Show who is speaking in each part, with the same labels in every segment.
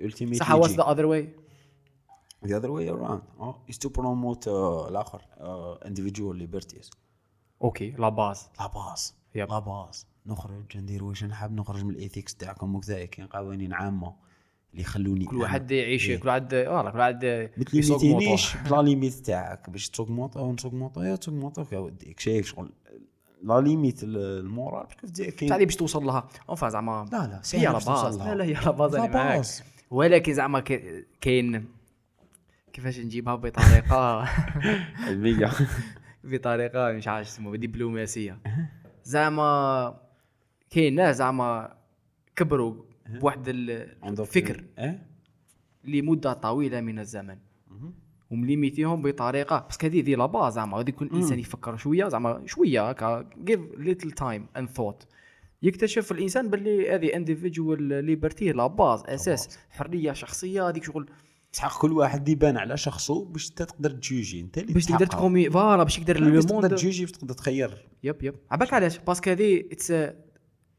Speaker 1: ultimately
Speaker 2: صح واز ذا اذر واي
Speaker 1: the other way around uh, is to promote uh, الاخر uh, individual liberties
Speaker 2: اوكي لا باز
Speaker 1: لاباس
Speaker 2: يب.
Speaker 1: لاباس نخرج ندير واش نحب نخرج من الايثيكس تاعكم وكذا كاين قوانين عامه اللي يخلوني
Speaker 2: كل
Speaker 1: أنا.
Speaker 2: واحد يعيش
Speaker 1: إيه.
Speaker 2: كل واحد والله كل واحد
Speaker 1: ما
Speaker 2: يسوق
Speaker 1: تليميتينيش
Speaker 2: موطور.
Speaker 1: بلا ليميت تاعك باش توغمونطا ونتوغمونطا يا توغمونطا يا وديك شايف شغل لا ليميت ال- المورال باسكو في الجزائر
Speaker 2: تاع اللي
Speaker 1: كاين
Speaker 2: باش توصل لها اونفا زعما
Speaker 1: لا لا
Speaker 2: هي
Speaker 1: ساهل
Speaker 2: لا
Speaker 1: باش توصل
Speaker 2: باز لا
Speaker 1: لها.
Speaker 2: لا هي لا باز
Speaker 1: لا
Speaker 2: انا معاك
Speaker 1: باز.
Speaker 2: ولكن زعما كي- كاين كيفاش نجيبها بطريقه
Speaker 1: البيع.
Speaker 2: بطريقه مش عارف اسمه دبلوماسيه زعما كاين ناس زعما كبروا بواحد ال-
Speaker 1: عندهم
Speaker 2: الفكر
Speaker 1: إيه؟
Speaker 2: لمده طويله من الزمن
Speaker 1: مهم.
Speaker 2: ومليميتيهم بطريقه باسكو هذه هذه لا باز زعما غادي يكون الانسان يفكر شويه زعما شويه هكا جيف ليتل تايم اند ثوت يكتشف الانسان باللي هذه انديفيدوال ليبرتي لا باز اساس حريه شخصيه هذيك شغل
Speaker 1: تحق كل واحد يبان على شخصه باش انت تقدر تجوجي انت اللي
Speaker 2: باش تقدر
Speaker 1: تحقق.
Speaker 2: تكومي فوالا باش يقدر
Speaker 1: باش
Speaker 2: لو
Speaker 1: تقدر
Speaker 2: موند
Speaker 1: تجوجي باش تقدر تخير
Speaker 2: يب يب عبالك علاش باسكو هذه اتس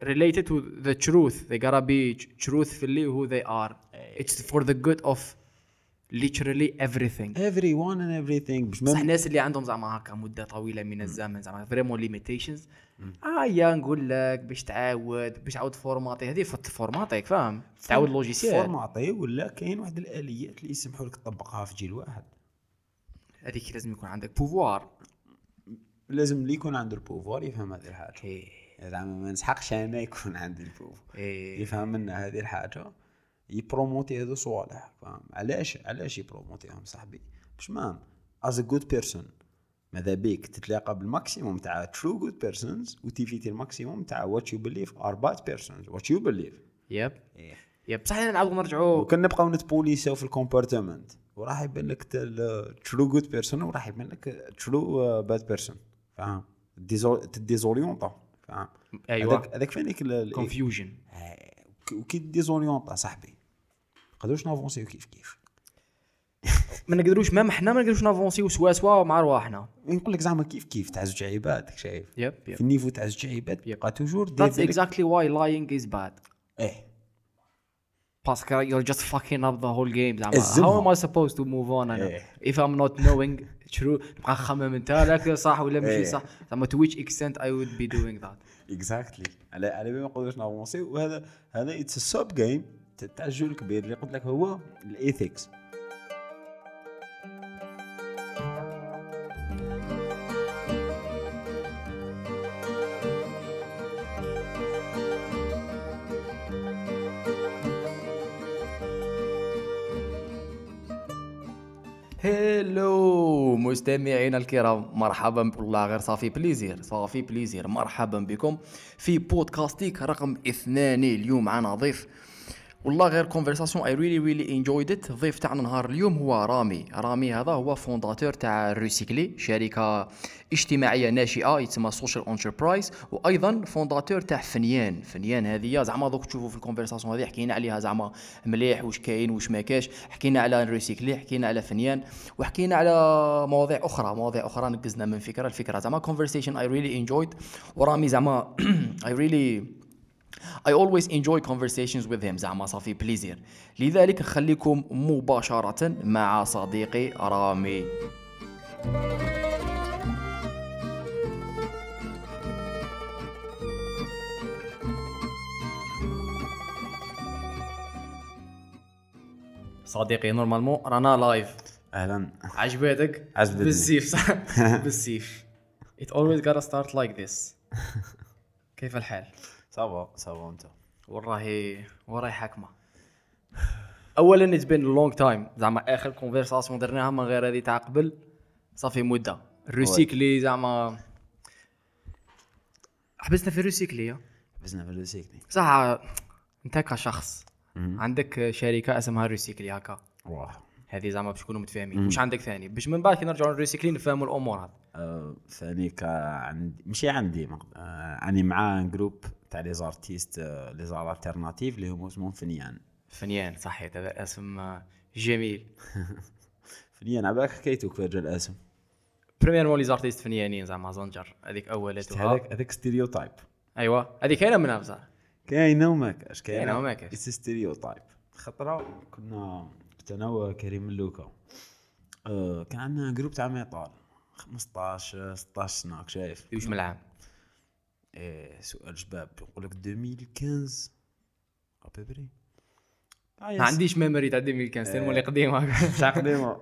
Speaker 2: related to the truth they gotta be truthfully who they are
Speaker 1: إيه.
Speaker 2: it's for the good of literally everything
Speaker 1: every one and everything باش
Speaker 2: بصح
Speaker 1: ما
Speaker 2: الناس اللي عندهم زعما هكا مده طويله من الزمن زعما فريمون ليميتيشنز اه يا نقول لك باش تعاود باش تعاود فورماطي هذه فت فورماطيك فاهم تعاود لوجيسيال
Speaker 1: فورماطي ولا كاين واحد الاليات اللي يسمحوا لك تطبقها في جيل واحد
Speaker 2: هذيك لازم يكون عندك بوفوار
Speaker 1: لازم اللي يكون عنده البوفوار يفهم هذه الحاجه
Speaker 2: ايه
Speaker 1: زعما ما نسحقش انا يكون عندي البوفوار
Speaker 2: ايه
Speaker 1: يفهم منا هذه الحاجه يبروموتي هذو صوالح فاهم علاش علاش يبروموتيهم صاحبي باش ما از ا جود بيرسون ماذا بيك تتلاقى بالماكسيموم تاع ترو جود بيرسونز وتيفيتي الماكسيموم تاع وات يو بليف ار باد بيرسونز وات يو بليف
Speaker 2: يب يب بصح نعاودو نرجعوا
Speaker 1: وكان نبقاو نتبوليسيو في الكومبارتمنت وراح يبان لك ترو جود بيرسون وراح يبان لك ترو باد بيرسون فاهم ديزو- تديزوريونطا فاهم
Speaker 2: ايوه
Speaker 1: هذاك- هذاك فين هيك ال- ال-
Speaker 2: كونفيوجن
Speaker 1: آه، وك- وكي ديزوريونطا صاحبي نقدروش نافونسيو كيف كيف
Speaker 2: ما نقدروش مام حنا ما نقدروش نافونسيو سوا سوا مع رواحنا
Speaker 1: نقول لك زعما كيف كيف تاع زوج عباد شايف
Speaker 2: يب
Speaker 1: في
Speaker 2: يب
Speaker 1: النيفو تاع زوج عباد يبقى توجور
Speaker 2: That's
Speaker 1: دير بالك-
Speaker 2: exactly why lying is bad.
Speaker 1: ايه
Speaker 2: Pascal, you're just fucking up the whole game. زعما.
Speaker 1: الزمها.
Speaker 2: How am I supposed to move on أنا؟ If I'm not knowing true نبقى نخمم انت لك صح ولا
Speaker 1: إيه.
Speaker 2: ماشي صح زعما to which extent I would be doing that.
Speaker 1: اكزاكتلي على على بالي ما نقدروش نافونسيو وهذا هذا اتس سب جيم تاع الجو الكبير اللي قلت لك هو الايثكس
Speaker 2: هلو مستمعينا الكرام مرحبا والله غير صافي بليزير صافي بليزير مرحبا بكم في بودكاستيك رقم اثنان اليوم معنا ضيف والله غير كونفرساسيون اي ريلي ريلي انجويد ات الضيف تاعنا نهار اليوم هو رامي رامي هذا هو فونداتور تاع ريسيكلي شركه اجتماعيه ناشئه يتسمى سوشيال انتربرايز وايضا فونداتور تاع فنيان فنيان هذه زعما دوك تشوفوا في الكونفرساسيون هذه حكينا عليها زعما مليح واش كاين واش ما كاش حكينا على ريسيكلي حكينا على فنيان وحكينا على مواضيع اخرى مواضيع اخرى نقزنا من فكره لفكره زعما كونفرسيشن اي ريلي انجويد ورامي زعما اي ريلي I always enjoy conversations with him زعما صافي بليزير لذلك نخليكم مباشرة مع صديقي رامي صديقي نورمالمون رانا لايف
Speaker 1: اهلا
Speaker 2: عجبتك
Speaker 1: عجبتني.
Speaker 2: بالسيف صح بالسيف it always gotta start like this كيف الحال
Speaker 1: صافا صافا انت
Speaker 2: وراهي وراهي حاكمه اولا اتس بين لونج تايم زعما اخر كونفرساسيون درناها من غير هذه تاع قبل صافي مده الريسيكلي زعما حبسنا في الريسيكلي ها.
Speaker 1: بزنا في الريسيكلي
Speaker 2: بصح انت كشخص عندك شركه اسمها ريسيكلي هكا
Speaker 1: واه
Speaker 2: هذه زعما باش نكونوا متفاهمين واش عندك ثاني باش من بعد كي نرجعوا للريسيكلي نفهموا الامور هذه
Speaker 1: آه، ثاني كا عندي ماشي عندي مق- آه، اني مع ان جروب تاع لي زارتيست آه، لي زار التيرناتيف اللي هم اسمهم فنيان
Speaker 2: فنيان صحيت هذا اسم جميل
Speaker 1: فنيان على بالك حكيتو كيف جا الاسم
Speaker 2: بريميرمون لي زارتيست فنيانين زعما زنجر هذيك اولتها
Speaker 1: هذاك هذاك ستيريو تايب
Speaker 2: ايوا هذه كاينه منها بصح
Speaker 1: كاينه وما كاش
Speaker 2: كاينة وما كاش.
Speaker 1: اتس ستيريو تايب خطره كنا كنت انا وكريم اللوكا أه كان عندنا جروب تاع ميطال 15 16 سناك شايف
Speaker 2: في وش من العام
Speaker 1: إيه سؤال شباب يقول لك 2015 ابيبري
Speaker 2: ما عنديش ميموري تاع 2015
Speaker 1: إيه.
Speaker 2: مولي قديم هكا
Speaker 1: تاع قديمه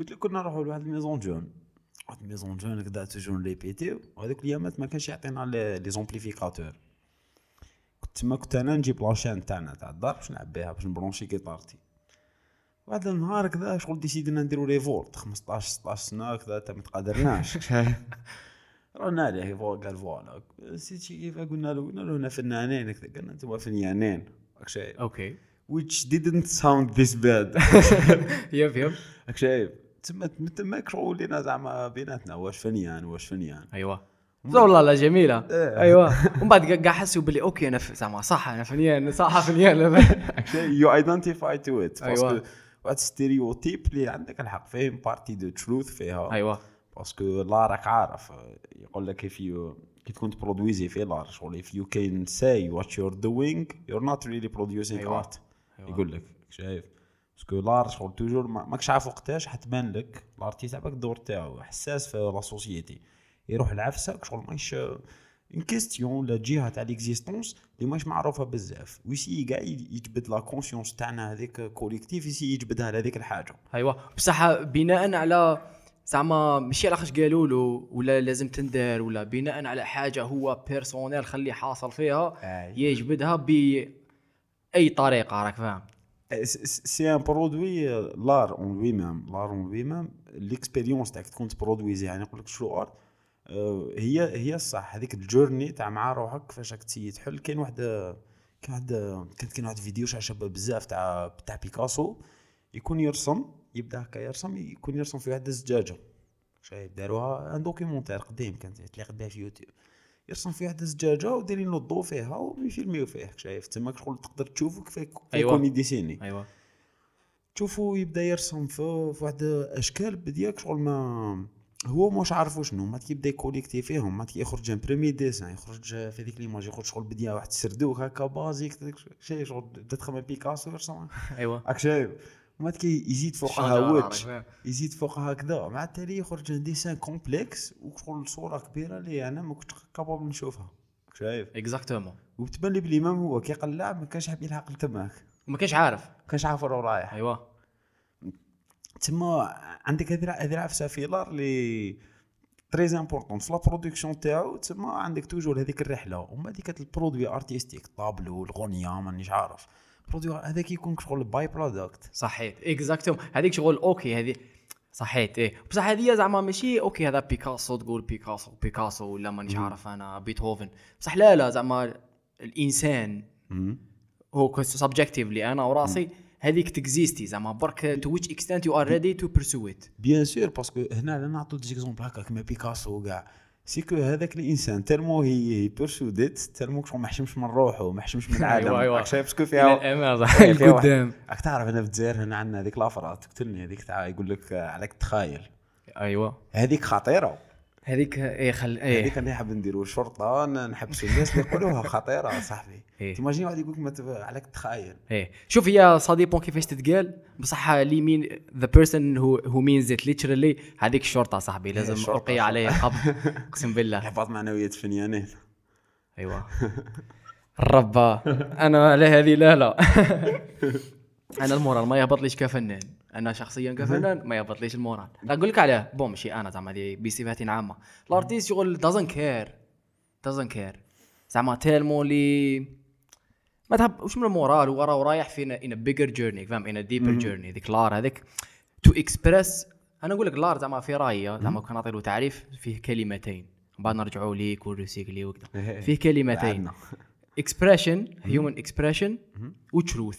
Speaker 1: قلت لك كنا نروحوا لواحد الميزون جون واحد الميزون جون كدا توجور ريبيتي وهذوك اليامات ما كانش يعطينا لي- لي زومبليفيكاتور كنت تما كنت انا نجيب لاشين تاعنا تاع الدار باش نلعب بها باش نبرونشي كيطارتي واحد النهار كذا شغل ديسيدنا نديرو ريفولت 15 16 سنه كذا تا ما تقادرناش رانا عليه فوق قال فوالا نسيت شي كيف قلنا له قلنا له هنا فنانين كذا قالنا انتم فنانين راك شايف
Speaker 2: اوكي
Speaker 1: which didn't sound this bad
Speaker 2: يب يب
Speaker 1: راك شايف تما تما كرو لينا زعما بيناتنا واش فنيان واش فنيان
Speaker 2: ايوه لا والله لا جميله
Speaker 1: إيه.
Speaker 2: ايوه ومن بعد قاع حسوا بلي اوكي انا ف- زعما صح انا فنيان صح فنيان
Speaker 1: يو ايدنتيفاي تو ات
Speaker 2: أيوة.
Speaker 1: باسكو واحد ستيريوتيب اللي عندك الحق فيه بارتي دو تروث فيها
Speaker 2: ايوه
Speaker 1: باسكو لا راك عارف يقول لك if you كي تكون تبرودويزي في لار شغل if you can say what you're doing you're not really producing
Speaker 2: أيوة.
Speaker 1: art يقول لك شايف باسكو لار شغل توجور ما- ماكش عارف وقتاش حتبان لك الارتيست تاعك الدور تاعو حساس في لا سوسيتي يروح لعفسك شغل ماهيش اون كيستيون ولا جهه تاع ليكزيستونس اللي ماهيش معروفه بزاف ويسي كاع يجبد لا كونسيونس تاعنا هذيك كوليكتيف يسي يجبدها لهذيك الحاجه
Speaker 2: ايوه بصح بناء على زعما ماشي على خاش قالوا له ولا لازم تندار ولا بناء على حاجه هو بيرسونيل خليه حاصل فيها يجبدها باي طريقه راك فاهم
Speaker 1: Eh, سي ان برودوي لار اون لوي ميم لار اون لوي ميم ليكسبيريونس تاعك تكون تبرودويزي يعني نقول لك شنو ارت آه، هي هي الصح هذيك الجورني تاع مع روحك كيفاش راك تسيي تحل كاين واحد كاين واحد كانت كاين واحد فيديو شابه بزاف تاع تاع بيكاسو يكون يرسم يبدا هكا يرسم يكون يرسم في واحد الزجاجه شايف داروها ان دوكيمونتير قديم كانت تليق بها في يوتيوب يرسم في واحد الزجاجه ودايرين له الضوء فيها ويفيلميو فيه شايف تماك شغل تقدر تشوفه كيف
Speaker 2: أيوة.
Speaker 1: يكون يديسيني
Speaker 2: ايوه
Speaker 1: تشوفوا يبدا يرسم في في واحد اشكال بديك شغل ما هو مش عارف شنو ما يبدا يكوليكتي فيهم ما يخرج ان بريمي ديسان يخرج في هذيك ليماج يخرج شغل بديا واحد السردوك هكا بازيك داك شي شغل بدا تخمم بيكاسو يرسم
Speaker 2: ايوه
Speaker 1: راك شايف ما يزيد فوقها
Speaker 2: شجرة، راك
Speaker 1: وجه
Speaker 2: فاهم.
Speaker 1: يزيد فوقها هكذا مع التالي يخرج ان ديسان كومبلكس وشغل صوره كبيره اللي انا ما كنتش كابابل نشوفها راك شايف
Speaker 2: اكزاكتومون
Speaker 1: وبتبان لي بلي مام هو كي قلع ما كانش حاب يلحق لتماك
Speaker 2: وما كانش عارف
Speaker 1: كانش عارف وين رايح
Speaker 2: ايوه
Speaker 1: تما عندك هذه هذه العفسه في لار لي تري امبورطون في لا برودكسيون تاعو تما عندك توجور هذيك الرحله وما هذيك البرودوي ارتيستيك طابلو الغنيه مانيش عارف برودوي هذاك يكون شغل باي برودكت
Speaker 2: صحيت اكزاكتوم هذيك شغل اوكي هذه صحيت ايه بصح هذه زعما ماشي اوكي هذا بيكاسو تقول بيكاسو بيكاسو ولا مانيش عارف انا بيتهوفن بصح لا لا زعما الانسان هو سبجكتيفلي انا وراسي هذيك تكزيستي زعما برك تو ويتش اكستنت يو ار ريدي تو بيرسو ات
Speaker 1: بيان سور باسكو هنا لا نعطو ديزيكزومبل هكا كيما بيكاسو وكاع سيكو هذاك الانسان تالمو هي بيرسو ديت تالمو شغل ما حشمش من روحه ما حشمش من العالم
Speaker 2: أيوة، أيوة.
Speaker 1: راك شايف باسكو فيها فيها
Speaker 2: الامام
Speaker 1: واحد-
Speaker 2: القدام
Speaker 1: راك تعرف هنا في الجزائر هنا عندنا هذيك لافرات تقتلني هذيك تاع يقول لك آه، عليك تخايل
Speaker 2: ايوه
Speaker 1: هذيك خطيره
Speaker 2: هذيك ايه خل ايه
Speaker 1: هذيك اللي حاب نديرو شرطه ن- نحبسوا الناس اللي يقولوها خطيره صاحبي
Speaker 2: إيه.
Speaker 1: تيماجيني واحد يقول لك ما تب- عليك تخايل
Speaker 2: ايه شوف هي سا ديبون كيفاش تتقال بصح لي مين ذا بيرسون هو هو مينز ات ليترالي هذيك الشرطه صاحبي لازم
Speaker 1: الشرطة،
Speaker 2: القي عليه القبض اقسم بالله
Speaker 1: حفاظ معنويات فنيانين
Speaker 2: ايوه الربا انا لا هذه لا لا انا المورال ما يهبطليش كفنان انا شخصيا كفنان ما يهبطليش المورال نقول لك علاه بون ماشي انا زعما هذه بصفه عامه الارتيست شغل دازنت كير دازنت كير زعما تيلمو لي ما تهب وش من المورال هو راه رايح فينا ان بيجر جيرني فاهم ان ديبر جيرني ذيك لار هذيك تو اكسبريس انا نقول لك لار زعما في رايي زعما كان نعطي له تعريف فيه كلمتين بعد نرجعوا ليك وريسيكلي وكذا فيه كلمتين
Speaker 1: بعدنا.
Speaker 2: expression
Speaker 1: Hmm.
Speaker 2: human expression و truth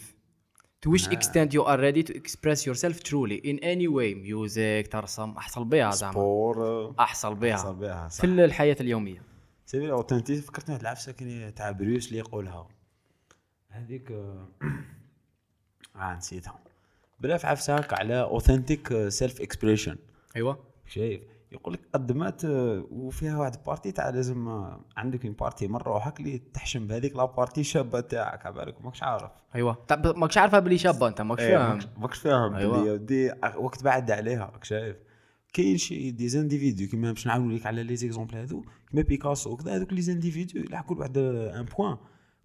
Speaker 2: to which extent you are ready to express yourself truly in any way music ترسم احصل بها زعما
Speaker 1: بور
Speaker 2: احصل
Speaker 1: صار
Speaker 2: بها
Speaker 1: بها صح
Speaker 2: في الحياه اليوميه
Speaker 1: سيبي الاوتنتيك فكرتني واحد العفسه كان تاع بروس اللي يقولها هذيك آه، اه آه، نسيتها بلا في عفسه هكا على اوثنتيك سيلف اكسبريشن
Speaker 2: ايوه
Speaker 1: شايف يقول لك قدمات آه، وفيها واحد بارتي تاع لازم آه، عندك اون بارتي مره وحك اللي تحشم بهذيك لا بارتي شابه تاعك على بالك ماكش عارف
Speaker 2: ايوا أيوة. طب ماكش عارفه بلي شابه انت ماكش
Speaker 1: إيه،
Speaker 2: فاهم
Speaker 1: ماكش- ماكش فاهم
Speaker 2: أيوة.
Speaker 1: أيوة. يا ودي أخ- وقت بعد عليها راك شايف كاين شي دي زانديفيدو كيما باش نعاود لك على لي زيكزومبل هذو كيما بيكاسو وكذا هذوك لي زانديفيدو يلعب كل واحد ان بوان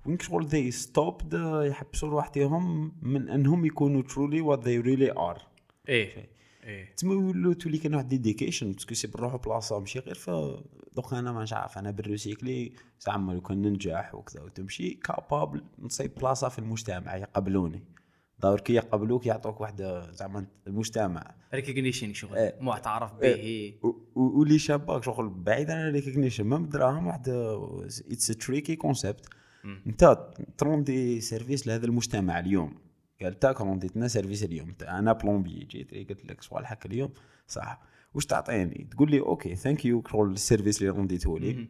Speaker 1: وين شغل ذي ستوب يحبسوا لوحدهم من انهم يكونوا ترولي وات ذي ريلي ار إيه.
Speaker 2: ايه ايه
Speaker 1: تما يولو تولي كان واحد ديديكيشن باسكو سي بنروحو بلاصه ماشي غير ف دوك انا مانيش عارف انا بالريسيكلي زعما لو كان ننجح وكذا وتمشي كابابل نصيب بلاصه في المجتمع يقبلوني دور كي يقبلوك يعطوك واحد زعما المجتمع
Speaker 2: ريكوجنيشن شغل
Speaker 1: إيه.
Speaker 2: معترف به
Speaker 1: إيه. و- و- واللي شابك شغل بعيد عن الريكوجنيشن مام دراهم واحد اتس تريكي كونسيبت انت تروندي سيرفيس لهذا المجتمع اليوم قال تاك رونديتنا سيرفيس اليوم تا انا بلومبي جيت إيه قلت لك سؤال حك اليوم صح واش تعطيني تقول لي اوكي ثانك يو شغل السيرفيس اللي رونديته لي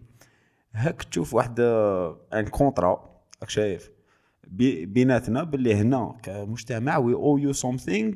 Speaker 1: هاك تشوف واحد ان كونترا راك شايف بي- بيناتنا باللي هنا كمجتمع وي او يو سومثينغ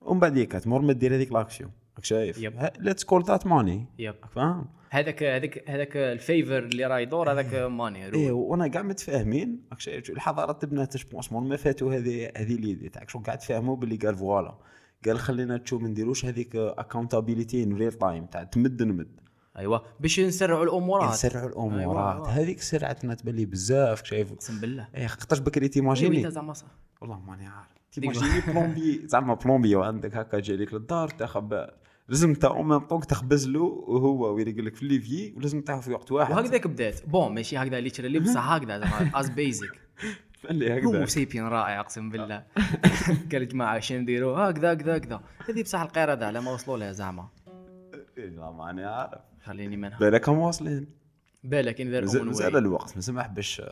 Speaker 1: ومن بعد هيك تمر ما دير هذيك لاكسيون راك شايف
Speaker 2: يب.
Speaker 1: ليتس كول ذات ماني
Speaker 2: يب
Speaker 1: فاهم
Speaker 2: هذاك هذاك هذاك الفيفر اللي راه يدور هذاك ماني
Speaker 1: ايه وانا كاع متفاهمين راك شايف الحضاره تبنات جو بونس مور ما فاتوا هذه هذه ليدي تاعك شو قاعد تفهموا باللي قال فوالا قال خلينا تشوف ما نديروش هذيك اكونتابيليتي ان ريل تايم تاع تمد نمد
Speaker 2: ايوا أيوة. باش نسرعوا الامورات
Speaker 1: نسرعوا
Speaker 2: أيوا،
Speaker 1: الامورات
Speaker 2: أيوا.
Speaker 1: هذيك سرعتنا تبان لي بزاف شايف
Speaker 2: اقسم بالله
Speaker 1: ايه خاطرش بكري
Speaker 2: وي
Speaker 1: تيماجيني
Speaker 2: زعما صح
Speaker 1: والله ماني عارف
Speaker 2: أيوة، ديك
Speaker 1: تيماجيني بلومبي زعما بلومبي وعندك هكا جاي لك للدار تاخب لازم تا اون ميم طونك تخبز له وهو وين يقول لك في الليفي ولازم تاعه في وقت واحد
Speaker 2: وهكذاك بدات بون ماشي هكذا اللي تشري لي بصح هكذا زعما از بيزك
Speaker 1: فلي هكذا
Speaker 2: هو سيبين رائع اقسم بالله قال جماعه شنو نديروا هكذا هكذا هكذا هذه بصح القيرده على ما وصلوا لها زعما
Speaker 1: إيه، لا ماني عارف
Speaker 2: خليني منها
Speaker 1: بالك هم واصلين
Speaker 2: بالك ان
Speaker 1: مازال مازال
Speaker 2: ذا
Speaker 1: الوقت ما سمح باش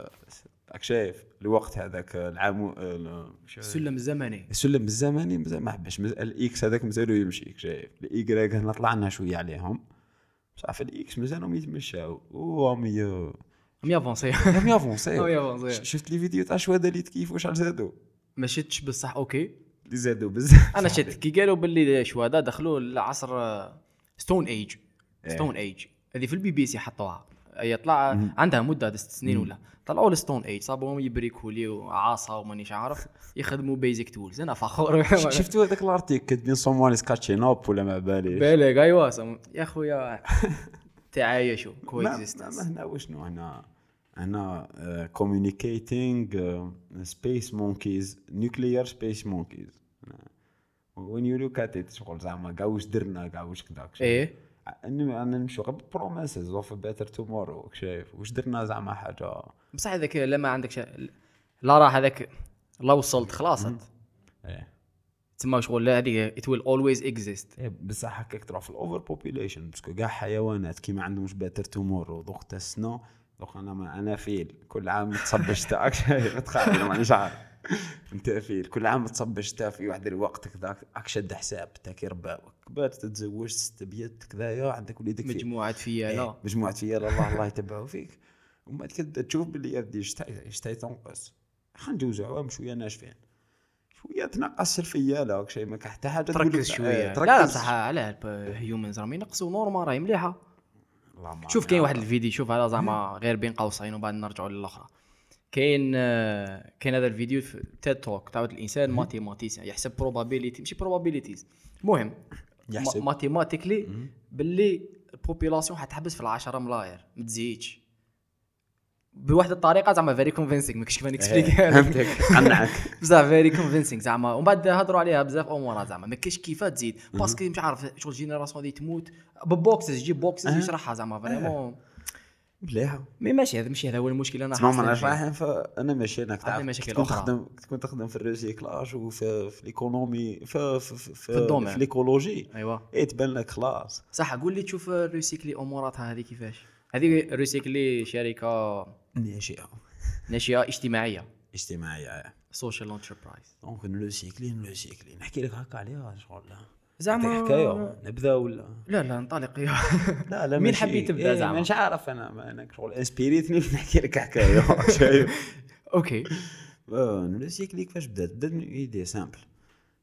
Speaker 1: راك شايف الوقت هذاك آه، العام
Speaker 2: السلم الزمني
Speaker 1: السلم الزمني مازال ما حبش مازال الاكس هذاك مازالو يمشي راك شايف الايكغيك هنا طلعنا شويه عليهم بصح في الاكس مازالهم يتمشاو وهم ي-
Speaker 2: هم يافونسي
Speaker 1: هم يافونسي
Speaker 2: هم يافونسي.
Speaker 1: ش- شفت لي فيديو تاع شوادا اللي تكيفوا شحال زادوا
Speaker 2: ما شتش بصح اوكي
Speaker 1: اللي زادوا بزاف
Speaker 2: انا
Speaker 1: صاحبي.
Speaker 2: شت كي قالوا باللي شوادا دخلوا العصر ستون ايج
Speaker 1: إيه.
Speaker 2: ستون ايج هذه في البي بي سي حطوها هي طلع عندها مده ست سنين ولا طلعوا الستون ايج صابوهم يبريكوا لي وعاصه ومانيش عارف يخدموا بيزك تولز انا فخور
Speaker 1: ش- شفتوا هذاك الارتيك كاتبين سومواليس كاتشينوب ولا ما باليش
Speaker 2: بالك ايوا سم- يا خويا تعايشوا كو
Speaker 1: ما- ما ما هنا وشنو هنا هنا آه، كوميونيكيتينج سبيس مونكيز نيوكليير سبيس مونكيز وين يو لوك ات ات شغل زعما كاع واش درنا كاع واش كذا
Speaker 2: ايه
Speaker 1: انا نمشي غير بروميسز اوف بيتر تومورو شايف واش درنا زعما حاجه
Speaker 2: بصح هذاك لما عندك شا... لا راه هذاك لا وصلت خلاص انت
Speaker 1: ايه
Speaker 2: تسمى شغل لا هذه it will always exist
Speaker 1: إيه، بصح هكاك تروح في الاوفر بوبيليشن باسكو كاع حيوانات كيما عندهمش بيتر تومورو دوك تا السنو دوك انا ما انا فيل كل عام تصبش تاعك شايف تخاف أنا مانيش عارف انت فيل كل عام تصبش تا في واحد الوقت كذا راك شاد حساب تا كي رباوك كبرت تتزوجت استبيت كذايا عندك وليدك فيل.
Speaker 2: مجموعة فيا
Speaker 1: إيه،
Speaker 2: لا
Speaker 1: مجموعة فيا الله الله يتبعوا فيك ومن بعد كده تشوف باللي يا بدي شتا- شتا تنقص خلينا ندوزو عوام شويه ناشفين شويه تنقص الفياله وك شيء ما كان حتى حاجه تقول لك-
Speaker 2: تركز شويه
Speaker 1: إيه،
Speaker 2: لا لا بصح علاه هيومنز راهم ينقصوا نورمال راهي مليحه
Speaker 1: آه، الله ما
Speaker 2: شوف كاين
Speaker 1: نعرف.
Speaker 2: واحد الفيديو شوف هذا زعما غير بين قوسين وبعد نرجعوا للاخرى كاين آه، كاين هذا الفيديو في تيد توك تاع واحد الانسان ماتيماتيسيان يحسب بروبابيليتي ماشي بروبابيليتيز المهم
Speaker 1: يحسب.
Speaker 2: ماتيماتيكلي
Speaker 1: مم.
Speaker 2: باللي البوبيلاسيون حتحبس في العشرة ملاير ما تزيدش بواحد الطريقه زعما فيري كونفينسينغ ما كنتش كيفاش
Speaker 1: إيه،
Speaker 2: نكسبليك
Speaker 1: فهمتك قنعك
Speaker 2: بزاف فيري كونفينسينغ زعما ومن بعد هضروا عليها بزاف امور زعما ما كاينش كيفاه تزيد باسكو مش عارف شغل الجينيراسيون اللي تموت ببوكسز جيب بوكسز
Speaker 1: أه.
Speaker 2: يشرحها زعما فريمون
Speaker 1: مليحه
Speaker 2: مي ماشي هذا ماشي هذا هو المشكل انا
Speaker 1: تسمع ما
Speaker 2: حاسس
Speaker 1: نعرفش
Speaker 2: فيه.
Speaker 1: رايحين فانا ماشي هناك
Speaker 2: عندنا
Speaker 1: تعرف.
Speaker 2: مشاكل
Speaker 1: تكون
Speaker 2: أخرى.
Speaker 1: تخدم تكون تخدم في الريسيكلاج وفي في الايكونومي في في في, في
Speaker 2: الدومين. أيوة.
Speaker 1: في الايكولوجي
Speaker 2: ايوا
Speaker 1: ايه تبان لك خلاص
Speaker 2: صح قول لي تشوف ريسيكلي اموراتها هذه كيفاش هذه ريسيكلي شركه
Speaker 1: ناشئه
Speaker 2: ناشئه اجتماعيه
Speaker 1: اجتماعيه
Speaker 2: سوشيال انتربرايز
Speaker 1: دونك نلو سيكلي نلو سيكلي نحكي لك هكا عليها شغل
Speaker 2: زعما
Speaker 1: زعما حكايه نبدا ولا
Speaker 2: لا لا انطلق أيوه. يا
Speaker 1: لا لا
Speaker 2: مين
Speaker 1: ماشي.
Speaker 2: حبيت تبدا
Speaker 1: إيه،
Speaker 2: زعما؟
Speaker 1: مانيش عارف انا ما انا شغل انسبيريتني باش نحكي لك حكايه شايف
Speaker 2: اوكي
Speaker 1: آه، نلو سيكلي كيفاش بدات بدات من ايدي سامبل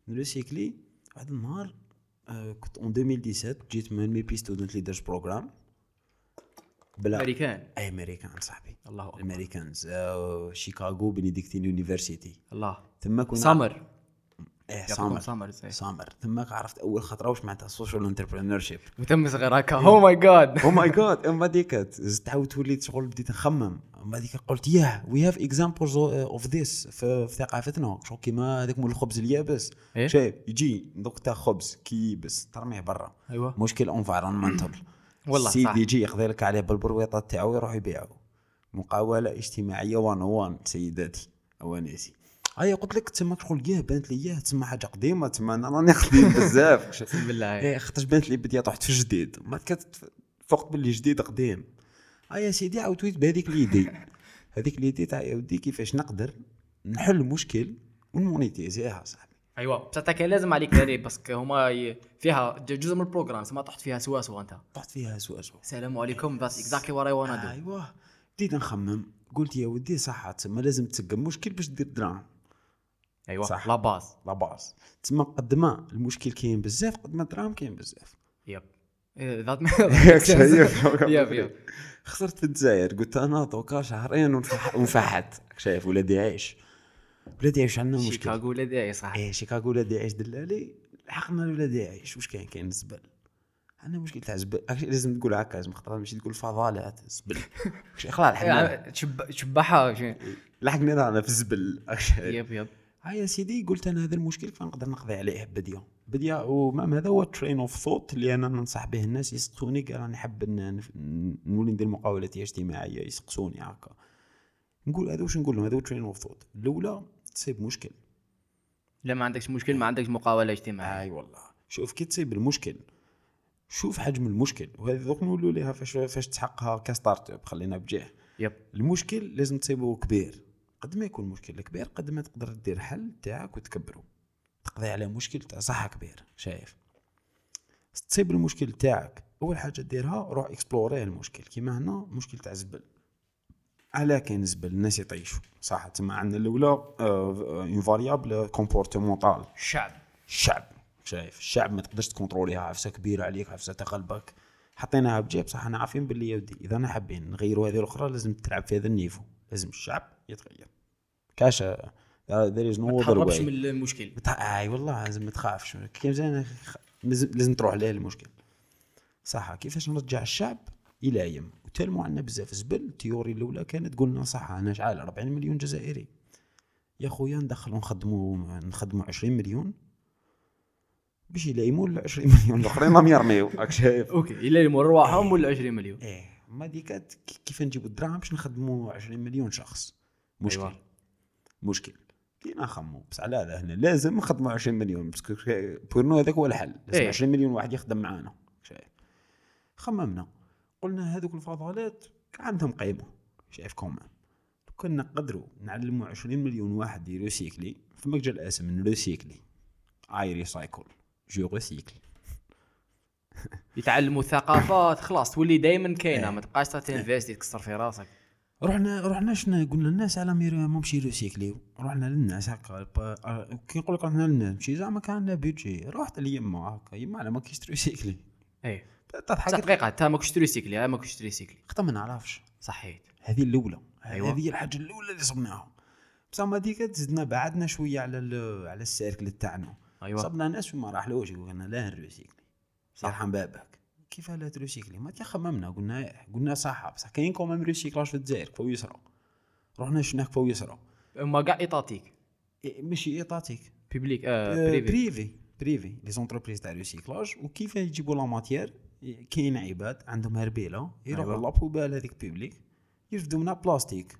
Speaker 1: نلو سيكلي واحد النهار آه، كنت اون 2017 جيت من مي بي ستودنت ليدرز بروغرام بلا
Speaker 2: امريكان
Speaker 1: اي امريكان صاحبي
Speaker 2: الله أكبر.
Speaker 1: امريكانز euh, شيكاغو بنيديكتين يونيفرسيتي
Speaker 2: الله
Speaker 1: تما كنا
Speaker 2: سامر
Speaker 1: ايه
Speaker 2: يعطيكم
Speaker 1: سامر
Speaker 2: سامر زي.
Speaker 1: سامر تماك عرفت اول خطره واش معناتها السوشيال انتربرينور شيب
Speaker 2: وتم صغير هكا Oh او ماي جاد
Speaker 1: او ماي جاد اما ديك زدت عاود وليت شغل بديت نخمم اما ديك قلت ياه وي هاف اكزامبلز اوف ذيس eh, في في ثقافتنا شغل كيما هذاك مول الخبز اليابس
Speaker 2: إيه؟
Speaker 1: شايف يجي دوك تاع خبز كي يبس ترميه برا
Speaker 2: ايوه
Speaker 1: مشكل انفايرمنتال
Speaker 2: والله
Speaker 1: السيد
Speaker 2: صح.
Speaker 1: يجي يقضي لك عليه بالبرويطه تاعو يروح يبيعو مقاوله اجتماعيه وان وان سيداتي اوانيسي هيا قلت لك تما شغل ياه بانت لي ياه تما حاجه قديمه تما انا راني قديم بزاف
Speaker 2: اقسم بالله
Speaker 1: ايه خاطرش بانت لي بدي طحت في جديد ما كتفوق باللي جديد قديم اه يا سيدي عاودت بهذيك ليدي هذيك ليدي تاع يا ودي كيفاش نقدر نحل مشكل ونمونيتيزيها صاحبي
Speaker 2: ايوا بصح كان لازم عليك تدري باسكو هما ي- فيها ج- جزء من البروغرام سما طحت فيها سوا سوا انت
Speaker 1: طحت فيها سوا سوا
Speaker 2: السلام عليكم بس اكزاكتلي وراي وانا دو
Speaker 1: ايوه بديت نخمم قلت يا ودي صح تما لازم تسقم مشكل باش دير دراهم
Speaker 2: ايوا
Speaker 1: صح.
Speaker 2: لا باز
Speaker 1: لا باس تما قد ما المشكل كاين بزاف قد ما الدراهم كاين بزاف
Speaker 2: يب إيه، ذات يب
Speaker 1: شايف
Speaker 2: يب
Speaker 1: خسرت في الجزائر قلت انا دوكا شهرين ونفح- ونفحت شايف ولادي عايش ولادي عايش عندنا مشكل
Speaker 2: شيكاغو لا داعي إيه، صح
Speaker 1: ايه شيكاغو ولادي عايش دلالي لحقنا ولادي عايش واش كاين كاين الزبل عندنا مشكل تاع زبل Actually لازم تقول هكا لازم خاطر ماشي تقول فضالات زبل خلاص لحقنا
Speaker 2: إيه، شب- شبحها
Speaker 1: إيه.
Speaker 2: شي.
Speaker 1: لحقنا رانا في الزبل Actually.
Speaker 2: يب يب
Speaker 1: هيا سيدي قلت انا هذا المشكل فنقدر نقضي عليه بديه بديه ومام هذا هو ترين اوف ثوت اللي انا ننصح به الناس يسقسوني قال راني حاب ن- ن- نولي ندير مقاولات اجتماعيه يسقسوني هكا نقول هذا واش نقول لهم هذا هو ترين اوف ثوت الاولى تصيب مشكل
Speaker 2: لا ما عندكش مشكل ما عندكش مقاوله اجتماعيه
Speaker 1: اي والله شوف كي تصيب المشكل شوف حجم المشكل وهذه دوك نولوا ليها فاش فاش تحقها كستارت اب خلينا بجاه
Speaker 2: يب
Speaker 1: المشكل لازم تصيبه كبير قد ما يكون مشكل كبير قد ما تقدر دير حل تاعك وتكبره تقضي على مشكل تاع صح كبير شايف تصيب المشكل تاعك اول حاجه ديرها روح اكسبلوري المشكل كيما هنا مشكل تاع زبل على كاين زبل الناس يطيشوا صح تما عندنا الاولى اون فاريابل كومبورتمونتال
Speaker 2: الشعب
Speaker 1: الشعب شايف الشعب ما تقدرش تكونتروليها عفسه كبيره عليك عفسه تغلبك حطيناها بجيب صح انا عارفين باللي يا ودي اذا انا حابين نغيروا هذه الاخرى لازم تلعب في هذا النيفو لازم الشعب يتغير كاش ذير از نو
Speaker 2: ما
Speaker 1: اذر
Speaker 2: تهربش من
Speaker 1: واي
Speaker 2: المشكل
Speaker 1: اي والله لازم ما تخافش كي مزيان خ- لازم لازم تروح ليه المشكل صح كيفاش نرجع الشعب الى يم وتلموا عنا بزاف زبل التيوري الاولى كانت قلنا صح انا شعال 40 مليون جزائري يا خويا ندخلوا نخدموا نخدموا 20 مليون باش يلايموا ال 20 مليون الاخرين راهم يرميو راك شايف
Speaker 2: اوكي الا اللي مور رواحهم ولا 20 مليون
Speaker 1: ايه ما دي كانت كي- كيف نجيبوا الدراهم باش نخدموا 20 مليون شخص مشكل
Speaker 2: أيوة.
Speaker 1: أيوة. مشكل بدينا نخمو بس على هذا هنا لازم نخدموا 20 مليون باسكو كي- بور نو هذاك هو الحل لازم
Speaker 2: إيه.
Speaker 1: 20 مليون واحد يخدم معانا شايف خممنا قلنا هذوك الفضلات عندهم قيمه شايف كومان لو كنا نقدروا نعلموا 20 مليون واحد يروسيكلي فما جا الاسم من روسيكلي اي ريسايكل جو ريسيكل
Speaker 2: يتعلموا ثقافات خلاص تولي دائما كاينه
Speaker 1: إيه.
Speaker 2: ما تبقاش تنفيستي تكسر في راسك
Speaker 1: رحنا رحنا شنا قلنا للناس على مير ممشي ريسيكلي رحنا للناس هكا با- آه، كي نقول لك رحنا للناس مشي زعما كان عندنا بيجي رحت ليما هكا يما على ما كيش تريسيكلي
Speaker 2: اي بصح
Speaker 1: تضحك
Speaker 2: دقيقه انت ما كنتش تريسيكلي أنا ما كنتش تريسيكلي
Speaker 1: خطا ما نعرفش
Speaker 2: صحيت
Speaker 1: هذه الاولى
Speaker 2: أيوة.
Speaker 1: أيوة. هذه هي الحاجه الاولى اللي صبناها بصح ديك زدنا بعدنا شويه على ال- على السيركل تاعنا
Speaker 2: أيوة.
Speaker 1: صبنا ناس وما راحلوش قلنا لا نروسيكلي
Speaker 2: صح.
Speaker 1: يرحم بابك كيف لا تروسيكلي ما تخممنا قلنا إيه، قلنا صح بصح كاين كومام روسيكلاج في الجزائر كفاو يسرى رحنا شفنا كفاو يسرى
Speaker 2: اما كاع ايطاتيك
Speaker 1: إيه، ماشي ايطاتيك
Speaker 2: بيبليك آه
Speaker 1: آه،
Speaker 2: بريفي
Speaker 1: بريفي بريفي لي زونتربريز تاع ريسيكلاج وكيف يجيبوا لا ماتيير كاين عباد عندهم هربيله يروحوا
Speaker 2: أيوة.
Speaker 1: لابوبال هذيك بيبليك يرفدوا منها بلاستيك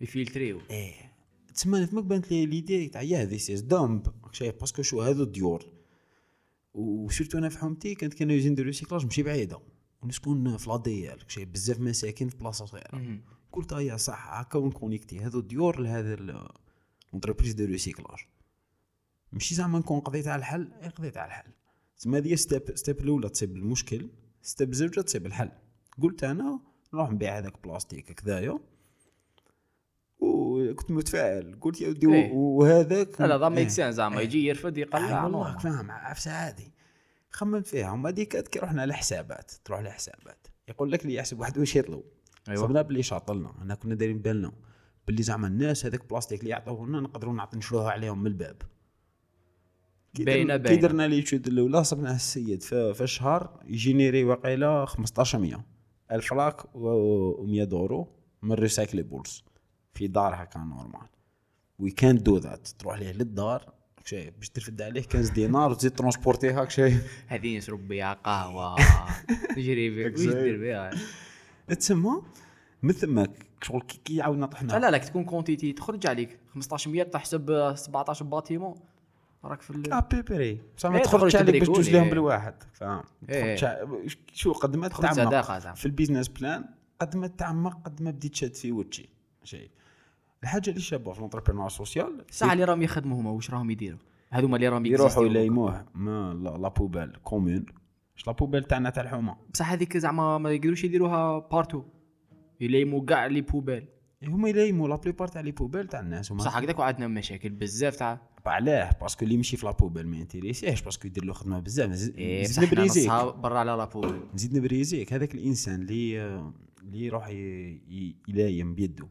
Speaker 2: يفلتريو
Speaker 1: ايه تسمى فماك بانت لي ليدي تاع ياه ذيس از دامب شايف باسكو شو هذو الديور وسيرتو انا في حومتي كانت كانوا يجين دو ريسيكلاج ماشي بعيده ونسكن في لا ديال شايف بزاف مساكن في بلاصه صغيره
Speaker 2: مهم.
Speaker 1: قلت ايا صح هكا ونكونيكتي هذو الديور لهذا ال- لونتربريز دو ريسيكلاج ماشي زعما نكون قضيت على الحل إيه قضيت على الحل تسمى هذه ستيب ستيب الاولى تصيب المشكل ستيب زوجة تصيب الحل قلت انا نروح نبيع هذاك بلاستيك هكذايا وكنت متفائل قلت يا ودي
Speaker 2: إيه.
Speaker 1: و- وهذاك
Speaker 2: لا لا ضام ميك
Speaker 1: إيه.
Speaker 2: سان زعما
Speaker 1: إيه.
Speaker 2: يجي يرفد يقلع
Speaker 1: آه،
Speaker 2: نورمال.
Speaker 1: والله فاهم عفسه عادي خممت فيها هما ديكات كي رحنا لحسابات تروح لحسابات يقول لك اللي يحسب واحد واش يطلب
Speaker 3: أيوة.
Speaker 1: ايوا صبنا بلي شاطلنا انا كنا دايرين بالنا بلي زعما الناس هذاك بلاستيك اللي يعطوه لنا نقدروا نعطي نشروها عليهم من الباب كي درنا-
Speaker 2: باينة-
Speaker 1: كي
Speaker 2: باينة.
Speaker 1: درنا ليتود الاولى صبنا السيد في, في الشهر يجينيري واقيلا 1500 1000 فراك و100 دورو من ريسايكلي بولز في دار هكا نورمال وي كان دو ذات تروح ليه للدار شايف باش ترفد عليه 15 دينار وتزيد ترونسبورتيها شايف
Speaker 2: هذه نشرب بها قهوه نجري بها واش دير بها
Speaker 1: تسمى من تماك شغل كي- كي عاودنا طحنا
Speaker 2: لا لا تكون كونتيتي تخرج عليك 1500 تحسب 17 آه، باتيمون راك في
Speaker 1: نعم.
Speaker 2: ال-
Speaker 1: ابيبري بصح ما
Speaker 2: إيه،
Speaker 1: تخرجش
Speaker 2: تخرج
Speaker 1: عليك باش
Speaker 2: تبريكولي،
Speaker 1: دوز لهم
Speaker 2: إيه.
Speaker 1: بالواحد فاهم
Speaker 2: إيه.
Speaker 1: تخرج ع- شو قد ما
Speaker 2: تخرج
Speaker 1: تعمق
Speaker 2: صداقه زعما
Speaker 1: في البيزنس بلان قد ما تعمق قد ما بديت شاد في وجهي شيء الحاجه اللي شابه في لونتربرونور سوسيال
Speaker 2: الساعه اللي راهم يخدموا هما واش راهم يديروا هذوما اللي راهم
Speaker 1: يروحوا
Speaker 2: يكزيستيو.
Speaker 1: يلايموه ما لا لا بوبال كومون مش لا بوبال تاعنا تاع الحومه
Speaker 2: بصح هذيك زعما ما يقدروش يديروها بارتو يليموا كاع لي بوبال
Speaker 1: هما يلايموا لا بليبار تاع لي بوبال تاع الناس هما
Speaker 2: بصح هكذاك وعندنا مشاكل بزاف تاع
Speaker 1: علاه باسكو اللي يمشي في لا بوبال ما ينتيريسيهش باسكو يدير له خدمه بزاف نزيد
Speaker 2: إيه، بصح
Speaker 1: نزيد
Speaker 2: حنا
Speaker 1: نبريزيك.
Speaker 2: نصها برا على لا بوبال
Speaker 1: نزيد نبريزيك هذاك الانسان اللي اللي يروح ي- ي- يلايم بيده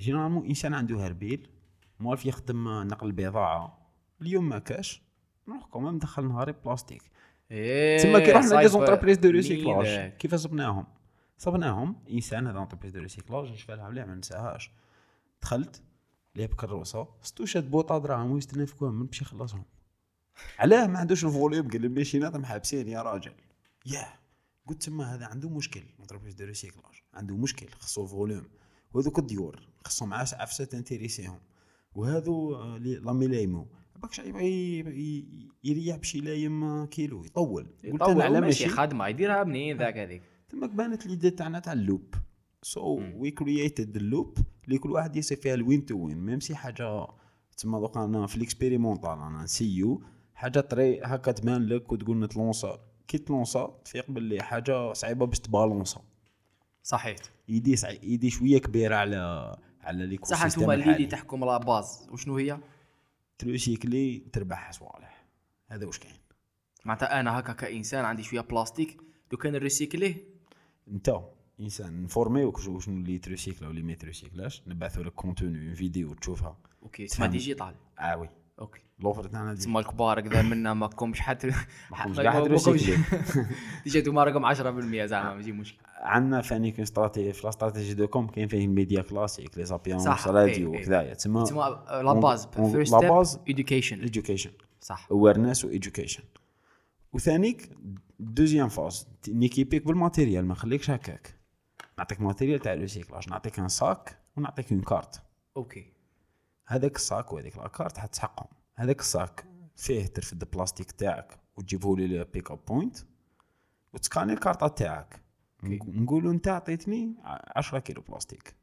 Speaker 1: جينيرالمون انسان عنده هربيل موالف يخدم نقل بضاعه اليوم ما كاش نروح كومام دخل نهاري بلاستيك
Speaker 2: ايه
Speaker 1: تسمى كي رحنا لي
Speaker 2: صايب.
Speaker 1: زونتربريز دو ريسيكلاج
Speaker 2: نيدك.
Speaker 1: كيف صبناهم صبناهم انسان هذا اونتربريز دو ريسيكلاج نشفى لها مليح ما ننساهاش دخلت لعب كروسه ستوشات بوطه دراهم ويستنى في كوام من باش يخلصهم علاه ما عندوش الفوليوم قال لي ماشينات محابسين يا راجل ياه قلت تما هذا عنده مشكل اونتربريز دو ريسيكلاج عنده مشكل خصو فوليوم وهذوك الديور خصهم عاس عفسه تنتيريسيهم وهذو آه، لي- لامي لايمو باك شي يبغي- يبغي يريح باش يلايم آه، كيلو يطول قلت
Speaker 2: طول
Speaker 1: انا على
Speaker 2: ماشي
Speaker 1: ماشي
Speaker 2: خدمه يديرها منين ذاك هذيك
Speaker 1: تماك بانت ليدي تاعنا تاع اللوب سو وي كرييتد اللوب اللي كل واحد يصير فيها الوين تو وين ميم سي حاجه تسمى دوكا انا في الاكسبيريمونتال انا نسيو حاجه طري هكا تبان لك وتقول نتلونسا كي تلونسا تفيق باللي حاجه صعيبه باش تبالونسا
Speaker 2: صحيح
Speaker 1: يدي صعي يدي شويه كبيره على على ليكو
Speaker 2: صح انتوما اللي اللي تحكم لا باز وشنو هي
Speaker 1: تروسيكلي تربح صوالح هذا واش كاين
Speaker 2: معناتها انا هكا كانسان عندي شويه بلاستيك لو كان نريسيكليه
Speaker 1: انت انسان نفورميوك شو- شنو اللي تروسيكلا واللي ما تروسيكلاش نبعثوا لك كونتوني فيديو تشوفها
Speaker 2: اوكي تسمى
Speaker 1: فهمت.
Speaker 2: ديجيتال
Speaker 1: اه وي
Speaker 2: اوكي
Speaker 1: لوفر تاعنا دي
Speaker 2: تسمى الكبار كذا منا ما كومش حتى
Speaker 1: كومش قاعد ريسيكلي.
Speaker 2: ديجا انتوما راكم 10% زعما ماشي مشكل
Speaker 1: عندنا فاني كاين استراتيجي في لا استراتيجي دو كوم كاين فيه الميديا كلاسيك لي زابيونس
Speaker 2: صح،
Speaker 1: راديو
Speaker 2: إيه، إيه.
Speaker 1: وكذايا تسمى
Speaker 2: تسمى آه، لا باز
Speaker 1: ون-
Speaker 2: فيرست
Speaker 1: لا باز.
Speaker 2: ستيب اديوكيشن
Speaker 1: ايديوكيشن
Speaker 2: صح
Speaker 1: اويرنس وايديوكيشن وثانيك دوزيام فاز ت- نيكيبيك بالماتيريال ما نخليكش هكاك نعطيك ماتيريال تاع ريسيكلاج نعطيك ان ساك ونعطيك اون كارت
Speaker 2: اوكي
Speaker 1: هذاك الساك وهذيك لاكارت حتسحقهم هذاك الساك فيه ترفد البلاستيك تاعك وتجيبه لي للبيك اب بوينت وتسكاني الكارطه تاعك نقولوا انت عطيتني 10 كيلو بلاستيك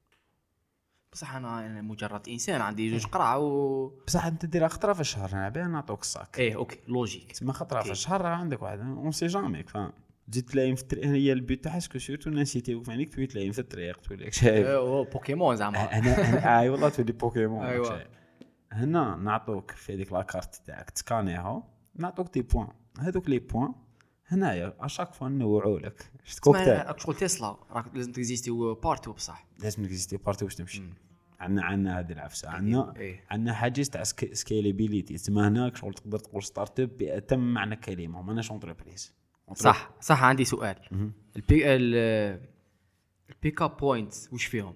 Speaker 2: بصح انا أنا مجرد انسان عندي جوج قرعه و
Speaker 1: بصح انت ديرها خطره في الشهر انا بين نعطوك الساك
Speaker 2: ايه اوكي لوجيك
Speaker 1: تسمى خطره
Speaker 2: أوكي.
Speaker 1: في الشهر راه عندك واحد اون سي جامي فاهم تزيد تلايم في الطريق هي البيوت تاعها سكو سيرتو الناس يتيوك فانيك تولي تلايم في الطريق تولي لك شايف
Speaker 2: إيه، أوه، بوكيمون زعما
Speaker 1: انا انا اي آه، والله تولي بوكيمون
Speaker 2: أيوة.
Speaker 1: أيوة. هنا نعطوك في هذيك لاكارت تاعك تسكانيها نعطوك دي بوان هذوك لي بوان هنايا اشاك فوا نوعوا لك شفت كوكتيل
Speaker 2: راك شغل تسلا راك لازم تكزيستي بارتو بصح
Speaker 1: لازم تكزيستي بارتي باش تمشي عندنا عندنا هذه العفسه عندنا
Speaker 2: إيه.
Speaker 1: عندنا حاجز تاع سكيلابيليتي تسمى هناك شغل تقدر تقول ستارت اب باتم معنى الكلمه ماناش اونتربريز
Speaker 2: صح صح عندي سؤال البي ال البيك اب بوينتس واش فيهم؟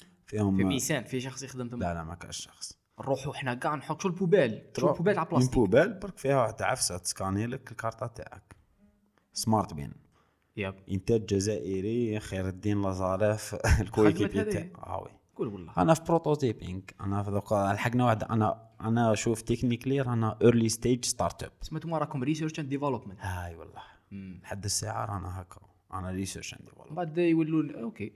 Speaker 2: في
Speaker 1: فيهم
Speaker 2: انسان في شخص يخدم تما
Speaker 1: لا لا ما كاش شخص
Speaker 2: نروحوا حنا كاع نحط شو البوبال شو
Speaker 1: تروح
Speaker 2: البوبال على بلاستيك
Speaker 1: البوبال برك فيها واحد عفسه تسكاني لك الكارطه تاعك سمارت بين
Speaker 2: ياب
Speaker 1: انتاج جزائري خير الدين لازاريف الكويكيبي
Speaker 2: خدمت هذه.
Speaker 1: تاعي آه وي.
Speaker 2: قول والله
Speaker 1: انا في بروتوتيبينغ انا في دوكا لحقنا واحد انا انا شوف تكنيكلي رانا ايرلي ستيج ستارت اب
Speaker 2: سما انتوما راكم ريسيرش اند ديفلوبمنت
Speaker 1: هاي والله
Speaker 2: من
Speaker 1: لحد الساعه رانا هكا انا ريسيرش عندي والله
Speaker 2: بعد يولوا اوكي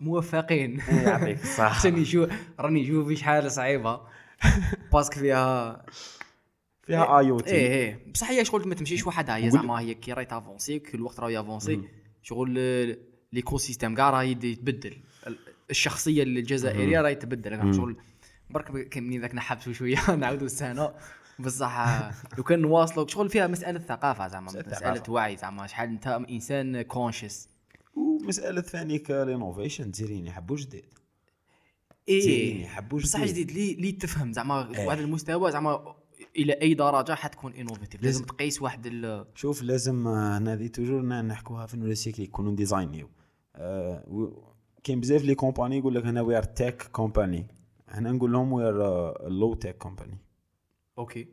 Speaker 2: موفقين
Speaker 1: يعطيك الصحة.
Speaker 2: حتى نشوف راني نشوف شحال صعيبه باسك فيها
Speaker 1: فيها اي او
Speaker 2: ايه
Speaker 1: تي
Speaker 2: ايه بصح هي شغل ما تمشيش وحدها هي
Speaker 1: قول-
Speaker 2: زعما هي كي راهي تافونسي كل الوقت راهي افونسي شغل آه، ليكو سيستيم كاع راهي يد- يتبدل ال- الشخصيه الجزائريه راهي تبدل شغل برك ب- كان منين ذاك نحبسوا شويه نعاودوا السنه بصح آه، لو كان نواصلوا شغل فيها مساله ثقافه زعما
Speaker 1: مسألة
Speaker 2: مساله
Speaker 1: ثقافة.
Speaker 2: وعي زعما شحال انت انسان كونشس
Speaker 1: ومساله ثانيك رينوفيشن تزيرين يحبوا جديد تزيرين
Speaker 2: ايه
Speaker 1: يحبوا جديد
Speaker 2: بصح جديد لي لي تفهم زعما
Speaker 1: إيه.
Speaker 2: واحد المستوى زعما الى اي درجه حتكون انوفيتيف لازم
Speaker 1: لازم.
Speaker 2: تقيس واحد ال-
Speaker 1: شوف لازم آه، هنا هذه توجور نا- نحكوها في نولا سيكل يكونوا ديزاينيو آه، و- كاين بزاف لي كومباني يقول لك هنا وي ار تيك كومباني هنا نقول لهم آه، وي ار لو تيك كومباني
Speaker 2: اوكي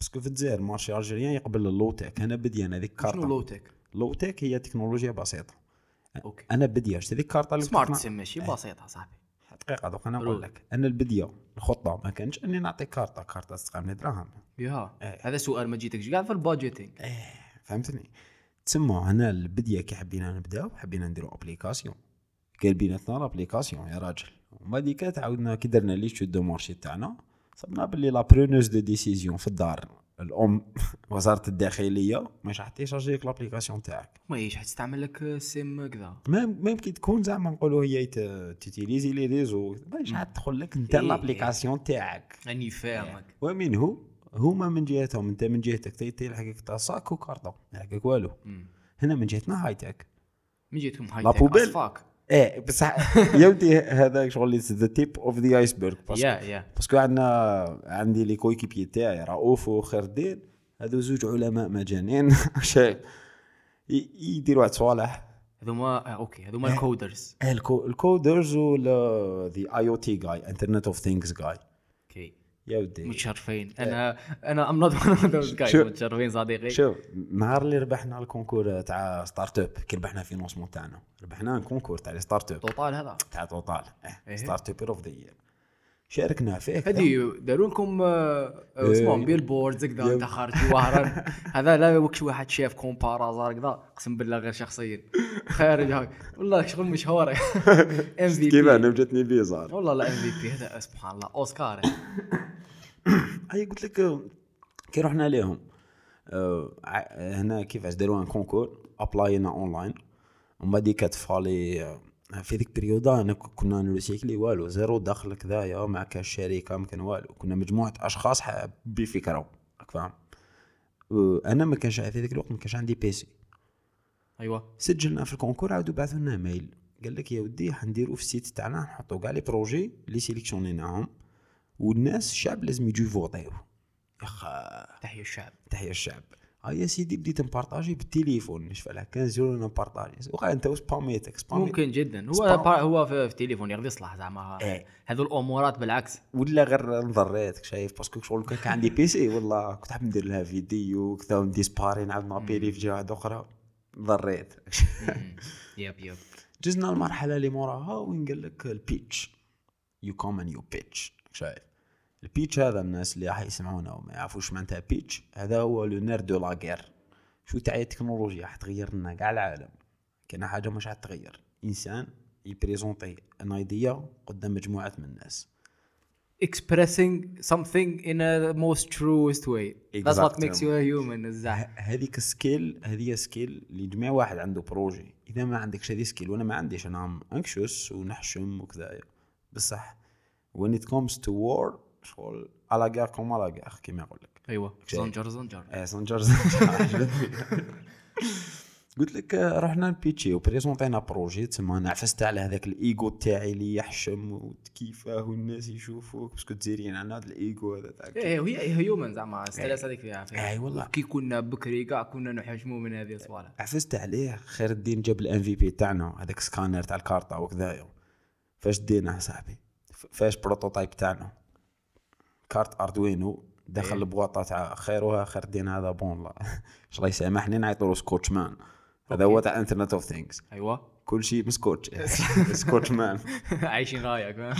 Speaker 1: باسكو في الجزائر مارشي الجيريان يقبل اللو تيك انا بديان هذيك
Speaker 2: شنو لو
Speaker 1: كارطه
Speaker 2: تك
Speaker 1: لو تيك هي تكنولوجيا بسيطه
Speaker 2: اوكي
Speaker 1: انا بديا شفت هذيك الكارطه اللي
Speaker 2: سمارت
Speaker 1: كنا-
Speaker 2: سم ماشي بسيطه صاحبي
Speaker 1: دقيقه دوك انا
Speaker 2: رول.
Speaker 1: نقول لك انا البديه الخطه ما كانش اني نعطيك كارطه كارطه تسقى دراهم
Speaker 2: ياها
Speaker 1: إيه.
Speaker 2: هذا سؤال ما جيتكش كاع في البادجيتينغ
Speaker 1: فهمتني تسمى هنا البديه كي حبينا نبداو حبينا نديرو ابليكاسيون كان بيناتنا لابليكاسيون يا راجل وما ديك تعاودنا كي درنا لي شو دو مارشي تاعنا صبنا باللي لا برونوز دو ديسيزيون في الدار الام وزاره الداخليه مش راح تيشارجي لك لابليكاسيون تاعك
Speaker 2: ما ايش حتستعمل لك السم كذا
Speaker 1: ميم ميم كي تكون زعما نقولوا هي تيتيليزي لي ريزو مش راح تدخل لك انت
Speaker 2: إيه، إيه.
Speaker 1: لابليكاسيون تاعك
Speaker 2: راني فاهمك
Speaker 1: ومنه هما من جهتهم انت من جهتك تي- تيلحقك تاع صاك وكارطه ما يلحقك والو
Speaker 2: مم.
Speaker 1: هنا من جهتنا هاي تك
Speaker 2: من جهتكم هاي
Speaker 1: لا
Speaker 2: تك
Speaker 1: بوبيل.
Speaker 2: أصفاك.
Speaker 1: ايه بصح يا ودي هذا شغل ذا تيب اوف ذا ايسبرغ
Speaker 2: يا يا
Speaker 1: باسكو عندنا عندي لي كويكيبي تاعي رؤوف وخير الدين هذو زوج علماء مجانين شايف ي- يديروا واحد صوالح
Speaker 2: هذوما آه، اوكي هذوما الكودرز
Speaker 1: آه، الكو- الكودرز ولا ذا اي او تي جاي انترنت اوف ثينكس جاي
Speaker 2: اوكي
Speaker 1: يا ودي
Speaker 2: متشرفين انا انا ام نوت ون اوف
Speaker 1: إيه. شو-
Speaker 2: متشرفين صديقي
Speaker 1: شوف نهار اللي ربحنا الكونكور تاع ستارت اب كي ربحنا فينونسمون تاعنا ربحنا الكونكور تاع لي ستارت اب
Speaker 2: طوطال هذا
Speaker 1: تاع توتال
Speaker 2: إيه.
Speaker 1: ستارت اب اوف ذا يير شاركنا فيه كذا.
Speaker 2: هذه داروا لكم آه، آه، اسمهم
Speaker 1: إيه.
Speaker 2: بيل بوردز كذا
Speaker 1: يب.
Speaker 2: انت خارج وهران هذا لا وكش واحد شاف كومبارازار كذا اقسم بالله غير شخصيا خارج هاي والله شغل مشهور ام في
Speaker 1: كيما
Speaker 2: بي
Speaker 1: انا جاتني بيزار
Speaker 2: والله لا ام في بي هذا سبحان الله اوسكار
Speaker 1: اي قلت لك آه، كي رحنا ليهم آه، ع- هنا كيفاش داروا ان كونكور ابلاينا اونلاين ومن بعد كتفالي آه، في ذيك بريودا انا ك- كنا نلوسيكلي والو زيرو دخل كذايا ما كاش شركه ما كان والو كنا مجموعه اشخاص ح- بفكره راك فاهم آه، انا ما كانش في ذاك الوقت ما كانش عندي بيسي
Speaker 2: ايوه
Speaker 1: سجلنا في الكونكور عاودوا بعثوا لنا ميل قال لك يا ودي حنديروا في السيت تاعنا نحطوا كاع لي بروجي اللي سيليكسيونيناهم والناس الشعب لازم يجوا يفوطيو يا خا
Speaker 2: تحية الشعب
Speaker 1: تحيا الشعب ها يا سيدي بديت نبارطاجي بالتليفون نشفى لها 15 يورو نبارطاجي وقع انت وسباميتك سباميتك
Speaker 2: ممكن جدا هو
Speaker 1: سبام.
Speaker 2: بار- هو في في تليفون يغدي يصلح زعما
Speaker 1: إيه.
Speaker 2: هذو الامورات بالعكس
Speaker 1: ولا غير نضريتك شايف باسكو شغل كان كان عندي بيسي والله كنت حاب ندير لها فيديو كذا ندي سباري نعاود نابيلي في جهه واحدة اخرى ضريت
Speaker 2: مم. يب يب
Speaker 1: جزنا المرحله اللي موراها وين قال لك البيتش يو كوم اند يو بيتش شايف البيتش هذا الناس اللي راح يسمعونا وما يعرفوش معناتها بيتش هذا هو لو نير دو لاغير شو تاع التكنولوجيا حتغير لنا كاع العالم كاين حاجه مش حتغير انسان يبريزونتي ان ايديا قدام مجموعه من الناس
Speaker 2: expressing something in a most truest way. That's what makes you a human الزعم.
Speaker 1: ه- هذيك السكيل هذه سكيل اللي جميع واحد عنده بروجي اذا ما عندكش هذه سكيل وانا ما عنديش انا انكشوس ونحشم وكذا بصح when it comes to war شغل على كاع كوم على كاع كيما يقول لك
Speaker 2: ايوه زنجر زنجر
Speaker 1: ايه سنجر سنجر عجبتني. قلت لك آه، رحنا نبيتشي وبريزونطينا بروجي تسمى نعفست على هذاك الايجو تاعي اللي يحشم وتكيفاه والناس يشوفوك باسكو تزيرين عن هذا الايجو هذا تاعك
Speaker 2: ايه هي هي هيومن زعما الستريس هذيك فيها فيها.
Speaker 1: إيه والله.
Speaker 2: كي كنا بكري كاع كنا نحجموا من هذه الصوالح.
Speaker 1: عفست عليه خير الدين جاب الان في بي تاعنا هذاك سكانر تاع الكارطه وكذايا فاش ديناه صاحبي ف- فاش بروتوتايب تاعنا كارت اردوينو دخل
Speaker 2: إيه.
Speaker 1: البواطه تاع خيرها خير الدين هذا بون لا الله يسامحني نعيطوا له سكوتش مان هذا هو تاع انترنت اوف ثينكس
Speaker 2: ايوه
Speaker 1: كل شيء مسكوتش سكوتش مان
Speaker 2: عايشين رايك فاهم؟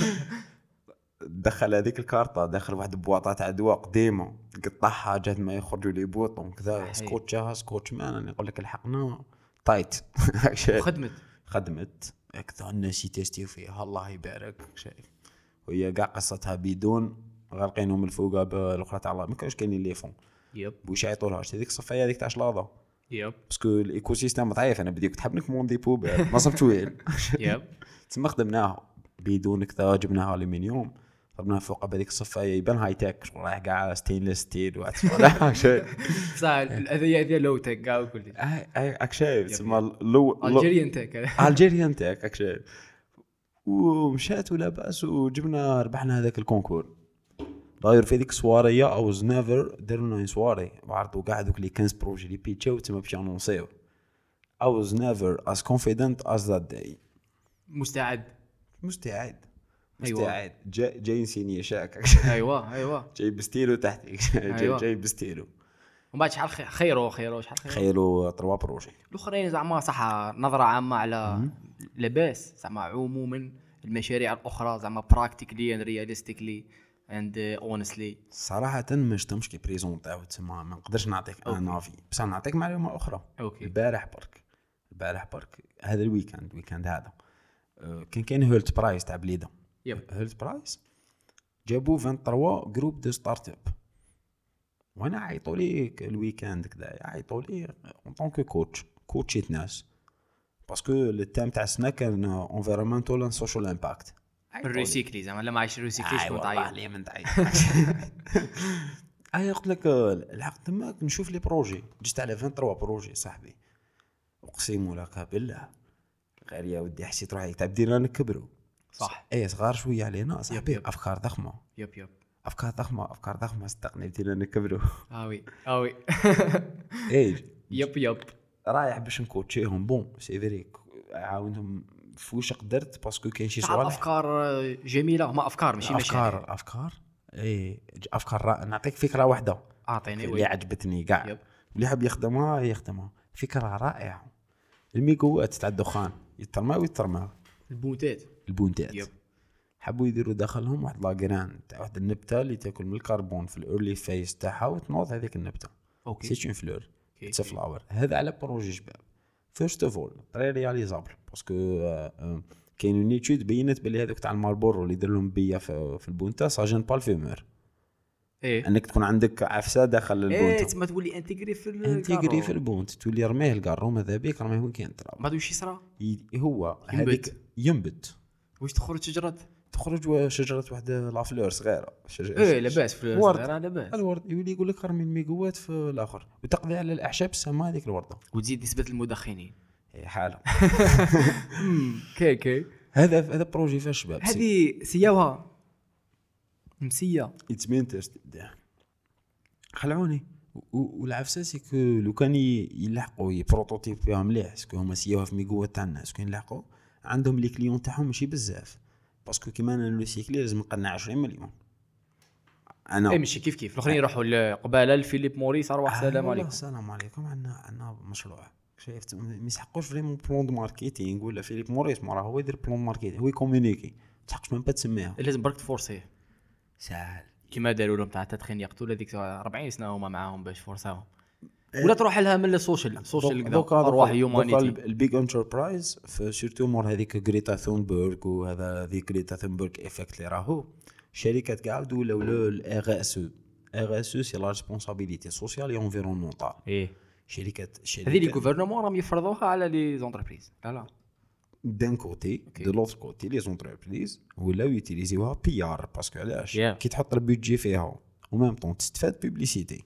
Speaker 1: دخل هذيك الكارطه دخل واحد البواطه تاع دواء قديمه قطعها جات ما يخرجوا لي بوطون كذا سكوتشها سكوتش مان انا نقول يعني لك الحقنا تايت
Speaker 2: خدمت
Speaker 1: خدمت اكثر الناس يتستيو فيها الله يبارك شايف وهي كاع قصتها بدون غارقينهم الفوق بالاخرى تاع الله ما كانوش كاينين لي فون
Speaker 2: يب
Speaker 1: واش يعيطولهاش هذيك الصفايه هذيك تاع شلاضه
Speaker 2: يب
Speaker 1: باسكو الايكو سيستم ضعيف انا بدي كنت حاب نكموندي بوبيل ما صبت وين
Speaker 2: يب
Speaker 1: تما خدمناها بدون كذا جبناها الومنيوم ضربناها فوق بهذيك الصفه يبان هاي تك شغل رايح كاع ستينلس ستيل وعاد ولا شيء
Speaker 2: بصح هذه هذه لو تك كاع وكل
Speaker 1: هاي- هاي راك شايف تسمى لو
Speaker 2: الجيريان تك
Speaker 1: الجيريان تاعك راك شايف ومشات ولا باس وجبنا ربحنا هذاك الكونكور داير في هذيك السواريه او نيفر درنا لنا سواري وعرضوا كاع دوك لي 15 بروجي اللي بيتشاو تما باش انونسيو I was never as confident as that day
Speaker 2: مستعد
Speaker 1: مستعد
Speaker 2: أيوة.
Speaker 1: مستعد جاي جاي نسيني شاك
Speaker 2: ايوا ايوا
Speaker 1: جاي بستيلو تحتك جاي,
Speaker 2: أيوة.
Speaker 1: جاي بستيلو
Speaker 2: ومن بعد شحال خي- خيرو خيرو شحال خيرو
Speaker 1: تخيلوا تروا بروجي
Speaker 2: الاخرين زعما صح نظره عامه على لاباس زعما عموما المشاريع الاخرى زعما براكتيكلي اند رياليستيكلي اند اونستلي
Speaker 1: صراحة ما شتمش كي بريزونتاو تما ما نقدرش نعطيك ان افي بصح نعطيك معلومة أخرى
Speaker 2: أوكي.
Speaker 1: البارح برك البارح برك هذا الويكاند الويكاند هذا أه، كان كاين هولت برايس تاع بليدة
Speaker 2: يب
Speaker 1: هولت برايس جابوا 23 جروب دو ستارت اب وانا عيطوا لي الويكاند كذا عيطوا لي اون طونك كوتش كوتشيت ناس باسكو التام تاع السنه كان انفيرمنتال اند سوشيال امباكت
Speaker 2: الريسيكلي زعما لا ما عايش الريسيكلي
Speaker 1: اي
Speaker 2: شكون
Speaker 1: والله
Speaker 2: تعيط
Speaker 1: اللي من تعيط اي قلت لك آه، الحق تما نشوف لي بروجي جست على 23 بروجي صاحبي اقسم لك بالله غير يا ودي حسيت روحي تبديل رانا نكبروا
Speaker 2: صح.
Speaker 1: اي إيه، صغار شويه علينا صاحبي
Speaker 2: يب.
Speaker 1: افكار ضخمه
Speaker 2: يب يب
Speaker 1: افكار ضخمه افكار ضخمه صدقني بدينا نكبروا
Speaker 2: اه وي اه وي
Speaker 1: اي
Speaker 2: يب يب
Speaker 1: إيه، رايح باش نكوتشيهم بون سي فري عاونتهم في واش قدرت باسكو كاين شي
Speaker 2: تعرف
Speaker 1: صوالح
Speaker 2: افكار جميله هما افكار ماشي مشاعر
Speaker 1: افكار افكار اي افكار را- إيه، نعطيك فكره واحده
Speaker 2: اعطيني
Speaker 1: اللي
Speaker 2: وي
Speaker 1: عجبتني كاع
Speaker 2: يب.
Speaker 1: اللي حاب يخدمها يخدمها فكره رائعه الميكوات تاع الدخان يترمى ويترمى
Speaker 2: البونتات
Speaker 1: البونتات
Speaker 2: يب
Speaker 1: حبوا يديروا داخلهم واحد لاغران تاع واحد النبته اللي تاكل من الكربون في الاورلي فيز تاعها وتنوض هذيك النبته
Speaker 2: اوكي
Speaker 1: سيت اون فلور
Speaker 2: أوكي.
Speaker 1: اتس فلاور هذا على بروجي شباب فيرست اوف اول طري رياليزابل باسكو آه، آه، كاين اون ايتود بينت بلي هذوك تاع الماربورو اللي دار لهم بيه في في البونتا سا جين با الفيمور
Speaker 2: ايه
Speaker 1: انك تكون عندك عفسه داخل
Speaker 2: ايه
Speaker 1: البونتا
Speaker 2: تما تولي انتيغري في ال-
Speaker 1: انتيغري في
Speaker 2: الكارو.
Speaker 1: البونت تولي رميه الكارو ماذا بيك رميه وين كان ترى
Speaker 2: بعد وش يصرى
Speaker 1: ي- هو
Speaker 2: ينبت.
Speaker 1: هذيك ينبت
Speaker 2: واش تخرج شجره
Speaker 1: تخرج و- شجره واحده لافلور صغيره شجره
Speaker 2: ايه لاباس في
Speaker 1: ورد.
Speaker 2: الصغيرة لاباس
Speaker 1: الورد يولي يقول لك رمي الميقوات في الاخر وتقضي على الاعشاب السماء هذيك الورده
Speaker 2: وتزيد نسبه المدخنين
Speaker 1: هي حاله
Speaker 2: كي كي
Speaker 1: هذا هذا بروجي فيها شباب
Speaker 2: هذه سياوها مسيه
Speaker 1: اتس مينترست خلعوني و- و- والعفسه سي كو لو كان ي- يلحقوا يبروتوتيب فيها مليح سكو هما سيوها في ميقوات تاع الناس كون يلحقوا عندهم لي كليون تاعهم ماشي بزاف باسكو كيما انا لو سيكلي لازم نقنع 20 مليون انا
Speaker 2: اي إيه، ماشي كيف كيف الاخرين يروحوا لقباله لفيليب موريس ارواح
Speaker 1: آه
Speaker 2: السلام
Speaker 1: والله
Speaker 2: عليكم
Speaker 1: السلام عليكم عندنا عندنا مشروع شايف ما يسحقوش فريمون بلون دو ماركتينغ ولا فيليب موريس مراه هو يدير بلون ماركتينغ هو يكومونيكي ما تحقش من با تسميها
Speaker 2: لازم برك تفورسيه
Speaker 1: سهل
Speaker 2: كيما داروا لهم تاع التدخين يقتلوا هذيك 40 سنه هما معاهم باش فورساهم ولا تروح لها من السوشيال سوشيال كذا ارواح هيومانيتي
Speaker 1: البيج انتربرايز سيرتو مور هذيك غريتا ثونبرغ وهذا ذيك غريتا ثونبرغ افكت اللي راهو الشركات كاع بدو ولاو الار اس او ار اس او سي لا ريسبونسابيليتي سوسيال اي انفيرونمونتال
Speaker 2: ايه
Speaker 1: إيه. شركات
Speaker 2: هذه لي
Speaker 1: شركات
Speaker 2: غوفرنمون راهم يفرضوها على لي زونتربريز لا لا
Speaker 1: دان كوتي دو لوتر كوتي لي زونتربريز ولاو يوتيليزيوها بي ار باسكو علاش
Speaker 2: Yeah.
Speaker 1: كي تحط البودجي فيها او ميم طون تستفاد بوبليسيتي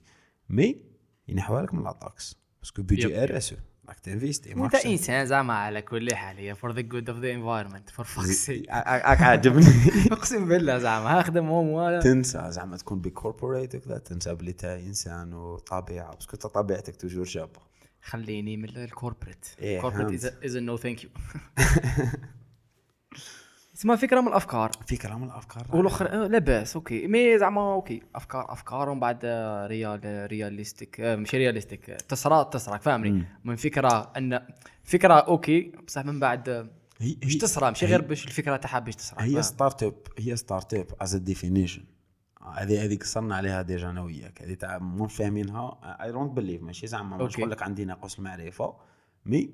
Speaker 1: مي ينحوا لك من لا تاكس باسكو
Speaker 2: Yep.
Speaker 1: بودجي ار اس او E. راك تنفيستي
Speaker 2: وانت
Speaker 1: ماكش-
Speaker 2: انسان زعما على كل حال هي فور ذا جود اوف ذا انفايرمنت فور فاكس
Speaker 1: إيه. راك عاجبني
Speaker 2: اقسم بالله زعما هخدم هم ولا
Speaker 1: تنسى زعما تكون بكوربوريت وكذا تنسى بلي انت انسان وطبيعه باسكو انت طبيعتك توجور شابه
Speaker 2: خليني من الكوربريت
Speaker 1: إيه،
Speaker 2: الكوربريت
Speaker 1: فهمت.
Speaker 2: از نو ثانك يو اسمها فكره من الافكار
Speaker 1: فكره من الافكار
Speaker 2: والاخر آه، لاباس اوكي مي زعما اوكي افكار افكار ومن بعد آه، ريال رياليستيك آه، مش رياليستيك آه، تصرى تصرى فاهمني من فكره ان فكره اوكي بصح من بعد آه،
Speaker 1: هي
Speaker 2: مش
Speaker 1: هي-
Speaker 2: تصرى مش
Speaker 1: هي-
Speaker 2: غير باش الفكره تاعها باش تصرى
Speaker 1: هي
Speaker 2: فاهم؟
Speaker 1: ستارت اب هي ستارت اب از ديفينيشن هذه هذيك صرنا عليها ديجا انا وياك هذه تاع مو فاهمينها اي دونت بليف ماشي زعما مش
Speaker 2: أوكي.
Speaker 1: نقول لك عندي ناقص المعرفه مي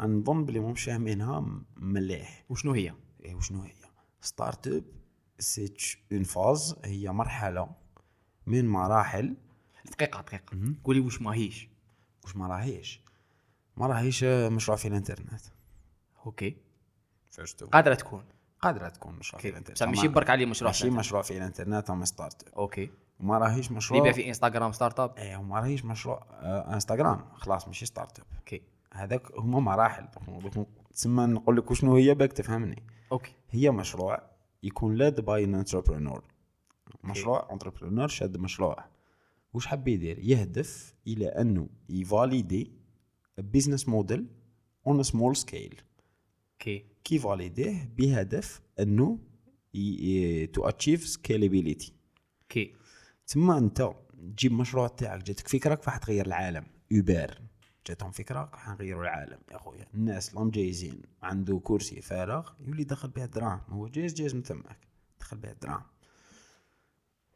Speaker 1: نظن بلي مش فاهمينها مليح
Speaker 2: وشنو هي؟
Speaker 1: إيه وشنو هي ستارت اب سي اون فاز هي مرحله من مراحل
Speaker 2: دقيقه دقيقه قولي واش ماهيش
Speaker 1: واش ما راهيش ما راهيش آه، مشروع في الانترنت
Speaker 2: اوكي
Speaker 1: فاش
Speaker 2: قادره تكون
Speaker 1: قادره تكون مشروع في
Speaker 3: اوكي
Speaker 1: الانترنت
Speaker 3: بصح ماشي
Speaker 1: أما
Speaker 3: برك عليه مشروع
Speaker 1: ماشي
Speaker 3: ماشي
Speaker 1: مشروع في الانترنت هم ستارت اب
Speaker 3: اوكي
Speaker 1: وما راهيش
Speaker 3: اللي يبيع
Speaker 1: مشروع
Speaker 3: في انستغرام ستارت اب
Speaker 1: ايه وما راهيش مشروع آه انستغرام خلاص ماشي ستارت اب
Speaker 3: اوكي
Speaker 1: هذاك هما مراحل دوك تسمى نقول لك شنو هي باك تفهمني
Speaker 3: اوكي
Speaker 1: هي مشروع يكون لاد باي ان انتربرونور مشروع انتربرونور شاد مشروع وش حاب يدير يهدف الى انه يفاليدي بيزنس موديل اون سمول سكيل
Speaker 3: اوكي
Speaker 1: كي فاليديه بهدف انه تو اتشيف سكيلابيليتي
Speaker 3: اوكي
Speaker 1: تما انت تجيب مشروع تاعك جاتك فكره راح تغير العالم اوبر جاتهم فكره راح نغيروا العالم يا خويا الناس لهم جايزين عنده كرسي فارغ يولي دخل بها الدراهم هو جايز جايز من تماك دخل بها الدراهم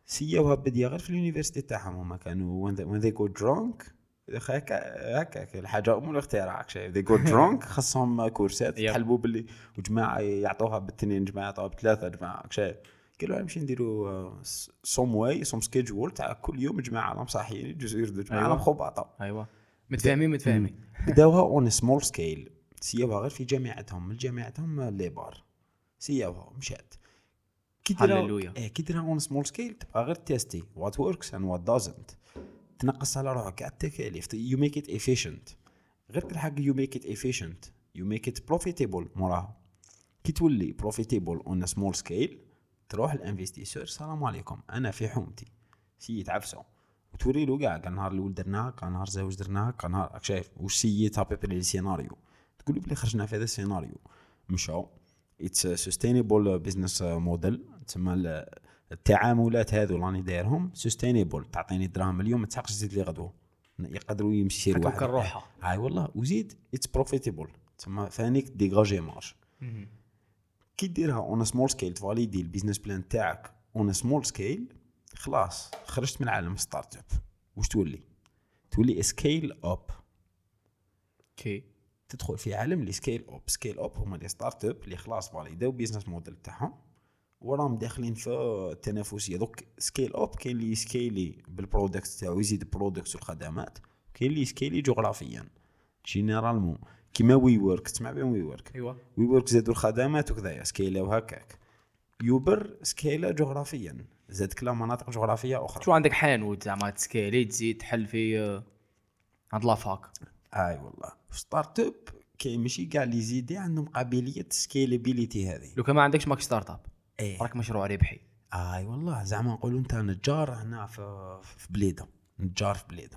Speaker 1: سياوها بديا غير في اليونيفرسيتي تاعهم هما كانوا when they, when they go drunk هكا هكاك الحاجه ام الاختراع كشي they go drunk خاصهم كورسات
Speaker 3: Yep.
Speaker 1: تحلبوا باللي وجماعه يعطوها بالتنين جماعه يعطوها بثلاثه جماعه كشي قالوا نمشي نديروا سوم واي سوم سكيدجول تاع كل يوم جماعه راهم صاحيين يجوز يردوا جماعه
Speaker 3: أيوة.
Speaker 1: راهم خباطه
Speaker 3: ايوا متفاهمين متفاهمين
Speaker 1: بداوها اون سمول سكيل سياوها غير في جامعتهم من جامعتهم لي بار سياوها مشات كي
Speaker 3: هللويا.
Speaker 1: ديرها إيه، كي ديرها اون سمول سكيل تبقى غير تيستي وات وركس اند وات دازنت تنقص على روحك كاع التكاليف يو ميك ات افيشنت غير تلحق يو ميك ات افيشنت يو ميك ات بروفيتيبل موراها كي تولي بروفيتيبل اون سمول سكيل تروح الانفستيسور السلام عليكم انا في حومتي سي يتعفسوا وتوري له كاع كان نهار الاول درناها كان نهار زوج درناها كان نهار راك شايف واش سيتها بيبري السيناريو تقول له بلي خرجنا في هذا السيناريو مشاو اتس سستينيبل بزنس موديل تسمى ال- التعاملات هذو اللي راني دايرهم سستينيبل تعطيني دراهم اليوم ما تسحقش تزيد لي غدوه يقدروا يمشي يسير
Speaker 3: هكاك
Speaker 1: واحد
Speaker 3: روحها
Speaker 1: اي والله وزيد اتس بروفيتيبل تسمى فانيك ديغاجي مارج كي ديرها اون سمول سكيل تفاليدي البيزنس بلان تاعك اون سمول سكيل خلاص خرجت من عالم ستارت اب واش تولي تولي سكيل اب
Speaker 3: اوكي
Speaker 1: تدخل في عالم اللي سكيل اب سكيل اب هما لي ستارت اب اللي خلاص فاليداو بيزنس موديل تاعهم وراهم داخلين في التنافسيه دوك سكيل اب كاين اللي يسكيلي بالبرودكت تاعو يزيد البرودكت والخدمات كاين اللي يسكيلي جغرافيا جينيرالمون كيما وي ورك تسمع بهم وي ورك
Speaker 2: أيوة.
Speaker 3: ايوا
Speaker 1: وي ورك زادوا الخدمات وكذايا سكيلا وهكاك يوبر سكيلا جغرافيا زادك لا مناطق جغرافيه اخرى
Speaker 3: شو عندك حانوت زعما تسكالي تزيد تحل في آه، عند لافاك
Speaker 1: اي والله ستارت اب كاين ماشي كاع لي زيدي عندهم قابليه سكيلابيليتي هذه
Speaker 3: لو كان ما عندكش ماك ستارت اب
Speaker 2: إيه.
Speaker 1: ايه
Speaker 3: راك مشروع ربحي
Speaker 1: اي والله زعما نقولوا انت نجار هنا في في بليده نجار في بليده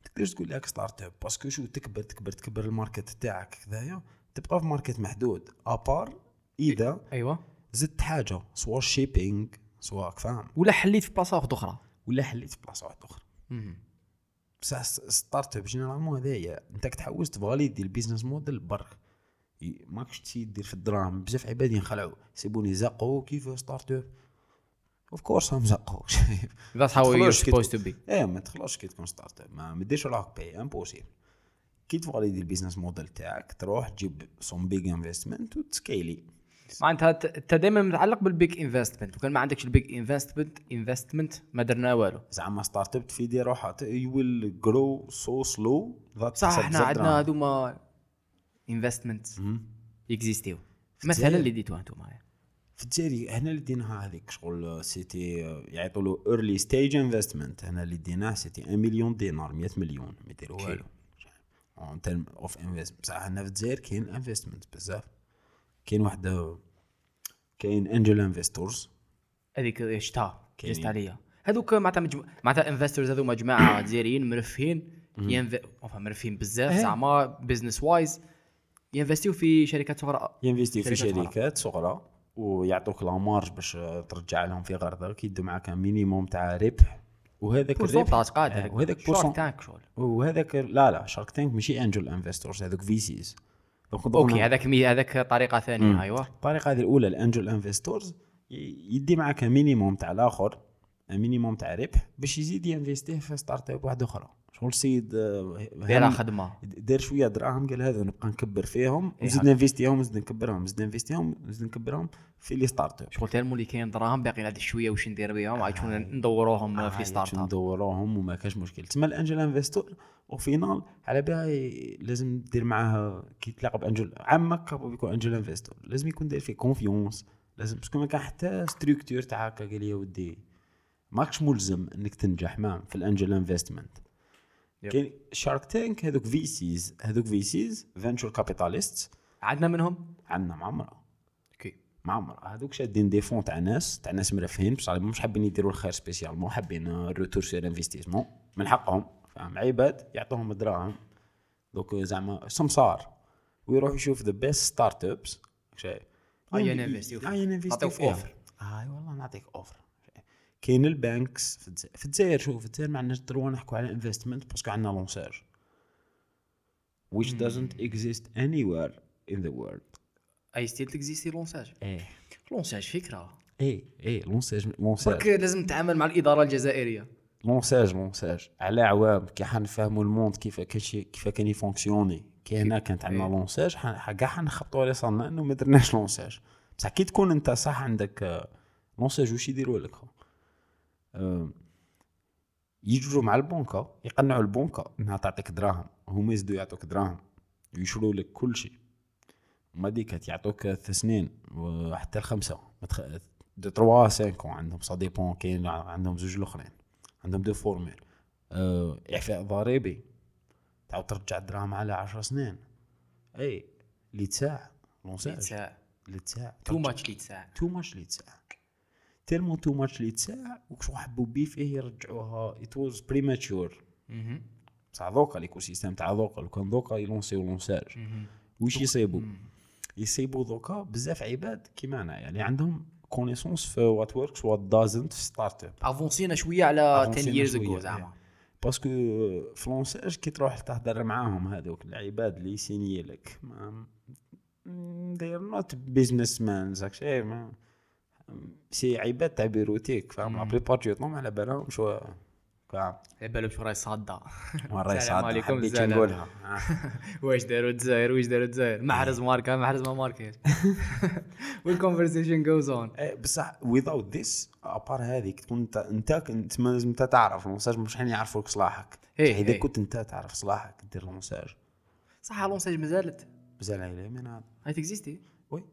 Speaker 1: ما تقدرش تقول لك ستارت اب باسكو شو تكبر تكبر تكبر الماركت تاعك كذايا تبقى في ماركت محدود ابار اذا
Speaker 3: ايوا
Speaker 1: زدت حاجه سوا شيبينغ سوا فاهم
Speaker 3: ولا حليت في بلاصه واحده اخرى
Speaker 1: ولا حليت في بلاصه واحده اخرى بصح ستارت اب جينيرالمون هذايا انت كتحوس تفاليدي البيزنس موديل برك ي- ماكش تسيي دير في الدراهم بزاف عباد ينخلعوا سيبوني زقوا كيف ستارت اب اوف كورس هم زقوا شايف
Speaker 3: ذاتس هاو يو
Speaker 1: تدخلوش كي
Speaker 3: سبوز
Speaker 1: تكون-
Speaker 3: تو بي
Speaker 1: ايه ما تخلصش كي تكون ستارت اب ما ما ديرش روحك باي امبوسيبل كي تفاليدي البيزنس موديل تاعك تروح تجيب سون بيج انفستمنت وتسكيلي
Speaker 3: معناتها ت- انت دائما متعلق بالبيك انفستمنت وكان ما عندكش البيك انفستمنت انفستمنت ما درنا والو
Speaker 1: زعما ستارت اب تفيدي روحها يو ويل جرو سو سلو
Speaker 3: بصح احنا عندنا هذوما انفستمنت اكزيستيو مثلا
Speaker 1: الجزائر.
Speaker 3: اللي ديتوها انتم
Speaker 1: في الجزائر هنا اللي ديناها هذيك شغل آه، سيتي يعيطوا له ايرلي ستيج انفستمنت هنا اللي ديناه سيتي 1 مليون دينار 100 مليون ما يديروا
Speaker 3: أوكي.
Speaker 1: والو آه، اون تيرم اوف انفستمنت بصح هنا في الجزائر كاين انفستمنت بزاف كاين واحد آه، كاين انجل انفستورز
Speaker 3: هذيك شتا
Speaker 1: كاينين.
Speaker 3: جست عليا هذوك معناتها مجمو... معناتها انفسترز هذوما جماعه جزائريين مرفهين ينف... أوف، مرفهين بزاف
Speaker 1: إيه.
Speaker 3: زعما بزنس وايز ينفستيو في شركات صغرى
Speaker 1: ينفيستي في
Speaker 3: شركات صغرى.
Speaker 1: شركات صغرى ويعطوك لا مارج باش آه، ترجع لهم في غرضك يدوا معاك مينيموم تاع ربح وهذاك الربح
Speaker 3: بورسونتاج قاعد
Speaker 1: آه، وهذاك
Speaker 3: شورت
Speaker 1: بورسون-
Speaker 3: تانك شغل
Speaker 1: وهذاك لا لا شارك تانك ماشي انجل انفستورز هذوك في سيز
Speaker 3: اوكي هذاك مي... هذاك طريقه ثانيه ايوا
Speaker 1: الطريقه هذه الاولى الانجل انفستورز يدي معك مينيموم تاع الاخر مينيموم تاع ربح باش يزيد ينفيستيه في ستارت اب واحده اخرى شغل السيد آه،
Speaker 2: دايره
Speaker 1: هم-
Speaker 2: خدمه
Speaker 1: دار شويه دراهم قال هذا نبقى نكبر فيهم
Speaker 2: إيه
Speaker 1: نزيد
Speaker 2: هكا.
Speaker 1: نفيستيهم نزيد نكبرهم نزيد نفيستيهم نزيد نكبرهم في لي ستارت اب
Speaker 2: شغل تيرمو اللي كاين دراهم باقي عندي شويه واش ندير
Speaker 1: آه.
Speaker 2: بهم عاد شكون ندوروهم في
Speaker 1: عايش
Speaker 2: ستارت اب
Speaker 1: ندوروهم وما كاش مشكل تسمى الانجل انفستور وفينال على بالها ي- لازم دير معاه كي تلاقى بانجل عمك هو بيكون انجل انفستور لازم يكون داير فيه كونفيونس لازم باسكو ما كان حتى ستركتور تاع هكا قال لي يا ودي ماكش ملزم انك تنجح ما في الانجل انفستمنت
Speaker 2: Yep.
Speaker 1: كاين شارك تانك هذوك في سيز هذوك في سيز فانشور كابيتاليست
Speaker 2: عندنا منهم
Speaker 1: عندنا معمره
Speaker 2: اوكي
Speaker 1: معمر هذوك شادين دي فون تاع ناس تاع ناس مرفهين بصح مش حابين يديروا الخير سبيسيالمون حابين الروتور سير انفستيسمون من حقهم فاهم عباد يعطوهم دراهم دوك زعما سمسار ويروح يشوف ذا بيست ستارت ابس شايف
Speaker 2: هيا ننفستيو فيه.
Speaker 1: هيا ننفستيو
Speaker 2: نعطيك
Speaker 1: فيه.
Speaker 2: أوفر.
Speaker 1: اي والله نعطيك اوفر كاين البانكس في الجزائر في الجزائر شوف في الجزائر ما عندناش دروا نحكوا على انفستمنت باسكو عندنا لونساج which doesn't exist anywhere in the world
Speaker 2: اي ستيل تكزيستي لونساج
Speaker 1: ايه
Speaker 2: لونساج فكره
Speaker 1: ايه ايه لونساج لونساج
Speaker 2: برك لازم نتعامل مع الاداره الجزائريه
Speaker 1: لونساج لونساج على عوام كي حنفهموا الموند كيف كيش كيف كان يفونكسيوني كي هنا كانت عندنا
Speaker 2: إيه.
Speaker 1: لونساج ح- ح- كاع حنخبطوا على صالنا انه ما درناش لونساج بصح كي تكون انت صح عندك آه، لونساج واش يديروا لك خو؟ آم، يجروا مع البنكة يقنعوا البنكة انها تعطيك دراهم هما يزيدوا يعطوك دراهم ويشروا لك كل شيء ما ديك يعطوك ثلاث سنين وحتى الخمسة ما تخ... دو تروا سانكون عندهم سا ديبون كاين عندهم زوج الاخرين عندهم دو فورميل آه، اعفاء ضريبي تعاود ترجع الدراهم على 10 سنين اي اللي تساع لونساج
Speaker 2: تاع
Speaker 1: اللي تساع
Speaker 2: تو ماتش لي تاع
Speaker 1: تو ماتش اللي تساع تيرمون تو ماتش اللي تساع وشو حبوا بيه فيه إيه يرجعوها ات واز بريماتشور بصح ذوقا ليكو سيستيم تاع ذوقا لو كان ذوقا يلونسيو لونساج واش يصيبوا يصيبوا ذوقا بزاف عباد كيما انا يعني عندهم كونيسونس في وات وركس وات دازنت في ستارت اب
Speaker 2: افونسينا شويه على 10
Speaker 1: أفونسينا
Speaker 2: ييرز
Speaker 1: شوية،
Speaker 2: اجو
Speaker 1: إيه.
Speaker 2: زعما
Speaker 1: باسكو في لونساج كي تروح تهضر معاهم هذوك العباد اللي يسيني لك ما داير نوت بيزنس مان زاك شيء ما سي عباد تاع بيروتيك فاهم لا بليبار دو طون على بالهم شو فاهم
Speaker 2: على بالهم إيه، شو راهي صاده
Speaker 1: والله
Speaker 2: السلام
Speaker 1: يسعدنا
Speaker 2: عليكم،
Speaker 1: حبيت
Speaker 2: الزلمة.
Speaker 1: نقولها آه.
Speaker 2: واش داروا الجزائر واش داروا الجزائر محرز ماركه محرز ما ماركاش والكونفرسيشن جوز اون
Speaker 1: إيه، بصح without this ابار هذيك تكون انت انت كنت ما لازم انت تعرف لونساج مش حين يعرفوك صلاحك
Speaker 2: إيه،
Speaker 1: اذا
Speaker 2: إيه.
Speaker 1: كنت انت تعرف صلاحك دير لونساج
Speaker 2: صح لونساج مازالت
Speaker 1: مازال عليه من هذا
Speaker 2: هاي تكزيستي
Speaker 1: وي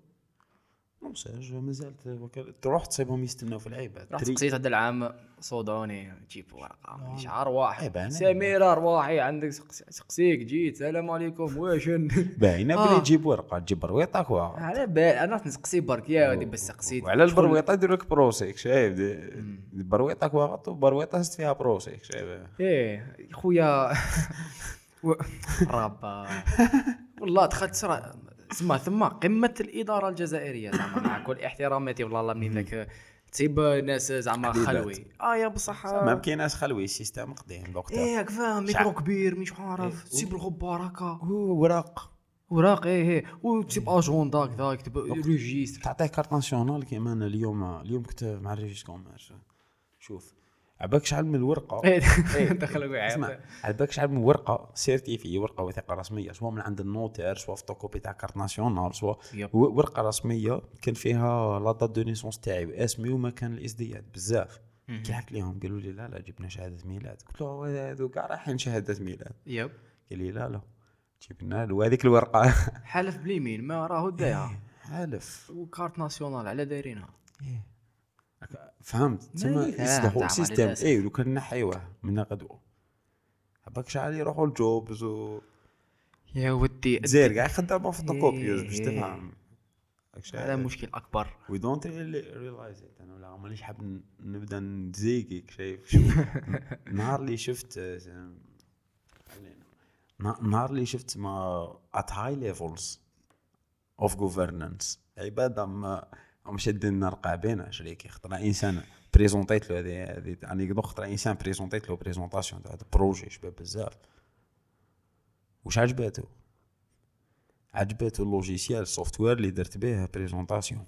Speaker 1: نونساج مازالت وكالة تروح تصيبهم يستناو في العيبه
Speaker 2: رحت قصيت هذا العام صودوني جيب ورقه شعار
Speaker 1: إيه،
Speaker 2: واحد
Speaker 1: باين.
Speaker 2: سميره رواحي عندك سقس- سقسيك جيت السلام عليكم واشن
Speaker 1: باينه
Speaker 2: آه.
Speaker 1: بلي تجيب ورقه تجيب برويطه كوا
Speaker 2: على بال انا رحت نسقسي برك يا ودي بس سقسيت
Speaker 1: وعلى البرويطه يدير لك بروسيك شايف دي- برويطه كوا غطو برويطه هزت فيها بروسيك شايف
Speaker 2: ايه خويا و- ربا والله دخلت سرع تسمى ثما قمه الاداره الجزائريه زعما مع كل احتراماتي والله الله منين ذاك تسيب ناس زعما
Speaker 1: قليلات.
Speaker 2: خلوي اه يا بصح
Speaker 1: ما بكيناش خلوي السيستم قديم وقتها
Speaker 2: ايه هاك فاهم ميكرو كبير مش عارف
Speaker 1: إيه.
Speaker 2: تسيب الغبار هكا
Speaker 1: هو وراق
Speaker 2: وراق ايه ايه وتسيب اجوندا هكذا يكتب ريجيستر
Speaker 1: تعطيه كارت ناسيونال كيما انا اليوم اليوم كنت مع الريجيس كوميرس شوف عباك شحال من الورقه
Speaker 2: ايه دخل
Speaker 1: اسمع
Speaker 2: معايا
Speaker 1: على بالك شحال من ورقه سيرتيفي ورقه وثيقه رسميه سواء من عند النوتير سواء فوتوكوبي تاع كارت ناسيونال سواء
Speaker 2: يب.
Speaker 1: و- ورقه رسميه كان فيها لا دات دو نيسونس تاعي واسمي ومكان الازدياد بزاف كي حكيت لهم قالوا لي لا لا جبنا شهاده ميلاد قلت له هذو كاع رايحين شهاده ميلاد
Speaker 2: يب
Speaker 1: قال لي لا لا جبنا له هذيك الورقه
Speaker 2: حلف باليمين ما راهو دايها
Speaker 1: حالف
Speaker 2: وكارت ناسيونال على دايرينها
Speaker 1: فهمت تسمى
Speaker 2: يفهم
Speaker 1: يصلحوا
Speaker 2: زعما
Speaker 1: السيستم
Speaker 2: للأسف.
Speaker 1: اي إيه، لو كان نحيوه من غدوه هباك شحال يروحوا لجوبز و
Speaker 2: إيه. يا ودي
Speaker 1: زير قاع خدامه في الكوبيوز باش
Speaker 2: إيه.
Speaker 1: تفهم إيه.
Speaker 2: هذا مشكل اكبر
Speaker 1: وي دونت ريلايز ات انا ولا مانيش حاب ن- نبدا نزيقك شايف شوف نهار اللي شفت آه، زعما- خلينا. نا- نهار اللي شفت ما ات هاي ليفلز اوف جوفرنانس عباد هم هم شادين رقع بينا شريكي خطرا انسان بريزونتيت له هذه هذه انيكدو خطرا انسان بريزونتيت له بريزونتاسيون تاع هذا بروجي شباب بزاف واش عجباتو عجباتو اللوجيسيال السوفتوير اللي درت به بريزونتاسيون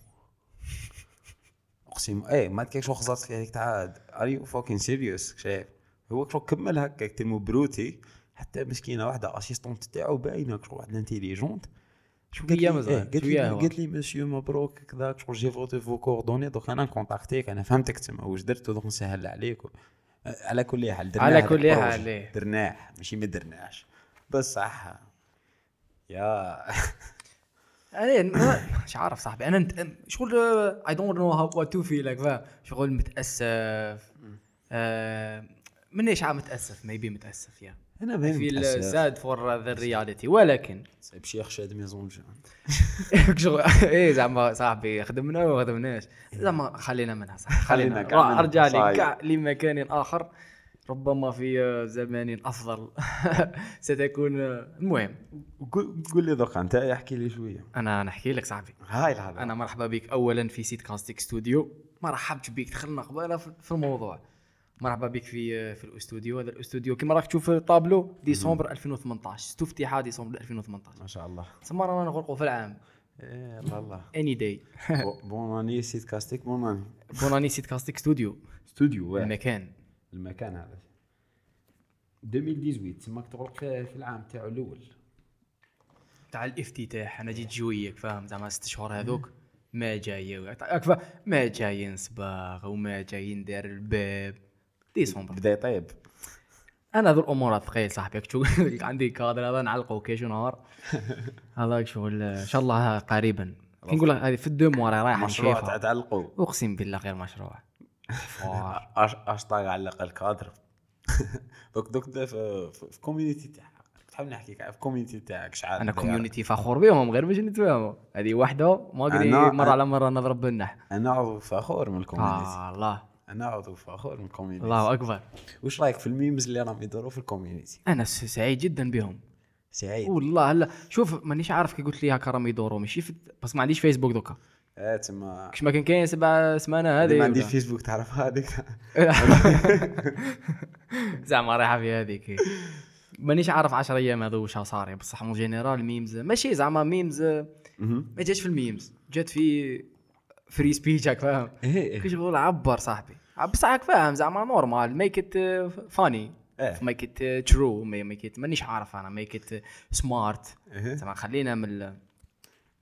Speaker 1: اقسم ايه ما كاين شو خزرت فيه هذيك تاع ار يو فوكين سيريوس شايف هو شو كمل هكاك تلمو بروتي حتى مسكينه واحده اسيستونت تاعو باينه شو واحد الانتيليجونت قالت
Speaker 2: شويه
Speaker 1: لي-
Speaker 2: مزال
Speaker 1: إيه، قالت
Speaker 2: شويه
Speaker 1: لي
Speaker 2: هو.
Speaker 1: قالت لي مسيو مبروك كذا شغل جي فوتي فو كوردوني دوك انا نكونتاكتيك انا فهمتك تما واش درت دوك نسهل عليك و- على كل حال درناه
Speaker 2: على
Speaker 1: هذاك
Speaker 2: كل
Speaker 1: البروج.
Speaker 2: حال، إيه.
Speaker 1: درناه ماشي ما درناش بصح يا
Speaker 2: انا ما- مش عارف صاحبي انا نت... شغل اي دونت نو هاو تو فيل لايك فاهم شغل متاسف آه... من ايش عام متاسف ميبي متاسف يا
Speaker 1: انا فاهم
Speaker 2: فيل
Speaker 1: متأسف.
Speaker 2: ساد فور ذا رياليتي ولكن
Speaker 1: صعيب شي يخشى ميزون جان
Speaker 2: شغل ايه زعما صاحبي خدمنا وما خدمناش زعما خلينا منها صاحبي خلينا
Speaker 1: خلينا كاع
Speaker 2: راح
Speaker 1: منها،
Speaker 2: ارجع لي
Speaker 1: صاير.
Speaker 2: كاع لمكان اخر ربما في آه، زمان افضل ستكون آه، المهم
Speaker 1: قول قول لي دوك انت احكي لي شويه
Speaker 2: انا نحكي لك صاحبي
Speaker 1: هاي الهضره
Speaker 2: انا مرحبا بك اولا في سيت كاستيك ستوديو مرحبت بك دخلنا قبالة في في الموضوع مرحبا بك في في الاستوديو هذا الاستوديو كما راك تشوف طابلو ديسمبر 2018 استفتح ديسمبر 2018
Speaker 1: ما شاء الله
Speaker 2: تسمى رانا نغرقوا في العام
Speaker 1: إيه، الله الله
Speaker 2: اني داي
Speaker 1: بو- بون اني سيت كاستيك بون اني
Speaker 2: بوناني سيت كاستيك ستوديو
Speaker 1: ستوديو واحد.
Speaker 2: المكان
Speaker 1: المكان هذا 2018 تماك تغلق في العام تاعو الاول
Speaker 2: تاع الافتتاح انا جيت جويك فاهم زعما ست شهور هذوك ما جاي راك فاهم؟ ما جاي نصباغ وما جاي ندير الباب ديسمبر
Speaker 1: بدا يطيب
Speaker 2: انا ذو الامور الثقيل صاحبي كتشوف عندي كادر هذا نعلقه كي شو نهار هذاك شغل ان شاء الله قريبا كي نقول لك هذه في الدو موا راهي رايحه
Speaker 1: مشروع
Speaker 2: نشوفها
Speaker 1: تعلقوا
Speaker 2: اقسم بالله غير مشروع فوار.
Speaker 1: اشطاق علق الكادر دوك دوك دا في في- في كوميونيتي تاعك تحب نحكي كاع في كوميونيتي تاعك شحال
Speaker 2: انا
Speaker 1: داير.
Speaker 2: كوميونيتي فخور بهم غير باش نتفاهموا هذه وحده ما قري
Speaker 1: أنا-
Speaker 2: مره على مره نضرب بالنح
Speaker 1: انا عضو فخور من الكوميونيتي
Speaker 2: آه الله
Speaker 1: انا عضو فخور من الكوميونيتي
Speaker 2: الله اكبر
Speaker 1: واش رايك في الميمز اللي راهم يدوروا في الكوميونيتي
Speaker 2: انا س- سعيد جدا بهم
Speaker 1: سعيد
Speaker 2: والله هلا شوف مانيش عارف كي قلت لي هكا راهم يدوروا ماشي في- بس ما عنديش فيسبوك دوكا
Speaker 1: آه، تما
Speaker 2: كش ما كان كاين سبع سمانه هذه
Speaker 1: ما عندي
Speaker 2: ولا-
Speaker 1: فيسبوك تعرف هذيك
Speaker 2: زعما رايحه في هذيك مانيش عارف 10 ايام هذو واش صاري بصح مون جينيرال ميمز ماشي زعما ميمز ما
Speaker 1: مهم.
Speaker 2: جاتش في الميمز جات في فري سبيتش هاك فاهم
Speaker 1: ايه
Speaker 2: كي
Speaker 1: إيه.
Speaker 2: شغل عبر صاحبي بصح هاك فاهم زعما نورمال ميك ات فاني
Speaker 1: إيه.
Speaker 2: ميك ات ترو ميك ات مانيش عارف انا ميك ات سمارت
Speaker 1: إيه.
Speaker 2: uh, زعما خلينا من ال-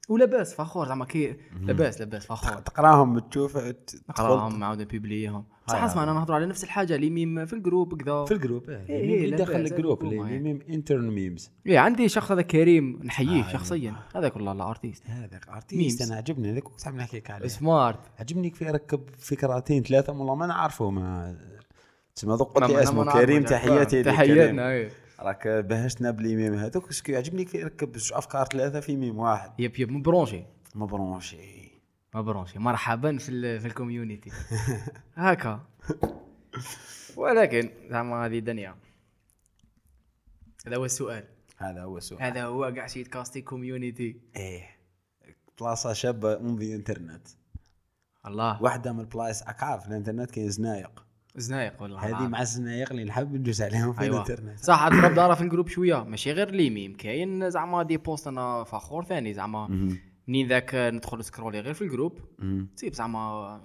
Speaker 2: ولاباس فخور زعما كي لاباس لاباس فخور
Speaker 1: تقراهم تشوف ت-
Speaker 2: نقراهم عاود نبيبليهم بصح
Speaker 1: آه.
Speaker 2: اسمع انا نهضر على نفس الحاجه اللي ميم في الجروب كذا
Speaker 1: في الجروب إيه.
Speaker 2: إيه،
Speaker 1: اللي
Speaker 2: لا
Speaker 1: داخل
Speaker 2: بأس،
Speaker 1: الجروب
Speaker 2: هذوك
Speaker 1: اللي
Speaker 2: هما، إيه.
Speaker 1: ميم انترن ميمز
Speaker 2: ايه عندي شخص هذا كريم نحييه شخصيا هذاك والله الارتيست
Speaker 1: هذاك
Speaker 2: ميمز.
Speaker 1: ارتيست انا عجبني هذاك وقت عم نحكيك عليه
Speaker 2: سمارت
Speaker 1: عجبني كيف يركب فكرتين ثلاثه والله ما نعرفه ما تسمى ذوق قلت
Speaker 2: أنا-
Speaker 1: لي
Speaker 2: أنا ما
Speaker 1: اسمه
Speaker 2: نعرف
Speaker 1: كريم
Speaker 2: وجهك.
Speaker 1: تحياتي لك، كريم.
Speaker 2: تحياتنا ايه
Speaker 1: راك بهشتنا بلي ميم هذوك اسكو عجبني كيف يركب زوج افكار ثلاثه في ميم واحد
Speaker 2: يب يب مبرونشي
Speaker 1: مبرونشي
Speaker 2: مبرونشي مرحبا في ال في الكوميونيتي هكا ولكن زعما هذه دنيا هذا هو السؤال
Speaker 1: هذا هو السؤال
Speaker 2: هذا هو كاع شي كاستي كوميونيتي
Speaker 1: ايه بلاصه شابه اون ذا انترنت
Speaker 2: الله
Speaker 1: واحده من البلايص اكعاف في الانترنت كاين زنايق
Speaker 2: زنايق والله
Speaker 1: هذه
Speaker 2: العظيم.
Speaker 1: مع الزنايق اللي نحب ندوز عليهم في
Speaker 2: آه. أيوة.
Speaker 1: الانترنت
Speaker 2: صح عاد رب دارها في الجروب شويه ماشي غير لي ميم كاين زعما دي بوست انا فخور ثاني زعما
Speaker 1: مهم.
Speaker 2: منين ذاك ندخل سكرولي غير في الجروب
Speaker 1: مهم.
Speaker 2: تصيب زعما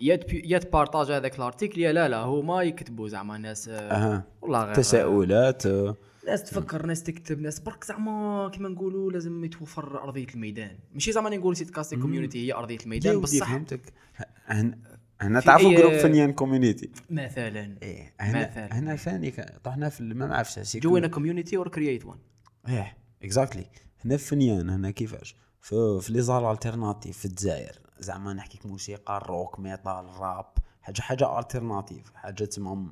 Speaker 2: يا تبي- يا تبارطاج هذاك الارتيكل يا لا لا هما يكتبوا زعما ناس آه،
Speaker 1: اها
Speaker 2: والله غير
Speaker 1: تساؤلات آه.
Speaker 2: ناس تفكر ناس تكتب ناس برك زعما كيما نقولوا لازم يتوفر ارضيه الميدان ماشي زعما نقول سيت كاستي كوميونيتي هي ارضيه
Speaker 1: يا
Speaker 2: الميدان
Speaker 1: ودي
Speaker 2: بصح
Speaker 1: فهمتك هن- هنا
Speaker 2: في إيه؟
Speaker 1: تعرفوا
Speaker 2: أي-
Speaker 1: جروب فنيان كوميونيتي
Speaker 2: مثلا
Speaker 1: ايه هنا
Speaker 2: مثلاً.
Speaker 1: هنا ثاني ك- طحنا في ال- ما نعرفش سي
Speaker 2: جوين كوميونيتي اور كرييت وان
Speaker 1: ايه اكزاكتلي هنا في فنيان هنا كيفاش في في لي زال التيرناتيف في الجزائر زعما نحكيك موسيقى الروك ميتال راب حاجه حاجه التيرناتيف حاجه تسمى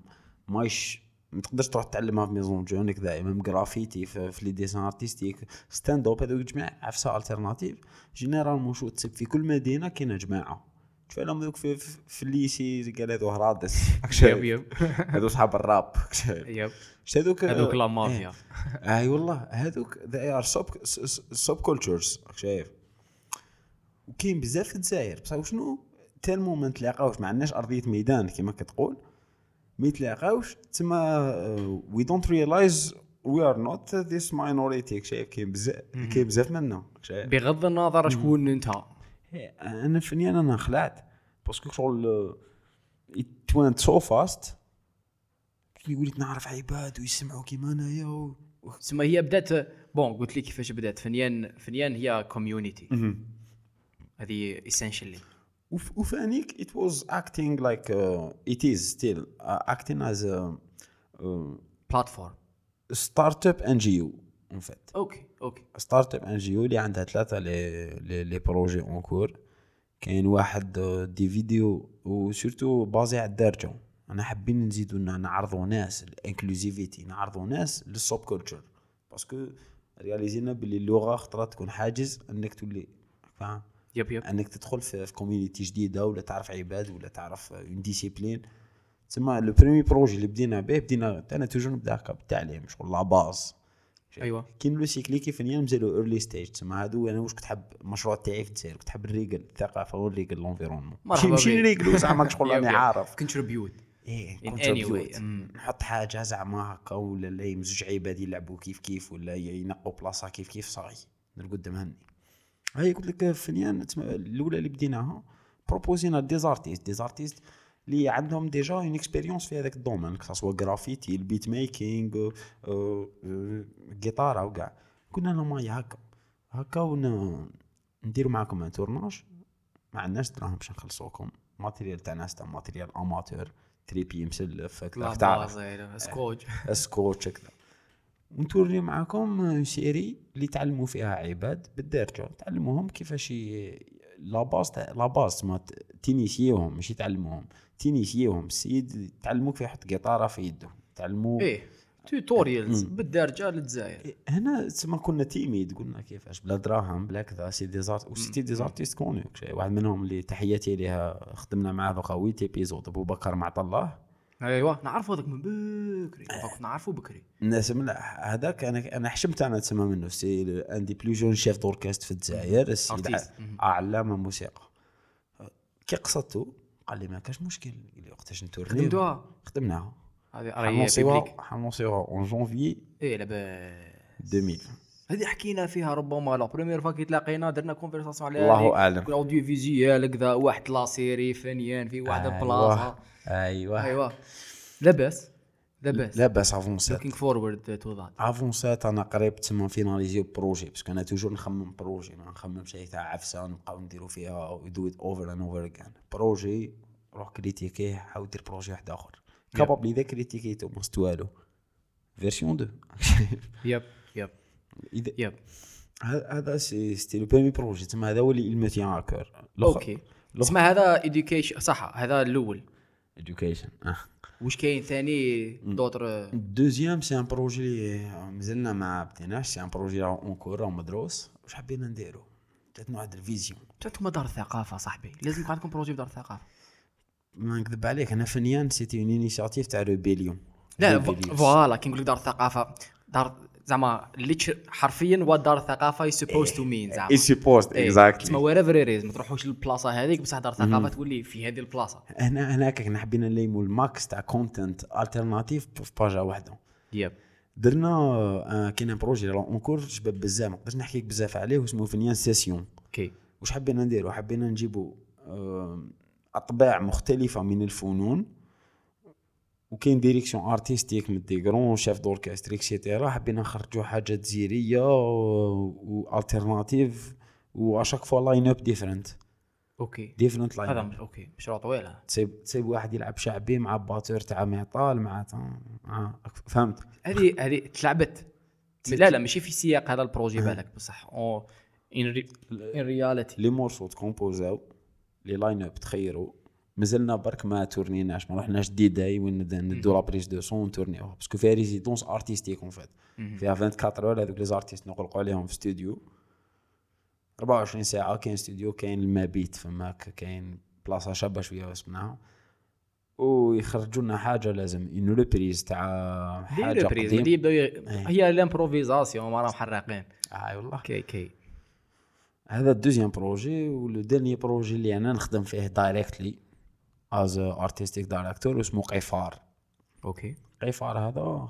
Speaker 1: مايش ما تقدرش تروح تعلمها في ميزون جون كذا ميم جرافيتي في, في لي ديسان ارتستيك ستاند اب هذوك جميع عفسه التيرناتيف جينيرال موشو تسب في كل مدينه كاينه جماعه تشوف لهم ذوك في, في, في الليسي قال هذو هرادس
Speaker 2: يب يب
Speaker 1: هذو صحاب الراب
Speaker 2: يب
Speaker 1: شتي هذوك
Speaker 2: هذوك لا
Speaker 1: إيه.
Speaker 2: مافيا
Speaker 1: اي والله هذوك ذي ار سب سب كولتشرز شايف وكاين بزاف في الجزائر بصح وشنو تالمو ما نتلاقاوش ما عندناش ارضيه ميدان كما كتقول ما يتلاقاوش آه، تما وي دونت ريلايز وي ار نوت ذيس ماينوريتي شايف كاين بزاف كاين بزاف منا شايف آه،
Speaker 2: بغض النظر شكون انت
Speaker 1: انا فنيا انا خلعت باسكو شغل ات went so fast وليت نعرف عباد ويسمعوا كيما انايا و...
Speaker 2: تسمى هي بدات بون قلت لك كيفاش بدات فنيان فنيان هي كوميونيتي هذه اسينشلي
Speaker 1: وف- وفانيك it was acting like uh, it is still uh, acting as a uh,
Speaker 2: بلاتفورم
Speaker 1: startup NGO en fait
Speaker 2: اوكي اوكي
Speaker 1: ستارت اب ان جي او اللي عندها ثلاثه لي لي, لي بروجي اون كور كاين واحد آه، دي فيديو وسورتو بازي على الدارجه انا حابين نزيدو ن- نعرضوا ناس الانكلوزيفيتي نعرضوا ناس للسوب كولتشر باسكو رياليزينا باللي اللغه خطره تكون حاجز انك تولي فاهم
Speaker 2: يب يب
Speaker 1: انك تدخل في في كوميونيتي جديده ولا تعرف عباد ولا تعرف اون ديسيبلين تسمى لو بريمي بروجي اللي بدينا به بدينا انا توجور نبدا هكا بالتعليم شغل لا باز
Speaker 2: أيوة.
Speaker 1: كاين لو سيكلي كيف نيا مزالو ايرلي ستيج تسمى هادو انا واش كنت حاب المشروع تاعي في الجزائر كنت حاب الريقل الثقافه والريقل لونفيرونمون ماشي
Speaker 2: مرحبا
Speaker 1: ماشي
Speaker 2: بك.
Speaker 1: الريقل زعما شغل راني عارف
Speaker 2: كونتريبيوت
Speaker 1: ايه
Speaker 2: In any
Speaker 1: contribute.
Speaker 2: way. أمم.
Speaker 1: نحط حاجه زعما هكا ولا لا يمزوج عباد يلعبوا كيف كيف ولا ينقوا بلاصه كيف كيف صاي ندير قدام هني هاي قلت لك فنيان تسمى الاولى اللي بديناها بروبوزينا دي زارتيست دي زارتيست اللي عندهم ديجا اون اكسبيريونس في هذاك الدومين كسوا جرافيتي البيت ميكينغ آه، جيتارة وكاع كنا انا ماي هكا هكا ون- نديرو معاكم ان تورناج ما عندناش دراهم باش نخلصوكم ماتيريال تاعنا ستا ماتيريال اماتور تريبي مسلف
Speaker 2: لا
Speaker 1: هكذا تعرف
Speaker 2: بازي سكوج
Speaker 1: اسكوتش هكذا ونتوري معاكم سيري اللي تعلموا فيها عباد بالدارجه تعلموهم كيفاش ي- لا باس تاع- لا باس ما ت- تينيسيوهم ماشي تعلموهم تينيسيوهم السيد تعلموك كيف يحط قطاره في يده تعلموا
Speaker 2: ايه توتوريالز بالدارجه للجزائر
Speaker 1: هنا تسمى كنا تيميد قلنا كيفاش بلا دراهم بلا كذا سي دي زارت وسيتي دي زارتيست كونو واحد منهم اللي تحياتي ليها خدمنا معاه ذوقا ويت ايبيزود ابو بكر معطى الله
Speaker 2: ايوا نعرفوا أيوة، هذاك من بكري
Speaker 1: إيه.
Speaker 2: كنت نعرفوا بكري
Speaker 1: الناس ملاح هذاك انا انا حشمت انا تسمى منه سي ال- ان دي بلو جون شيف دوركاست في الجزائر السيد ع-
Speaker 2: Artist. مهم.
Speaker 1: علامه موسيقى كي قصدته قال لي ما كاش مشكل قال لي وقتاش نتورنيو
Speaker 2: خدمتوها
Speaker 1: خدمناها
Speaker 2: هذه راهي
Speaker 1: حنوصيوها
Speaker 2: public.
Speaker 1: حنوصيوها اون جونفي
Speaker 2: ايه لاباس
Speaker 1: 2000
Speaker 2: هذه حكينا فيها ربما لا بروميير فوا كي تلاقينا درنا كونفرساسيون على
Speaker 1: الله
Speaker 2: هذه.
Speaker 1: أعلم.
Speaker 2: كل اوديو فيزيال كذا واحد لا سيري فنيان في واحد أيوة.
Speaker 1: أيوة.
Speaker 2: بلاصه
Speaker 1: ايوه
Speaker 2: ايوا لاباس لاباس
Speaker 1: لاباس افونسات
Speaker 2: لوكينغ فورورد تو ذات
Speaker 1: افونسات انا قريب تما فيناليزيو بروجي باسكو انا توجور نخمم بروجي ما نخممش اي تاع عفسه نبقاو نديرو فيها ويدو ات اوفر اند اوفر اجين بروجي روح كريتيكيه حاول دير بروجي واحد اخر كابابلي ذا كريتيكيتو ما است والو فيرسيون 2
Speaker 2: يب يب
Speaker 1: إذا-
Speaker 2: يب
Speaker 1: هذا هذا سي سيتي لو برومي بروجي تما هذا هو اللي ما تيان اكور
Speaker 2: اوكي اسمع هذا اديوكيشن صح هذا الاول
Speaker 1: ادوكيشن
Speaker 2: واش كاين ثاني دوتر
Speaker 1: الدوزيام سي ان بروجي اللي مازلنا ما بديناش سي ان بروجي راه اونكور راه مدروس واش حبينا نديرو جاتنا واحد الفيزيون
Speaker 2: انتم دار الثقافه صاحبي لازم يكون عندكم بروجي في دار الثقافه
Speaker 1: ما نكذب عليك انا فنيان سيتي اون انيشيتيف تاع ريبيليون
Speaker 2: لا ف- فوالا كي نقول لك دار الثقافه دار زعما ليتش حرفيا وات دار الثقافه از سبوز تو مين زعما
Speaker 1: سبوست
Speaker 2: إيه. تسمى وير ايفر ما تروحوش للبلاصه هذيك بصح دار الثقافه تولي في هذه البلاصه
Speaker 1: هنا هناك كنا حبينا نليمو الماكس تاع كونتنت الترناتيف في باجا واحده
Speaker 2: يب
Speaker 1: درنا آه، كاين ان بروجي راه اونكور شباب بزاف ما نقدرش نحكيك بزاف عليه واسمه فنيان سيسيون
Speaker 2: اوكي
Speaker 1: واش حبينا نديرو حبينا نجيبو آه، اطباع مختلفه من الفنون وكاين ديريكسيون ارتستيك من دي غرون شيف دوركستر اكسيتيرا حبينا نخرجوا حاجه جزيريه والتيرناتيف واشاك فوا لاين اب ديفرنت
Speaker 2: اوكي
Speaker 1: ديفرنت لاين
Speaker 2: هذا
Speaker 1: اب
Speaker 2: مش اوكي مشروع طويل هذا
Speaker 1: تسيب تسيب واحد يلعب شعبي مع باتور تاع معطال مع تاع- مع فهمت
Speaker 2: هذه هذه تلعبت لا لا ماشي في سياق هذا البروجي بالك بصح اون ان رياليتي
Speaker 1: لي مورسو تكومبوزاو لي لاين اب تخيروا مازلنا برك ما تورنيناش ما رحناش دي داي وين نبدا ندو لا بريز دو سون تورنيوها باسكو فيها ريزيدونس ارتيستيك اون فات فيها 24 اور هذوك لي زارتيست نغلقوا عليهم في ستوديو 24 ساعه كاين ستوديو كاين المبيت فماك كاين بلاصه شابه شويه وسمناها ويخرجوا لنا حاجه لازم اون ريبريز تاع حاجه قديم
Speaker 2: هذه يبداو ي- هي الامبروفيزاسيون ما راهم حراقين
Speaker 1: اي آه، والله
Speaker 2: كي كي
Speaker 1: هذا الدوزيام بروجي ولو ديرني بروجي اللي انا نخدم فيه دايركتلي از ارتستيك دايركتور اسمه قفار
Speaker 2: اوكي
Speaker 1: قفار هذا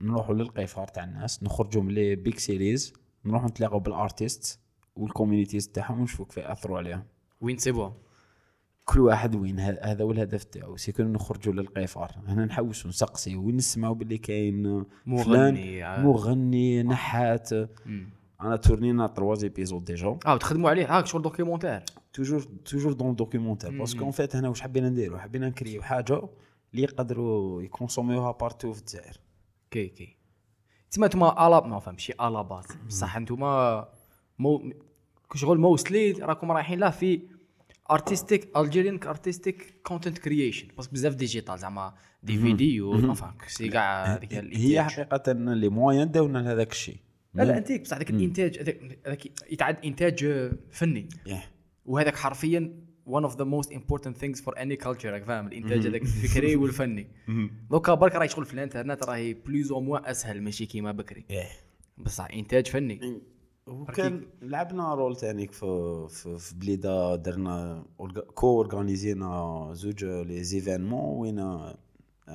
Speaker 1: نروحوا للقفار تاع الناس نخرجوا من لي بيك سيريز نروحوا نتلاقوا بالارتست والكوميونيتيز تاعهم ونشوفوا كيف اثروا عليهم
Speaker 2: وين تسيبوها
Speaker 1: كل واحد وين ه- هذا هو الهدف تاعو سي كون نخرجوا للقيفار هنا نحوسوا نسقسي ونسمعوا باللي كاين فلان
Speaker 2: مغني آه.
Speaker 1: مغني نحات
Speaker 2: مم.
Speaker 1: انا تورنينا ترواز ايبيزود ديجا
Speaker 2: اه وتخدموا عليه هاك شغل دوكيومونتير
Speaker 1: توجور توجور دون دوكيومونتير باسكو اون فيت هنا واش حبينا نديرو حبينا نكريو حاجه اللي يقدروا يكونسوميوها بارتو في الجزائر
Speaker 2: كي كي تسمى انتوما الا ما فهم شي الا باز بصح انتوما مو شغل موستلي راكم رايحين لا في ارتستيك الجيريان ارتستيك كونتنت كرييشن باسكو بزاف ديجيتال زعما دي فيديو انفان سي كاع هذيك
Speaker 1: هي
Speaker 2: الانتاج
Speaker 1: حقيقه لي موان داونا لهذاك الشيء
Speaker 2: لا لا انتيك بصح هذاك الانتاج هذاك- هذاك يتعد انتاج آه، فني
Speaker 1: إيه.
Speaker 2: وهذاك حرفيا one of the most important things for any culture راك فاهم الانتاج هذاك الفكري والفني دوكا برك راهي شغل في الانترنت راهي بلوز او موان اسهل ماشي كيما بكري
Speaker 1: إيه.
Speaker 2: بصح انتاج فني
Speaker 1: وكان لعبنا رول تانيك في في, في بليده درنا أورغ- كو اورغانيزينا زوج لي زيفينمون وين آه،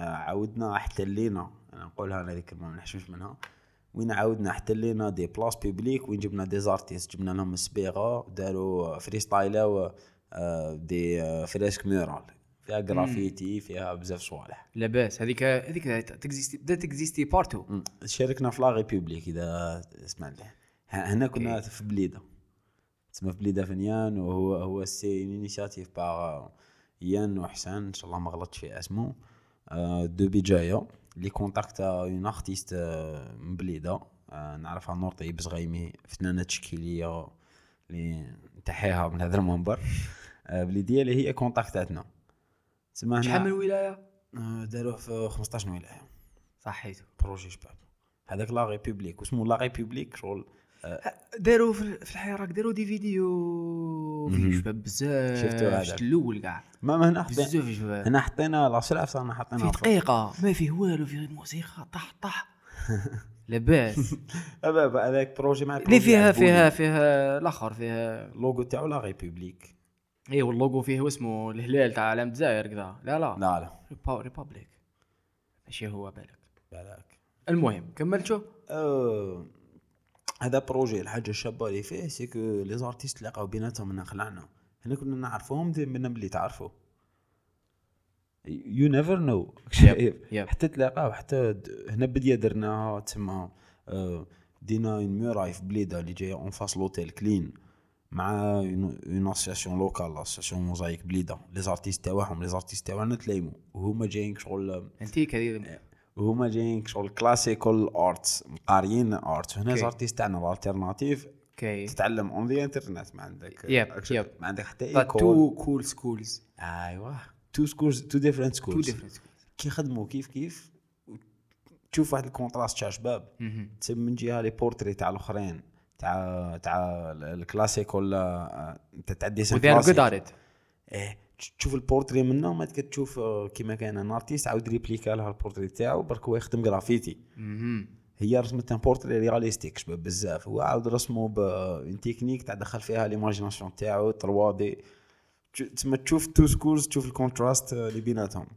Speaker 1: عاودنا احتلينا انا نقولها انا ذيك ما نحشمش منها وين عاودنا احتلينا دي بلاص بيبليك وين جبنا دي زارتيست جبنا لهم السبيغه داروا فري ستايلا دي آه، فريسك ميرال فيها جرافيتي فيها بزاف صوالح
Speaker 2: لاباس هذيك هذيك تكزيستي بدات تكزيستي بارتو
Speaker 1: مم. شاركنا في لاغي بيبليك اذا سمعت له ه- هنا
Speaker 2: إيه.
Speaker 1: كنا في بليده تسمى في بليده فنيان وهو هو سي انيشاتيف باغ يان وحسن ان شاء الله ما غلطتش في اسمه آه، دو بيجايا اللي كونتاكتا اون ارتيست آه، من بليده آه، نعرفها نورطي بزغيمي فنانه تشكيليه اللي نتحيها من هذا المنبر آه، بليديه اللي هي كونتاكتاتنا تسمى
Speaker 2: شحال من
Speaker 1: هنا
Speaker 2: ولايه
Speaker 1: آه، داروه في 15 ولايه
Speaker 2: صحيتو
Speaker 1: بروجي شباب هذاك لا ريبوبليك واسمه لا ريبوبليك شغل
Speaker 2: داروا في في الحياه راك داروا دي فيديو فيديو شباب بزاف
Speaker 1: شفتوا هذا.
Speaker 2: شفت الاول كاع
Speaker 1: ما ما هنا حطينا
Speaker 2: بزاف شباب
Speaker 1: هنا حطينا لا سلاف صرنا
Speaker 2: في
Speaker 1: حطينا
Speaker 2: دقيقة ما فيه والو في غير موسيقى طح طح لاباس
Speaker 1: أبا هذاك بروجي مع
Speaker 2: اللي
Speaker 1: بروجي
Speaker 2: فيها
Speaker 1: عجبوني.
Speaker 2: فيها فيها الاخر فيها
Speaker 1: اللوغو تاعو لا ريبوبليك
Speaker 2: اي واللوغو فيه واسمه الهلال تاع علم الجزائر كذا لا لا
Speaker 1: لا لا
Speaker 2: ريبا- ريبابليك ماشي هو بالك
Speaker 1: بالك
Speaker 2: المهم كملت شو
Speaker 1: أه، هذا بروجي الحاجه الشابه اللي فيه سي كو لي زارتيست تلاقاو بيناتهم هنا خلعنا هنا كنا نعرفوهم دي- من اللي تعرفوا يو نيفر نو
Speaker 2: يب.
Speaker 1: حتى تلاقاو حتى د- هنا بديا درناها تما آه، دينا اون ميوراي في بليده اللي جايه اون فاس لوتيل كلين مع اون اسياسيون لوكال اسياسيون موزايك بليده لي زارتيست تاعهم لي زارتيست تاعنا تلايمو وهما جايين شغل آه،
Speaker 2: انتيك هذه
Speaker 1: وهما جايين شغل كلاسيكال ارتس مقاريين ارتس هنا زارتيست تاعنا الالتيرناتيف
Speaker 2: اوكي
Speaker 1: تتعلم اون ذا انترنت ما عندك
Speaker 2: Yep, yep.
Speaker 1: ما عندك حتى أيوة.
Speaker 2: But
Speaker 1: ايكول
Speaker 2: two cool schools
Speaker 1: ايوا تو سكولز تو ديفرنت
Speaker 2: two
Speaker 1: سكولز
Speaker 2: different schools
Speaker 1: كيخدموا كيف كيف تشوف واحد الكونتراست تاع شباب
Speaker 2: مهم.
Speaker 1: تسمى من جهه لي بورتري تاع الاخرين تاع تاع الكلاسيكال انت تعدي
Speaker 2: و
Speaker 1: سان
Speaker 2: they are good
Speaker 1: كلاسيك.
Speaker 2: at it
Speaker 1: ايه تش- تشوف البورتري منه ما تك- تشوف آه، كيما كان ان ارتيست عاود ريبليكا لها البورتري تاعو برك هو يخدم جرافيتي
Speaker 2: مهم.
Speaker 1: هي رسمت ان بورتري رياليستيك شباب بزاف هو عاود رسمه بان تكنيك تاع دخل فيها ليماجيناسيون تاعو 3 دي تسمى تشوف تو سكولز تشوف الكونتراست آه، اللي بيناتهم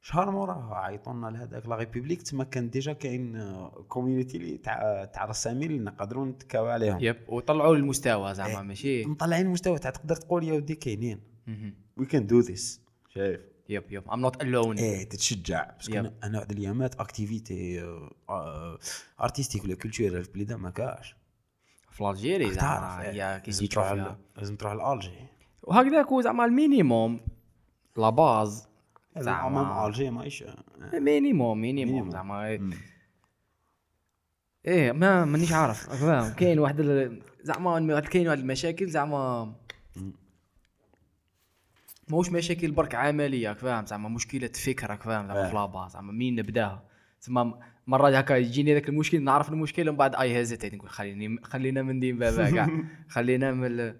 Speaker 1: شهر موراها عيطونا لهذاك لا ريبوبليك تما كان ديجا كاين كوميونيتي اللي تاع تاع رسامين اللي نقدروا نتكاو عليهم
Speaker 2: يب وطلعوا المستوى زعما ماشي
Speaker 1: مطلعين مستوى تاع تقدر تقول يا ودي كاينين
Speaker 2: مهم.
Speaker 1: وي كان دو ذيس شايف
Speaker 2: يب يب I'm not alone
Speaker 1: ايه تتشجع بس
Speaker 2: يب.
Speaker 1: كنا انا واحد الايامات اكتيفيتي آه، آه، ارتستيك ولا كولتشرال في بليده ما كاش
Speaker 2: في الجيري زعما
Speaker 1: تعرف
Speaker 2: هي
Speaker 1: إيه.
Speaker 2: كي
Speaker 1: لازم
Speaker 2: تجي
Speaker 1: تروح
Speaker 2: تشوف
Speaker 1: ل- لازم تروح لالجي
Speaker 2: وهكذاك هو زعما المينيموم لا باز
Speaker 1: زعما
Speaker 2: زعما
Speaker 1: مام الجي ماهيش
Speaker 2: آه، مينيموم مينيموم
Speaker 1: مينيموم.
Speaker 2: زعما إيه. ايه ما مانيش عارف فاهم كاين واحد ال- زعما الم- كاين واحد المشاكل زعما ماهوش مشاكل برك عمليه راك فاهم زعما مشكله فكره راك فاهم زعما
Speaker 1: آه.
Speaker 2: في لاباز زعما مين نبداها زعما مرات هكا يجيني هذاك المشكل نعرف المشكل ومن بعد اي هزت نقول خليني خلينا من دين بابا كاع خلينا من ال-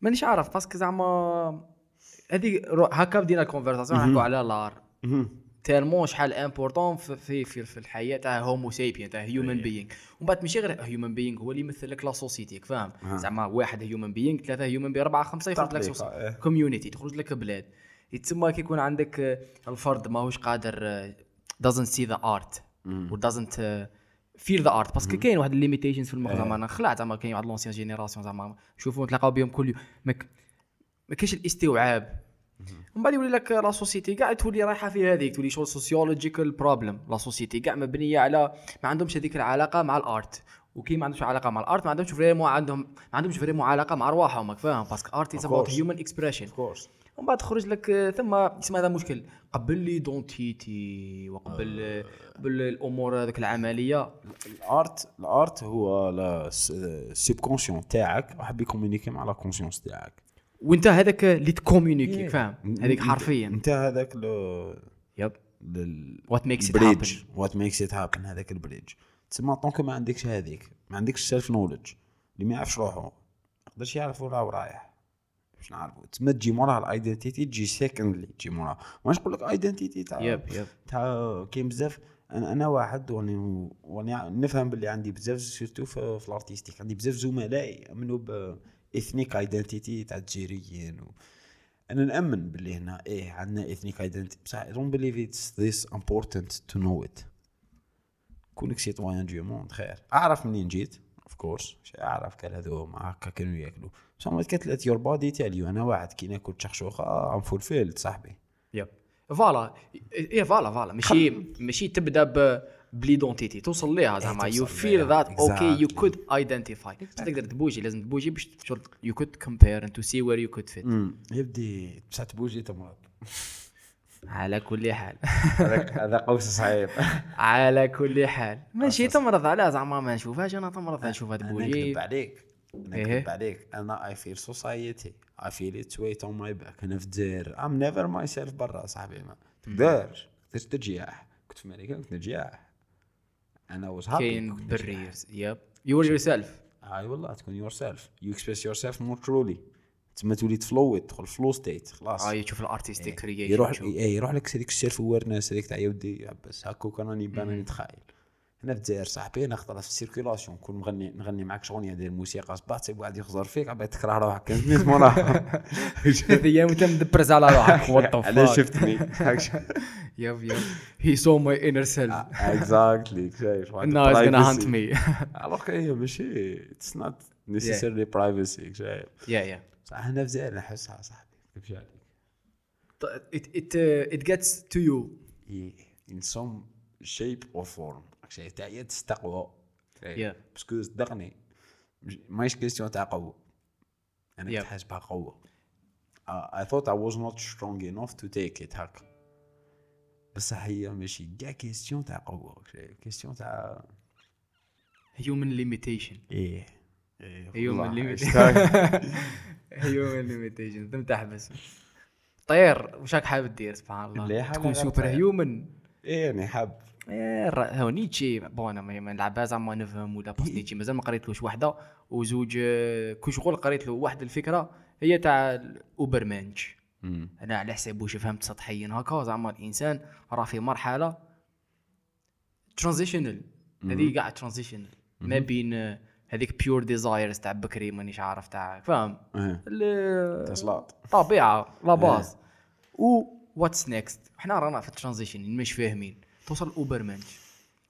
Speaker 2: مانيش عارف باسكو زعما هذيك رو- هكا بدينا الكونفرساسيون نحكوا على لار تيرمون شحال امبورطون في في في, في الحياه تاع هومو سيبيان تاع هيومن بينغ ومن بعد ماشي غير هيومن بينغ هو اللي يمثل لك لا سوسيتي راك فاهم
Speaker 1: آه.
Speaker 2: زعما واحد هيومن بينغ ثلاثه هيومن بينغ اربعه خمسه يخرج لك
Speaker 1: تطبيق،
Speaker 2: سوسيتي
Speaker 1: آه.
Speaker 2: كوميونيتي تخرج لك بلاد يتسمى كي يكون عندك آه، الفرد ماهوش قادر آه، doesn't see the art و doesn't آه، feel the art باسكو كاين واحد الليميتيشنز في
Speaker 1: إيه.
Speaker 2: المخ زعما انا خلعت زعما كاين واحد لونسيان جينيراسيون زعما شوفوا نتلاقاو بهم كل يوم ما ك- ما كاينش الاستوعاب من بعد يولي لك لا سوسيتي كاع تولي رايحه في هذيك تولي شغل سوسيولوجيكال بروبليم لا سوسيتي كاع مبنيه على ما عندهمش هذيك العلاقه مع الارت وكي ما عندهمش علاقه مع الارت ما عندهمش فريمون عندهم ما عندهمش فريمون علاقه مع ارواحهم راك فاهم باسكو ارت از
Speaker 1: Of
Speaker 2: اباوت
Speaker 1: course.
Speaker 2: هيومن اكسبريشن
Speaker 1: اوف كورس
Speaker 2: ومن بعد خرج لك آه، ثم اسمه هذا مشكل قبل لي دونتيتي وقبل آه، قبل الامور هذيك العمليه
Speaker 1: الارت الارت هو السبكونسيون تاعك راح بيكومونيكي مع لا كونسيونس تاعك
Speaker 2: وانت هذاك اللي تكوميونيكي فاهم
Speaker 1: Mm-hmm.
Speaker 2: هذيك حرفيا
Speaker 1: انت هذاك لو
Speaker 2: يب
Speaker 1: لل
Speaker 2: What makes it
Speaker 1: بريدج وات ميكس ات هابن هذاك البريدج تسمى طونك ما عندكش هذيك ما عندكش سيلف نولج اللي ما يعرفش روحه ما يقدرش يعرف وين راه رايح باش نعرفو تسمى تجي موراها الايدنتيتي تجي سيكندلي تجي موراها واش نقول لك ايدنتيتي تاع
Speaker 2: يب يب
Speaker 1: تاع كاين بزاف انا انا واحد وراني وراني نفهم باللي عندي بزاف سيرتو في, في الارتيستيك عندي بزاف زملائي يامنوا ب اثنيك ايدنتيتي تاع الجزائريين و... انا نامن باللي هنا ايه عندنا اثنيك ايدنتيتي بصح I don't believe it's this important to know it كونك سيتوان دو موند خير اعرف منين جيت اوف كورس اعرف كان هذو هما هكا كانوا ياكلوا بصح ما كتلات يور بادي تاليو انا واحد كي ناكل شخشوخه ام فولفيلد صاحبي
Speaker 2: يب فوالا ايه فوالا فوالا ماشي ماشي تبدا ب بليدونتيتي توصل ليها زعما
Speaker 1: إيه، توصل
Speaker 2: يو فيل
Speaker 1: ليها.
Speaker 2: ذات اوكي يو
Speaker 1: Exactly.
Speaker 2: كود ايدنتيفاي تقدر تبوجي لازم تبوجي باش يو كود كومبير اند تو سي وير يو كود فيت
Speaker 1: امم يبدي بصح تبوجي تمرض
Speaker 2: على كل حال
Speaker 1: هذاك- هذا قوس صعيب
Speaker 2: على كل حال ماشي تمرض على زعما ما نشوفهاش انا تمرض نشوفها
Speaker 1: انا
Speaker 2: تبوجي
Speaker 1: نكذب عليك انا
Speaker 2: إيه.
Speaker 1: نكذب عليك انا اي فيل سوسايتي اي فيل اتس ويت اون ماي باك انا في الجزائر ام نيفر ماي سيلف برا صاحبي ما تقدرش تقدرش ترجيح كنت في امريكا كنت نرجيح انا واز هابي
Speaker 2: كاين بريرز يب يور يور سيلف
Speaker 1: اي والله تكون يور سيلف يو اكسبريس يور سيلف مور ترولي تما تولي تفلوي تدخل فلو ستيت خلاص
Speaker 2: اه تشوف الارتستيك كرييشن
Speaker 1: يروح اي يروح لك هذيك السيلف اويرنس هذيك تاع يودي بس هكوك انا راني بان راني تخايل هنا في الجزائر صاحبي انا خطره في السيركيلاسيون كون مغني نغني معك شغل ديال الموسيقى صباح تسيب واحد يخزر فيك عباد تكره روحك كان سميت موراها
Speaker 2: ثلاث ايام وانت مدبرز على روحك
Speaker 1: علاش شفتني
Speaker 2: يب يب هي سو ماي انر
Speaker 1: Ah,
Speaker 2: سيلف
Speaker 1: اكزاكتلي شايف
Speaker 2: ناو از غانا هانت مي
Speaker 1: الوغ هي ماشي اتس نوت نيسيسيرلي برايفسي شايف
Speaker 2: يا يا
Speaker 1: صح هنا في الجزائر نحسها صاحبي كيفاش عليك
Speaker 2: it it uh, it gets to you
Speaker 1: in some shape or form شايف تاع هي تستقوى Eh,
Speaker 2: Yeah.
Speaker 1: باسكو صدقني مش- ماهيش كيستيون تاع قوه انا
Speaker 2: Yeah.
Speaker 1: كنت حاسبها قوه I thought I was not strong enough to take it هكا بصح هي ماشي كاع كيستيون تاع قوه شايف كيستيون تاع
Speaker 2: human limitation
Speaker 1: ايه ايه
Speaker 2: Human
Speaker 1: والله.
Speaker 2: limit.
Speaker 1: اشتاق.
Speaker 2: human limitation لازم تحبس طير وش راك حابب دير سبحان
Speaker 1: اللي
Speaker 2: الله
Speaker 1: حابب
Speaker 2: تكون
Speaker 1: أنا
Speaker 2: سوبر
Speaker 1: طير.
Speaker 2: هيومن
Speaker 1: ايه انا حاب
Speaker 2: إيه، هو نيتشي بون انا ما ما نلعبها زعما نفهم ولا بوست نيتشي مازال ما قريتلوش وحده وزوج آه، كل شغل قريت له واحد الفكره هي تاع الاوبرمانش انا على حساب واش فهمت سطحيا هكا زعما الانسان راه في مرحله ترانزيشنال هذه كاع ترانزيشنال ما بين آه، هذيك بيور ديزايرز تاع بكري مانيش عارف تاع فاهم
Speaker 1: إيه.
Speaker 2: ال-
Speaker 1: تسلاط
Speaker 2: الطبيعه لا باز و واتس نيكست حنا رانا في الترانزيشن مش فاهمين توصل اوبرمانش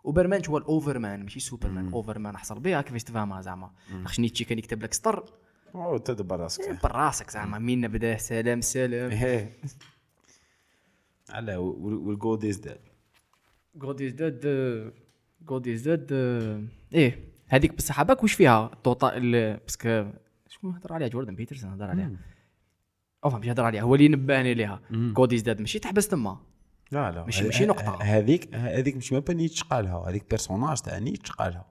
Speaker 2: اوبرمانش هو الاوفرمان ماشي سوبرمان اوفرمان حصل بها كيفاش تفهمها زعما خاش نيتشي كان يكتب لك سطر
Speaker 1: أو تدبر راسك
Speaker 2: براسك زعما مين بدا سلام سلام
Speaker 1: ايه على والجو ديز ذات
Speaker 2: جود از ديد جود از ديد ايه هذيك بصح باك واش فيها الطوطا ال- باسكو شكون هضر عليها جوردن بيترسون هضر عليها اوف مش هضر عليها هو اللي نبهني ليها جود از ديد ماشي تحبس تما
Speaker 1: لا لا
Speaker 2: مش-
Speaker 1: ه-
Speaker 2: ماشي
Speaker 1: ه-
Speaker 2: نقطة.
Speaker 1: ه- هذيك هذيك مش ما نيتش قالها هذيك بيرسوناج تاع نيتش قالها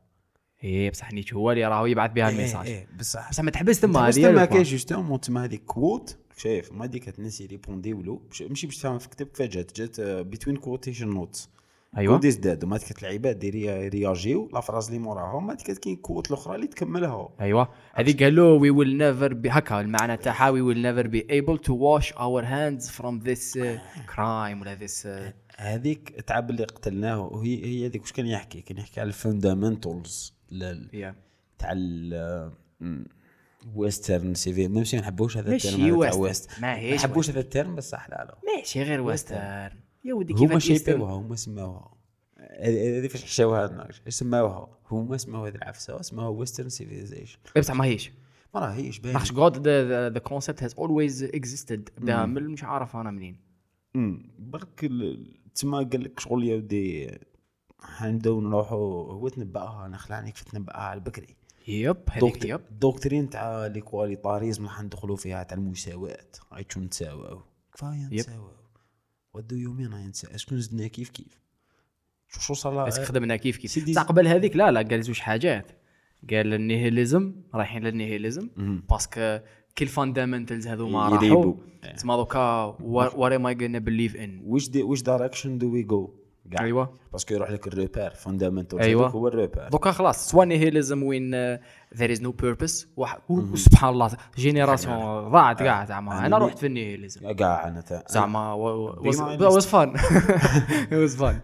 Speaker 2: ايه بصح نيتش هو اللي راهو يبعث بها الميساج
Speaker 1: إيه، إيه، بصح
Speaker 2: بصح ما تحبس تما
Speaker 1: بس
Speaker 2: هذه
Speaker 1: تما
Speaker 2: تما
Speaker 1: كاين جوستومون تما هذيك كوت شايف ما هذيك تنسي ريبوندي ولو باش- ماشي باش تفهم في كتاب فجات جات آه، بتوين كوتيشن نوتس
Speaker 2: أيوة.
Speaker 1: كوديز داد وما هذيك العباد يري- يرياجيو لا فراز اللي موراهم ما هذيك كاين كوت الاخرى اللي تكملها
Speaker 2: ايوه هذيك قال له وي ويل نيفر بي هكا المعنى تاعها وي ويل نيفر بي ايبل تو واش اور هاندز فروم ذيس كرايم آه، ولا آه، ذيس
Speaker 1: هذيك تعب اللي قتلناه وهي هي هذيك واش كان يحكي كان يحكي على الفاندامنتالز تاع ال ويسترن سيفي ميم سي ما نحبوش هذا
Speaker 2: ماشي
Speaker 1: الترم هذا تاع
Speaker 2: ويسترن،
Speaker 1: ويست
Speaker 2: ما هيش
Speaker 1: ما نحبوش هذا الترم بصح لا لا
Speaker 2: ماشي غير ويسترن يا ودي كيف
Speaker 1: هما شيبوها هما سماوها هذه فاش
Speaker 2: إيه،
Speaker 1: حشاوها لنا سماوها هما سماو هذه العفسه سماوها ويسترن سيفيزيشن
Speaker 2: بصح ماهيش
Speaker 1: ما راهيش باين
Speaker 2: لاخش جود ذا كونسيبت هاز اولويز اكزيستد بدا من مش عارف انا منين
Speaker 1: أمم، برك ال- تما قال لك شغل يا ودي حنبداو نروحوا هو تنبأها انا خلاني كيف تنبأها على بكري
Speaker 2: يب هذيك
Speaker 1: دوكت-
Speaker 2: يب
Speaker 1: الدوكترين تاع ليكواليتاريزم راح ندخلوا فيها تاع المساواه هاي شو نتساواو كفايه
Speaker 2: يب.
Speaker 1: نتساواو ودو يومين راهي نتساواو شكون زدنا كيف كيف شو شو صار
Speaker 2: بس خدمنا كيف كيف
Speaker 1: آه. سيدي-
Speaker 2: تاع قبل هذيك لا لا قال زوج حاجات قال النيهيليزم رايحين للنيهيليزم
Speaker 1: مهم.
Speaker 2: باسكو كل فاندامنتلز هذوما راحوا
Speaker 1: يريبوا. إيه.
Speaker 2: تسمى دوكا وات ام اي غانا بليف ان
Speaker 1: وش دي وش دايركشن دو وي جو
Speaker 2: أيوة.
Speaker 1: باسكو يروح لك الريبير فاندامنتال
Speaker 2: أيوة.
Speaker 1: هو الريبير
Speaker 2: دوكا خلاص سوا نيهيليزم وين uh, ذير از نو بيربس وسبحان الله جينيراسيون ضاعت كاع زعما
Speaker 1: أنا
Speaker 2: انا
Speaker 1: اللي-
Speaker 2: رحت في النيهيليزم
Speaker 1: كاع انا تاع
Speaker 2: زعما
Speaker 1: Be my
Speaker 2: واز فان واز فان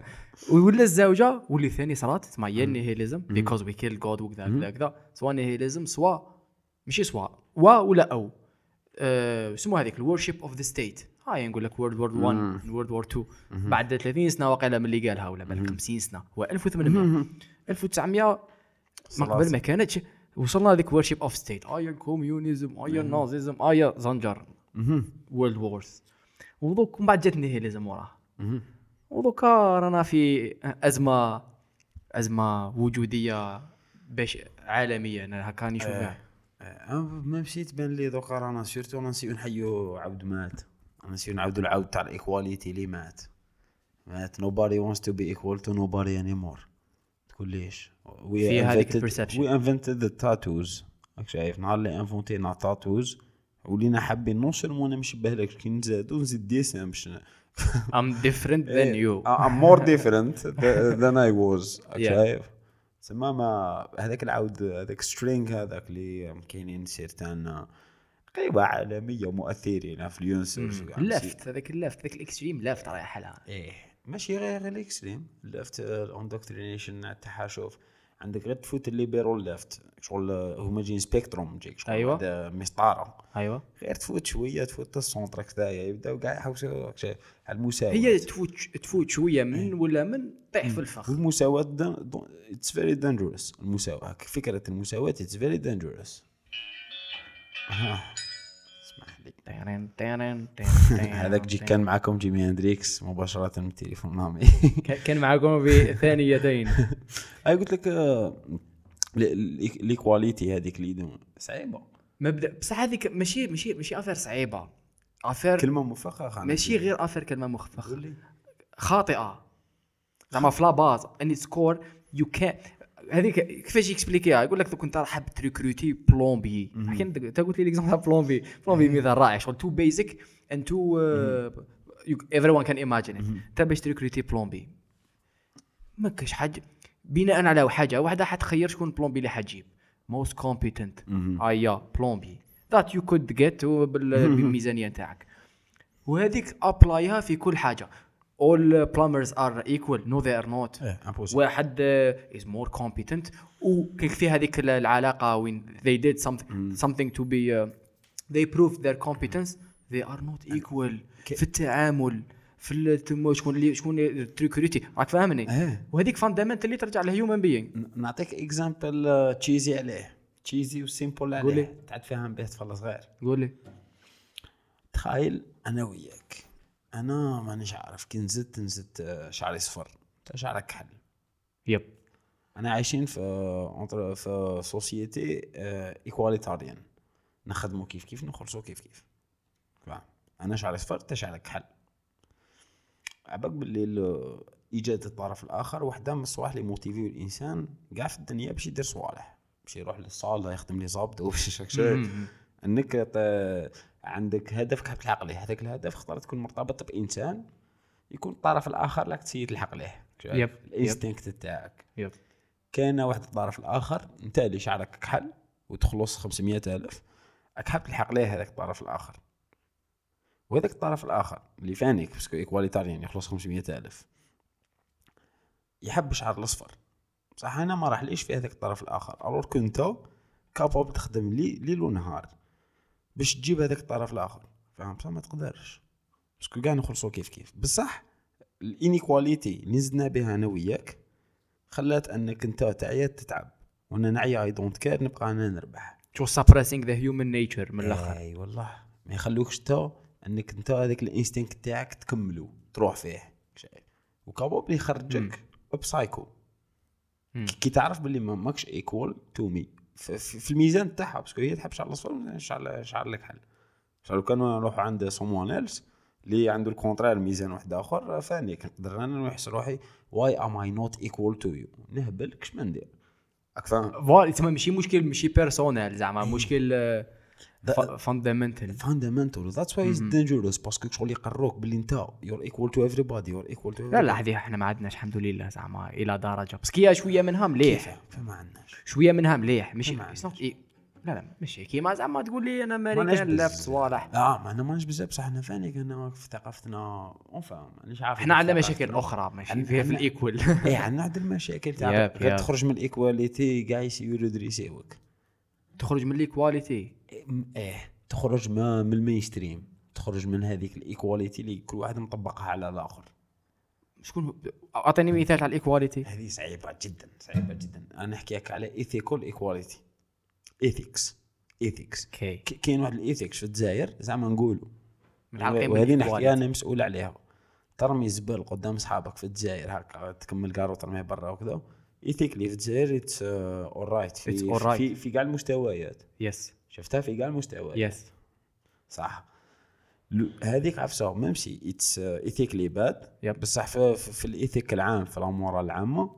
Speaker 2: ولا الزوجه واللي ثاني صرات تسمى هي النيهيليزم بيكوز وي كيل جود وكذا كذا كذا سوا نيهيليزم سوا ماشي سوا وا ولا او آه، يسموها هذيك الورشيب اوف ذا ستيت هاي يعني نقول لك وورد وور 1 وورد وور 2 بعد 30 سنه واقيلا من اللي قالها ولا بعد 50 سنه هو 1800 1900 من قبل ما كانتش وصلنا لذيك ورشيب اوف ستيت ايا كوميونيزم ايا نازيزم ايا زنجر وورلد وورز ودوك من بعد جات النيهيليزم وراها ودوكا رانا في ازمه ازمه وجوديه باش عالميه انا هكا راني نشوفها
Speaker 1: آه، أنا ما مشيت بان لي دوكا رانا سيرتو رانا نسيو نحيو عبد مات رانا نسيو نعاودو العود تاع الايكواليتي اللي مات مات nobody wants to be equal to nobody anymore تقول ليش we
Speaker 2: فيها هذيك
Speaker 1: invented-
Speaker 2: الperception.
Speaker 1: we invented the tattoos راك شايف نهار اللي انفونتينا تاتوز ولينا حابين نوصل وانا مشبه لك كي نزادو نزيد ديسان باش ن-
Speaker 2: ام ديفرنت ذان يو
Speaker 1: إيه، I- I'm more different th- than I was
Speaker 2: Yeah.
Speaker 1: شايف تسمى ما هذاك العود هذاك سترينج هذاك اللي كاينين سيرتان قريبة عالمية مؤثرين في اليونسرز وكاع.
Speaker 2: اللفت هذاك اللفت هذاك الاكستريم لفت رايح حالها
Speaker 1: ايه ماشي غير غير الاكستريم ليفت الاندوكترينيشن تاعها شوف عندك غير تفوت الليبرال ليفت شغل آه، هما جايين سبيكتروم جيك شغل
Speaker 2: أيوة.
Speaker 1: هذا مسطره
Speaker 2: ايوا
Speaker 1: غير تفوت شويه تفوت السونتر كذايا يبداو كاع يحوسوا على المساواه
Speaker 2: هي تفوت تفوت شويه من ولا من طيح في الفخ
Speaker 1: والمساواة اتس فيري دانجورس المساواة فكرة المساواة اتس فيري دانجورس اسمح لي
Speaker 2: تيرين تيرين إيه، آه،
Speaker 1: هذاك جي كان معاكم جيمي هندريكس مباشرة نعم. من التليفون نامي
Speaker 2: كان معكم بثانيتين
Speaker 1: اي قلت لك آه، ليكواليتي هذيك اللي يدوم. صعيبة
Speaker 2: مبدا بصح هذيك ماشي ماشي ماشي افير صعيبه افير
Speaker 1: كلمة مفخخة
Speaker 2: ماشي غير افير كلمه مخفخه
Speaker 1: قولي.
Speaker 2: خاطئه زعما في لاباز اني سكور يو كان هذيك كيفاش يكسبليكيها يقول لك دوك انت راح حاب تريكروتي بلومبي حكي انت أنت قلت لي ليكزومبل تاع بلومبي بلومبي مثال رائع شغل تو بيزك اند تو ايفري ون كان ايماجين انت باش تريكروتي بلومبي ما كاش حاجه بناء على حاجه واحده حتخير شكون بلومبي اللي حتجيب موست كومبيتنت ايا Ah, بلومبي ذات يو كود جيت بالميزانيه تاعك وهذيك ابلايها في كل حاجه all plumbers are equal no they are not
Speaker 1: إيه، impossible.
Speaker 2: واحد uh, is more competent وكيك في هذيك ال- العلاقه وين they did something something to be uh, they proved their competence they are not equal في التعامل في ال- تم- شكون اللي شكون التريكوريتي راك فاهمني
Speaker 1: إيه.
Speaker 2: وهذيك فاندامنت اللي ترجع لهيومن بينغ
Speaker 1: ن- نعطيك اكزامبل تشيزي عليه تشيزي وسيمبل
Speaker 2: قولي.
Speaker 1: عليه تعاد فيها به تفلس غير
Speaker 2: قول لي
Speaker 1: تخيل انا وياك انا مانيش عارف كي نزدت نزدت آه، شعري صفر انت شعرك كحل
Speaker 2: يب
Speaker 1: انا عايشين في آه، entre- في سوسيتي ايكواليتاريان نخدمو كيف كيف نخلصو كيف كيف فاهم؟ انا شعري صفر انت شعرك كحل عباك باللي ال- ايجاد الطرف الاخر وحده من الصوالح اللي موتيفيو الانسان كاع في الدنيا باش يدير صوالح باش يروح للصاله يخدم لي ضابط وباش انك ت- عندك هدف كحب تلحق ليه هذاك الهدف خطر تكون مرتبط بانسان يكون الطرف الاخر لك تسيي تلحق ليه
Speaker 2: يب، يب.
Speaker 1: الانستنكت تاعك
Speaker 2: يب
Speaker 1: كان واحد الطرف الاخر انت اللي شعرك كحل وتخلص 500 الف راك حاب تلحق ليه هذاك الطرف الاخر وهذاك الطرف الاخر اللي فانيك باسكو ايكواليتاريان يخلص 500 الف يحب شعر الاصفر بصح انا ما راحليش في هذاك الطرف الاخر الور كنت كابوب تخدم لي ليل ونهار باش تجيب هذاك الطرف الاخر فاهم بصح ما تقدرش باسكو كاع نخلصو كيف كيف بصح الانيكواليتي اللي زدنا بها انا وياك خلات انك انت تعيا تتعب وانا نعيا اي دونت كير نبقى انا نربح
Speaker 2: تو سابريسينغ ذا هيومن نيتشر من الاخر
Speaker 1: اي والله ما يخلوكش تا انك انت هذاك الانستينكت تاعك تكملو تروح فيه شايف وكابوب يخرجك بسايكو
Speaker 2: مم.
Speaker 1: كي تعرف باللي ما- ماكش ايكوال تو مي في الميزان تاعها باسكو هي تحب شعر الاصفر وأنا شعر شعر لك حل شعر لو كان نروح عند سموان ايلس اللي عنده الكونترير ميزان واحد اخر فاني نقدر انا نحس روحي واي ام اي نوت ايكوال تو يو نهبل كش ما ندير راك فاهم
Speaker 2: فوالا تسمى ماشي مشكل ماشي بيرسونال زعما
Speaker 1: Mm.
Speaker 2: مشكل آه،
Speaker 1: ذا-
Speaker 2: فاندمنتال
Speaker 1: فاندمنتال ذاتس واي از دينجرس باسكو شغل يقروك باللي انت يور ايكوال تو everybody يور ايكوال تو
Speaker 2: لا لا هذه احنا ما عندناش الحمد لله زعما الى درجه بس كي شويه منها مليح
Speaker 1: فما عندناش
Speaker 2: شويه منها مليح ماشي
Speaker 1: ما
Speaker 2: it's not- إيه. لا لا ماشي كيما زعما تقول لي انا
Speaker 1: ماناش
Speaker 2: امريكان
Speaker 1: بز-
Speaker 2: لفت صوالح
Speaker 1: اه ما انا ماناش بزاف بصح انا فاني كنا في ثقافتنا اونفا مانيش عارف
Speaker 2: احنا عندنا
Speaker 1: ثقافتنا.
Speaker 2: مشاكل اخرى ماشي
Speaker 1: عن-
Speaker 2: فيها في
Speaker 1: عن-
Speaker 2: الايكول
Speaker 1: اي عندنا عندنا المشاكل تاع
Speaker 2: ياب،
Speaker 1: غير
Speaker 2: ياب.
Speaker 1: تخرج من الايكواليتي كاع يسيروا دريسيوك
Speaker 2: تخرج من الايكواليتي
Speaker 1: ايه تخرج ما- من المينستريم تخرج من هذيك الايكواليتي اللي كل واحد مطبقها على الاخر
Speaker 2: شكون اعطيني مثال على الايكواليتي
Speaker 1: هذه صعيبه جدا صعيبه جدا انا نحكيك على ايثيكال ايكواليتي ايثيكس ايثيكس
Speaker 2: اوكي
Speaker 1: ك- كاين واحد الايثيكس في الجزائر زعما نقولوا
Speaker 2: متعلقين
Speaker 1: وهذه
Speaker 2: بالإيكواليتي.
Speaker 1: نحكي انا مسؤول عليها ترمي زبل قدام اصحابك في الجزائر هكا تكمل كارو ترميه برا وكذا ايثيكلي في الجزائر اتس اول رايت
Speaker 2: It's
Speaker 1: في
Speaker 2: alright.
Speaker 1: في, في كاع المستويات
Speaker 2: يس
Speaker 1: شفتها في كاع المستويات
Speaker 2: يس
Speaker 1: صح لو- هذيك عفسه ميم سي اتس ايثيكلي باد
Speaker 2: يب.
Speaker 1: uh, بصح في, في, في الايثيك العام في الامور العامه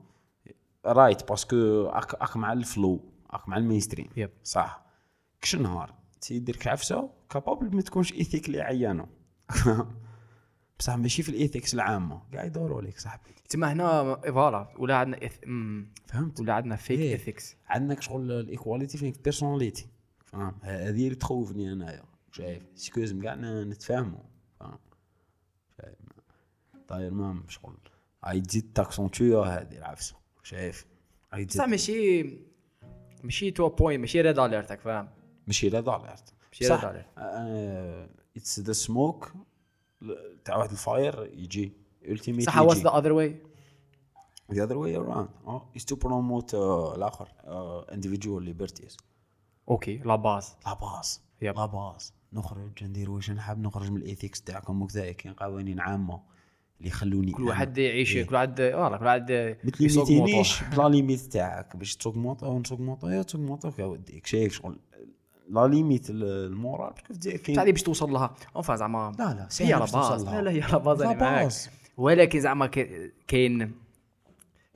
Speaker 1: رايت باسكو اك, اك مع الفلو اك مع المينستريم
Speaker 2: يب.
Speaker 1: صح كش نهار تسيد ديرك عفسه كابابل ما تكونش ايثيكلي عيانه بصح ماشي في الايثيكس العامه قاع يدوروا لك صاحبي
Speaker 2: تما هنا فوالا ولا عندنا إث... مم.
Speaker 1: فهمت
Speaker 2: ولا عندنا فيك
Speaker 1: إيه.
Speaker 2: اثكس
Speaker 1: عندك شغل الايكواليتي فيك بيرسوناليتي فاهم ه- هذه اللي تخوفني انايا شايف سكوزم كاع ن- نتفاهموا فاهم شايف طاير مام شغل هاي تزيد تاكسونتيو هذه العفسه شايف هاي
Speaker 2: بصح
Speaker 1: تزيد
Speaker 2: ماشي ماشي تو بوين ماشي ريد اليرتك فاهم
Speaker 1: ماشي لا آه، دالرت
Speaker 2: ماشي لا داليرت.
Speaker 1: اتس ذا سموك تاع واحد الفاير يجي التيميت
Speaker 2: بصح واز ذا اذر واي
Speaker 1: The other way around oh, is to promote uh, الآخر uh, individual liberties
Speaker 2: اوكي لا باز
Speaker 1: لاباس
Speaker 2: يب.
Speaker 1: لاباس نخرج ندير واش نحب نخرج من الايثيكس تاعكم وكذا كاين قوانين عامه اللي يخلوني
Speaker 2: كل
Speaker 1: أنا.
Speaker 2: واحد يعيش
Speaker 1: إيه.
Speaker 2: كل واحد فوالا كل واحد
Speaker 1: ما
Speaker 2: يسوق
Speaker 1: تليميتينيش بلا ليميت تاعك باش تسوق موطا ونسوق موطا يا تسوق موطا يا وديك شايف شغل لا ليميت ال- المورال باسكو في الجزائر
Speaker 2: بصح هذه
Speaker 1: كاين
Speaker 2: باش توصل لها اونفا زعما
Speaker 1: لا لا
Speaker 2: هي لا
Speaker 1: سهل باش
Speaker 2: باز
Speaker 1: توصل
Speaker 2: لا
Speaker 1: لها.
Speaker 2: لا هي لا باز انا معاك
Speaker 1: لاباس.
Speaker 2: ولكن زعما كي- كاين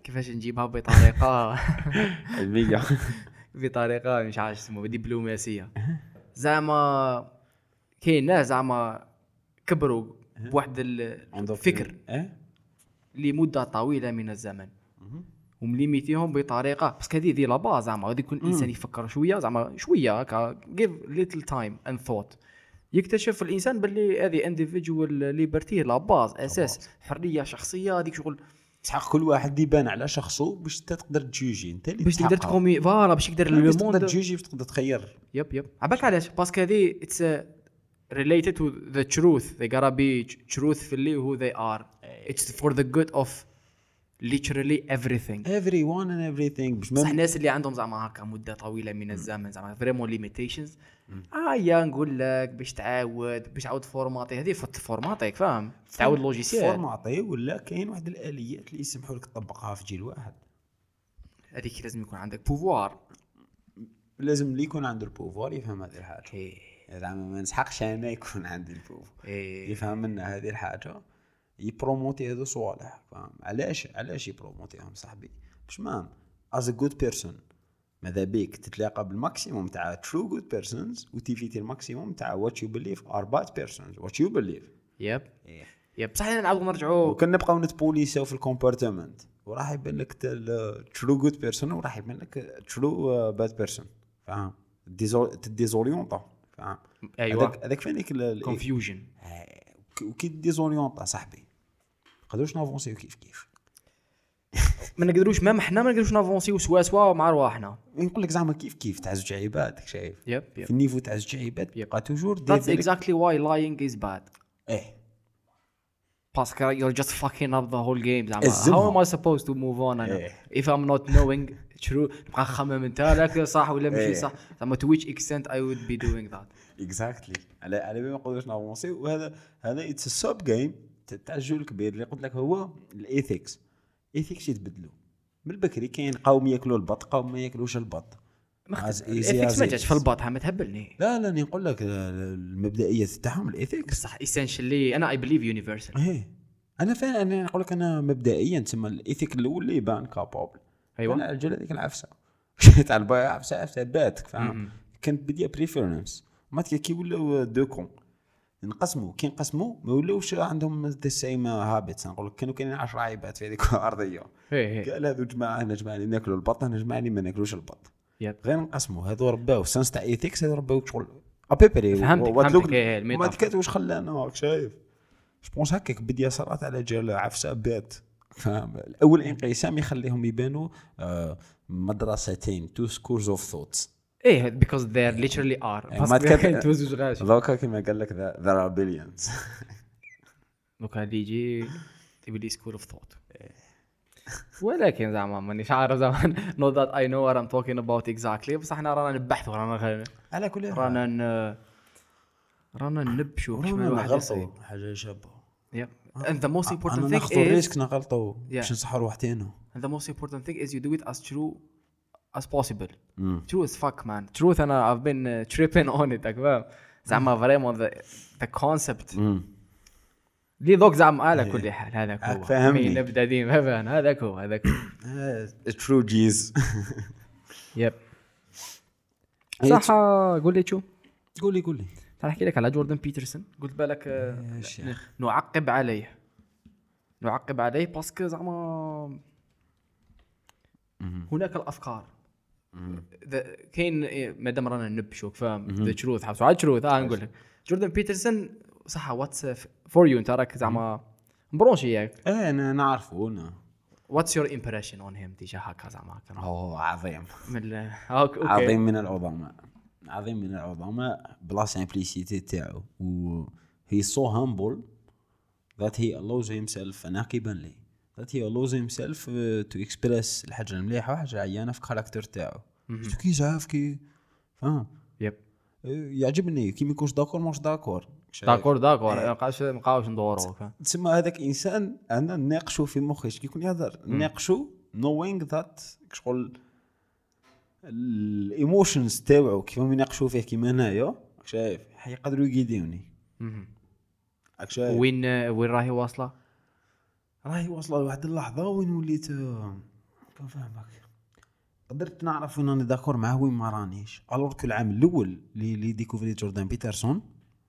Speaker 2: كيفاش نجيبها بطريقه
Speaker 1: علمية
Speaker 2: بطريقه مش عارف اسمه دبلوماسيه زعما كاين ناس زعما كبروا بواحد
Speaker 1: عندهم
Speaker 2: الفكر
Speaker 1: إيه؟
Speaker 2: لمده طويله من الزمن
Speaker 1: مهم.
Speaker 2: ومليميتيهم بطريقه باسكو هذه هذه لا باز زعما غادي يكون الانسان يفكر شويه زعما شويه هكا جيف ليتل تايم اند ثوت يكتشف الانسان باللي هذه انديفيدوال ليبرتي لا باز اساس حريه شخصيه هذيك شغل
Speaker 1: تحق كل واحد يبان على شخصه باش انت تقدر تجوجي انت اللي
Speaker 2: باش تقدر
Speaker 1: تحقق.
Speaker 2: تكومي فوالا باش يقدر
Speaker 1: باش
Speaker 2: لو
Speaker 1: تقدر
Speaker 2: موند
Speaker 1: تجوجي باش تقدر تخير
Speaker 2: يب يب عباك علاش باسكو هذه اتس related to the truth they gotta be truthfully who they are it's for the good of literally everything
Speaker 1: every one and everything باش
Speaker 2: بصح
Speaker 1: ما
Speaker 2: الناس اللي عندهم زعما هكا مده طويله من الزمن زعما فريمون ليميتيشنز اه يا نقول لك باش تعاود باش تعاود فورماطي هذه فت فورماطيك فاهم تعاود لوجيسيال
Speaker 1: فورماطي ولا كاين واحد الاليات اللي يسمحوا لك تطبقها في جيل واحد
Speaker 2: هذيك لازم يكون عندك بوفوار
Speaker 1: لازم اللي يكون عنده البوفوار يفهم هذه الحاجه
Speaker 2: اوكي
Speaker 1: زعما ما نسحقش انا يكون عندي البوفوار
Speaker 2: ايه
Speaker 1: يفهم منا هذه الحاجه يبروموتي هذو صوالح فاهم علاش علاش يبروموتيهم صاحبي باش ما از جود بيرسون ماذا بيك تتلاقى بالماكسيموم تاع ترو جود بيرسونز وتيفيتي الماكسيموم تاع وات يو بليف ار باد بيرسونز وات يو بليف
Speaker 2: يب يب بصح Eh. نعاودو نرجعوا
Speaker 1: وكان نبقاو نتبوليسيو في الكومبارتمنت وراح يبان لك ترو جود بيرسون وراح يبان لك ترو باد بيرسون فاهم ديزو- تديزوريونطا فاهم
Speaker 2: ايوه
Speaker 1: هذاك- هذاك فين هيك ال- ال-
Speaker 2: كونفيوجن
Speaker 1: آه، وك- وكي ديزوريونطا صاحبي ما نقدروش نافونسيو كيف كيف
Speaker 2: ما نقدروش مام حنا ما نقدروش نافونسيو سوا سوا مع رواحنا
Speaker 1: نقول لك زعما كيف كيف تاع زوج عباد شايف
Speaker 2: يب
Speaker 1: في النيفو تاع زوج عباد يبقى توجور دير
Speaker 2: That's
Speaker 1: بالك- إيه.
Speaker 2: exactly why lying is bad.
Speaker 1: ايه
Speaker 2: Pascal, you're just fucking up the whole game زعما
Speaker 1: الزمها.
Speaker 2: how am I supposed to move on انا
Speaker 1: إيه.
Speaker 2: if I'm not knowing true نبقى نخمم انت هذاك صح ولا
Speaker 1: إيه.
Speaker 2: ماشي صح زعما to which extent I would be doing that
Speaker 1: اكزاكتلي على على بالي ما نقدرش نافونسي وهذا هذا اتس سب جيم تاع الجو الكبير اللي قلت لك هو الايثيكس الايثيكس يتبدلوا من بكري كاين قوم ياكلوا البط قوم ما ياكلوش البط
Speaker 2: ما
Speaker 1: As
Speaker 2: خدت-
Speaker 1: easy
Speaker 2: الإيثيكس ما
Speaker 1: as it
Speaker 2: جاتش
Speaker 1: is.
Speaker 2: في الباطحه ما تهبلني
Speaker 1: لا لا راني نقول لك المبدئيه تاعهم الايثيكس
Speaker 2: بصح essentially انا I believe universal
Speaker 1: ايه انا فاهم انا نقول لك انا مبدئيا تسمى الايثيك الاول اللي يبان كابوبل
Speaker 2: أيوة.
Speaker 1: انا الجل هذيك العفسه تاع البايع عفسه عفسه باتك فاهم كانت بديا بريفيرنس ما كي ولاو دو كون نقسموا كي نقسموا ما ولاوش عندهم ذا سيم هابيتس نقول لك كانوا كاينين 10 عيبات في هذيك الارضيه
Speaker 2: ايه
Speaker 1: قال هذو جماعه هنا جماعه اللي ناكلوا البط هنا جماعه اللي ما ناكلوش البط
Speaker 2: يب
Speaker 1: غير نقسموا هذو رباو سنس تاع ايثيكس هذو رباو شغل ابيبري
Speaker 2: فهمتك، فهمتك، إيه، الميتا.
Speaker 1: ما تكات واش خلانا راك شايف جوبونس هكاك بدي صرات على جال عفسه بات فاهم الاول انقسام يخليهم يبانوا آه، مدرستين تو سكولز اوف ثوتس
Speaker 2: ايه because there literally are
Speaker 1: إيه،
Speaker 2: بس
Speaker 1: ما تكاد-
Speaker 2: كان توزوج غاشي
Speaker 1: ذوكا كيما قال لك ذير ار بليونز
Speaker 2: دوك هذه يجي تبي لي سكول اوف ثوت
Speaker 1: إيه.
Speaker 2: ولكن زعما مانيش عارف زعما نو ذات اي نو وات ام توكينغ اباوت اكزاكتلي بصح حنا رانا نبحثوا رانا غ-
Speaker 1: على كل حال
Speaker 2: رانا ن... رانا نبشوا كيما
Speaker 1: رانا آه.
Speaker 2: الواحد
Speaker 1: نغلطوا
Speaker 2: يصيب
Speaker 1: حاجه شابه
Speaker 2: يب اند ذا موست
Speaker 1: انا
Speaker 2: امبورتنت
Speaker 1: ناخذ
Speaker 2: ثينغ از
Speaker 1: الريسك نغلطوا باش نصحوا روحتينا
Speaker 2: ذا موست امبورتنت ثينغ از يو دو ات از ترو as possible
Speaker 1: Mm.
Speaker 2: ترو از فاك مان تروث انا I've been uh, tripping on it فاهم زعما فريمون ذا كونسبت
Speaker 1: Mm.
Speaker 2: لي ذوك زعما على كل حال هذاك هو
Speaker 1: إيه. آه، فهمني.
Speaker 2: مين نبدا ديما فاهم؟ هذاك هو هذاك هو
Speaker 1: ترو جيز
Speaker 2: يب
Speaker 1: إيه،
Speaker 2: صح قول لي شو
Speaker 1: قولي قولي
Speaker 2: نحكي لك على جوردن بيترسون قلت بالك آه،
Speaker 1: يا شيخ
Speaker 2: نعقب عليه نعقب عليه باسكو زعما هناك الافكار ذا- كاين إيه، مادام رانا نبشوك فاهم ذا تروث حبسوا على تروث اه نقول لك جوردن بيترسون صح uh, واتس فور يو انت راك زعما مبرونشي ياك
Speaker 1: ايه انا نعرفه انا
Speaker 2: واتس يور امبريشن اون هيم تجاه هكا زعما هكا.
Speaker 1: اوه عظيم
Speaker 2: من ال- آه، أوك- اوكي
Speaker 1: عظيم من العظماء عظيم من العظماء بلا سامبليسيتي تاعو و هي سو هامبل ذات هي allows himself انا كيبان لي ذات هي allows himself آه، تو اكسبريس الحاجه المليحه وحاجه عيانه في الكاركتر تاعو شتو كي زعاف كي فاهم
Speaker 2: يب
Speaker 1: إيه، يعجبني كي ما يكونش داكور ماش داكور شايف؟
Speaker 2: داكور داكور ما نبقاوش- ما نبقاوش ندورو فاهم
Speaker 1: تسمى هذاك انسان انا ناقشو في مخي شكي يكون يهضر ناقشو نوينغ ذات شغل الايموشنز تاوعو كيف ما يناقشو فيه كيما هنايا راك شايف يقدروا يقيدوني
Speaker 2: مهم.
Speaker 1: راك شايف
Speaker 2: وين وين راهي واصله؟
Speaker 1: راهي واصله لواحد اللحظه وين وليت آه، كون فاهمك قدرت نعرف وين راني داكور معاه وين ما رانيش الوغ كو العام الاول اللي اللي ديكوفري جوردان بيترسون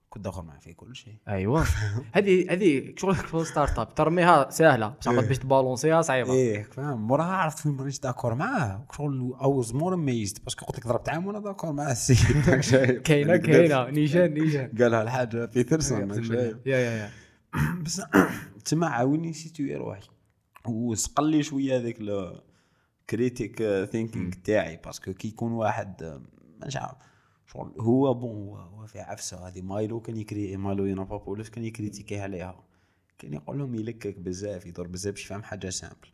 Speaker 1: كنت داكور معاه في كل شيء
Speaker 2: ايوه هذه هذه شغل شغل ستارت اب ترميها سهله بصح عقب باش تبالونسيها صعيبه
Speaker 1: ايه فاهم موراها عرفت وين مانيش داكور معاه شغل اي واز مور اميزد باسكو قلت لك ضربت عام وانا داكور مع السيد راك شايف
Speaker 2: كاينه
Speaker 1: قدرت-
Speaker 2: كاينه نيشان نيشان
Speaker 1: قالها الحاجه في ترسون راك شايف
Speaker 2: يا يا يا
Speaker 1: بس تما عاوني سيتوي روحي وسقل لي شويه هذاك كريتيك ثينكينغ تاعي باسكو كي يكون واحد آه، مانيش عارف شغل هو بون هو, هو في عفسه هذه مايلو كان يكري مايلو ينابابولوس كان يكريتيكيه عليها كان يقول لهم يلكك بزاف يدور بزاف باش يفهم حاجه سامبل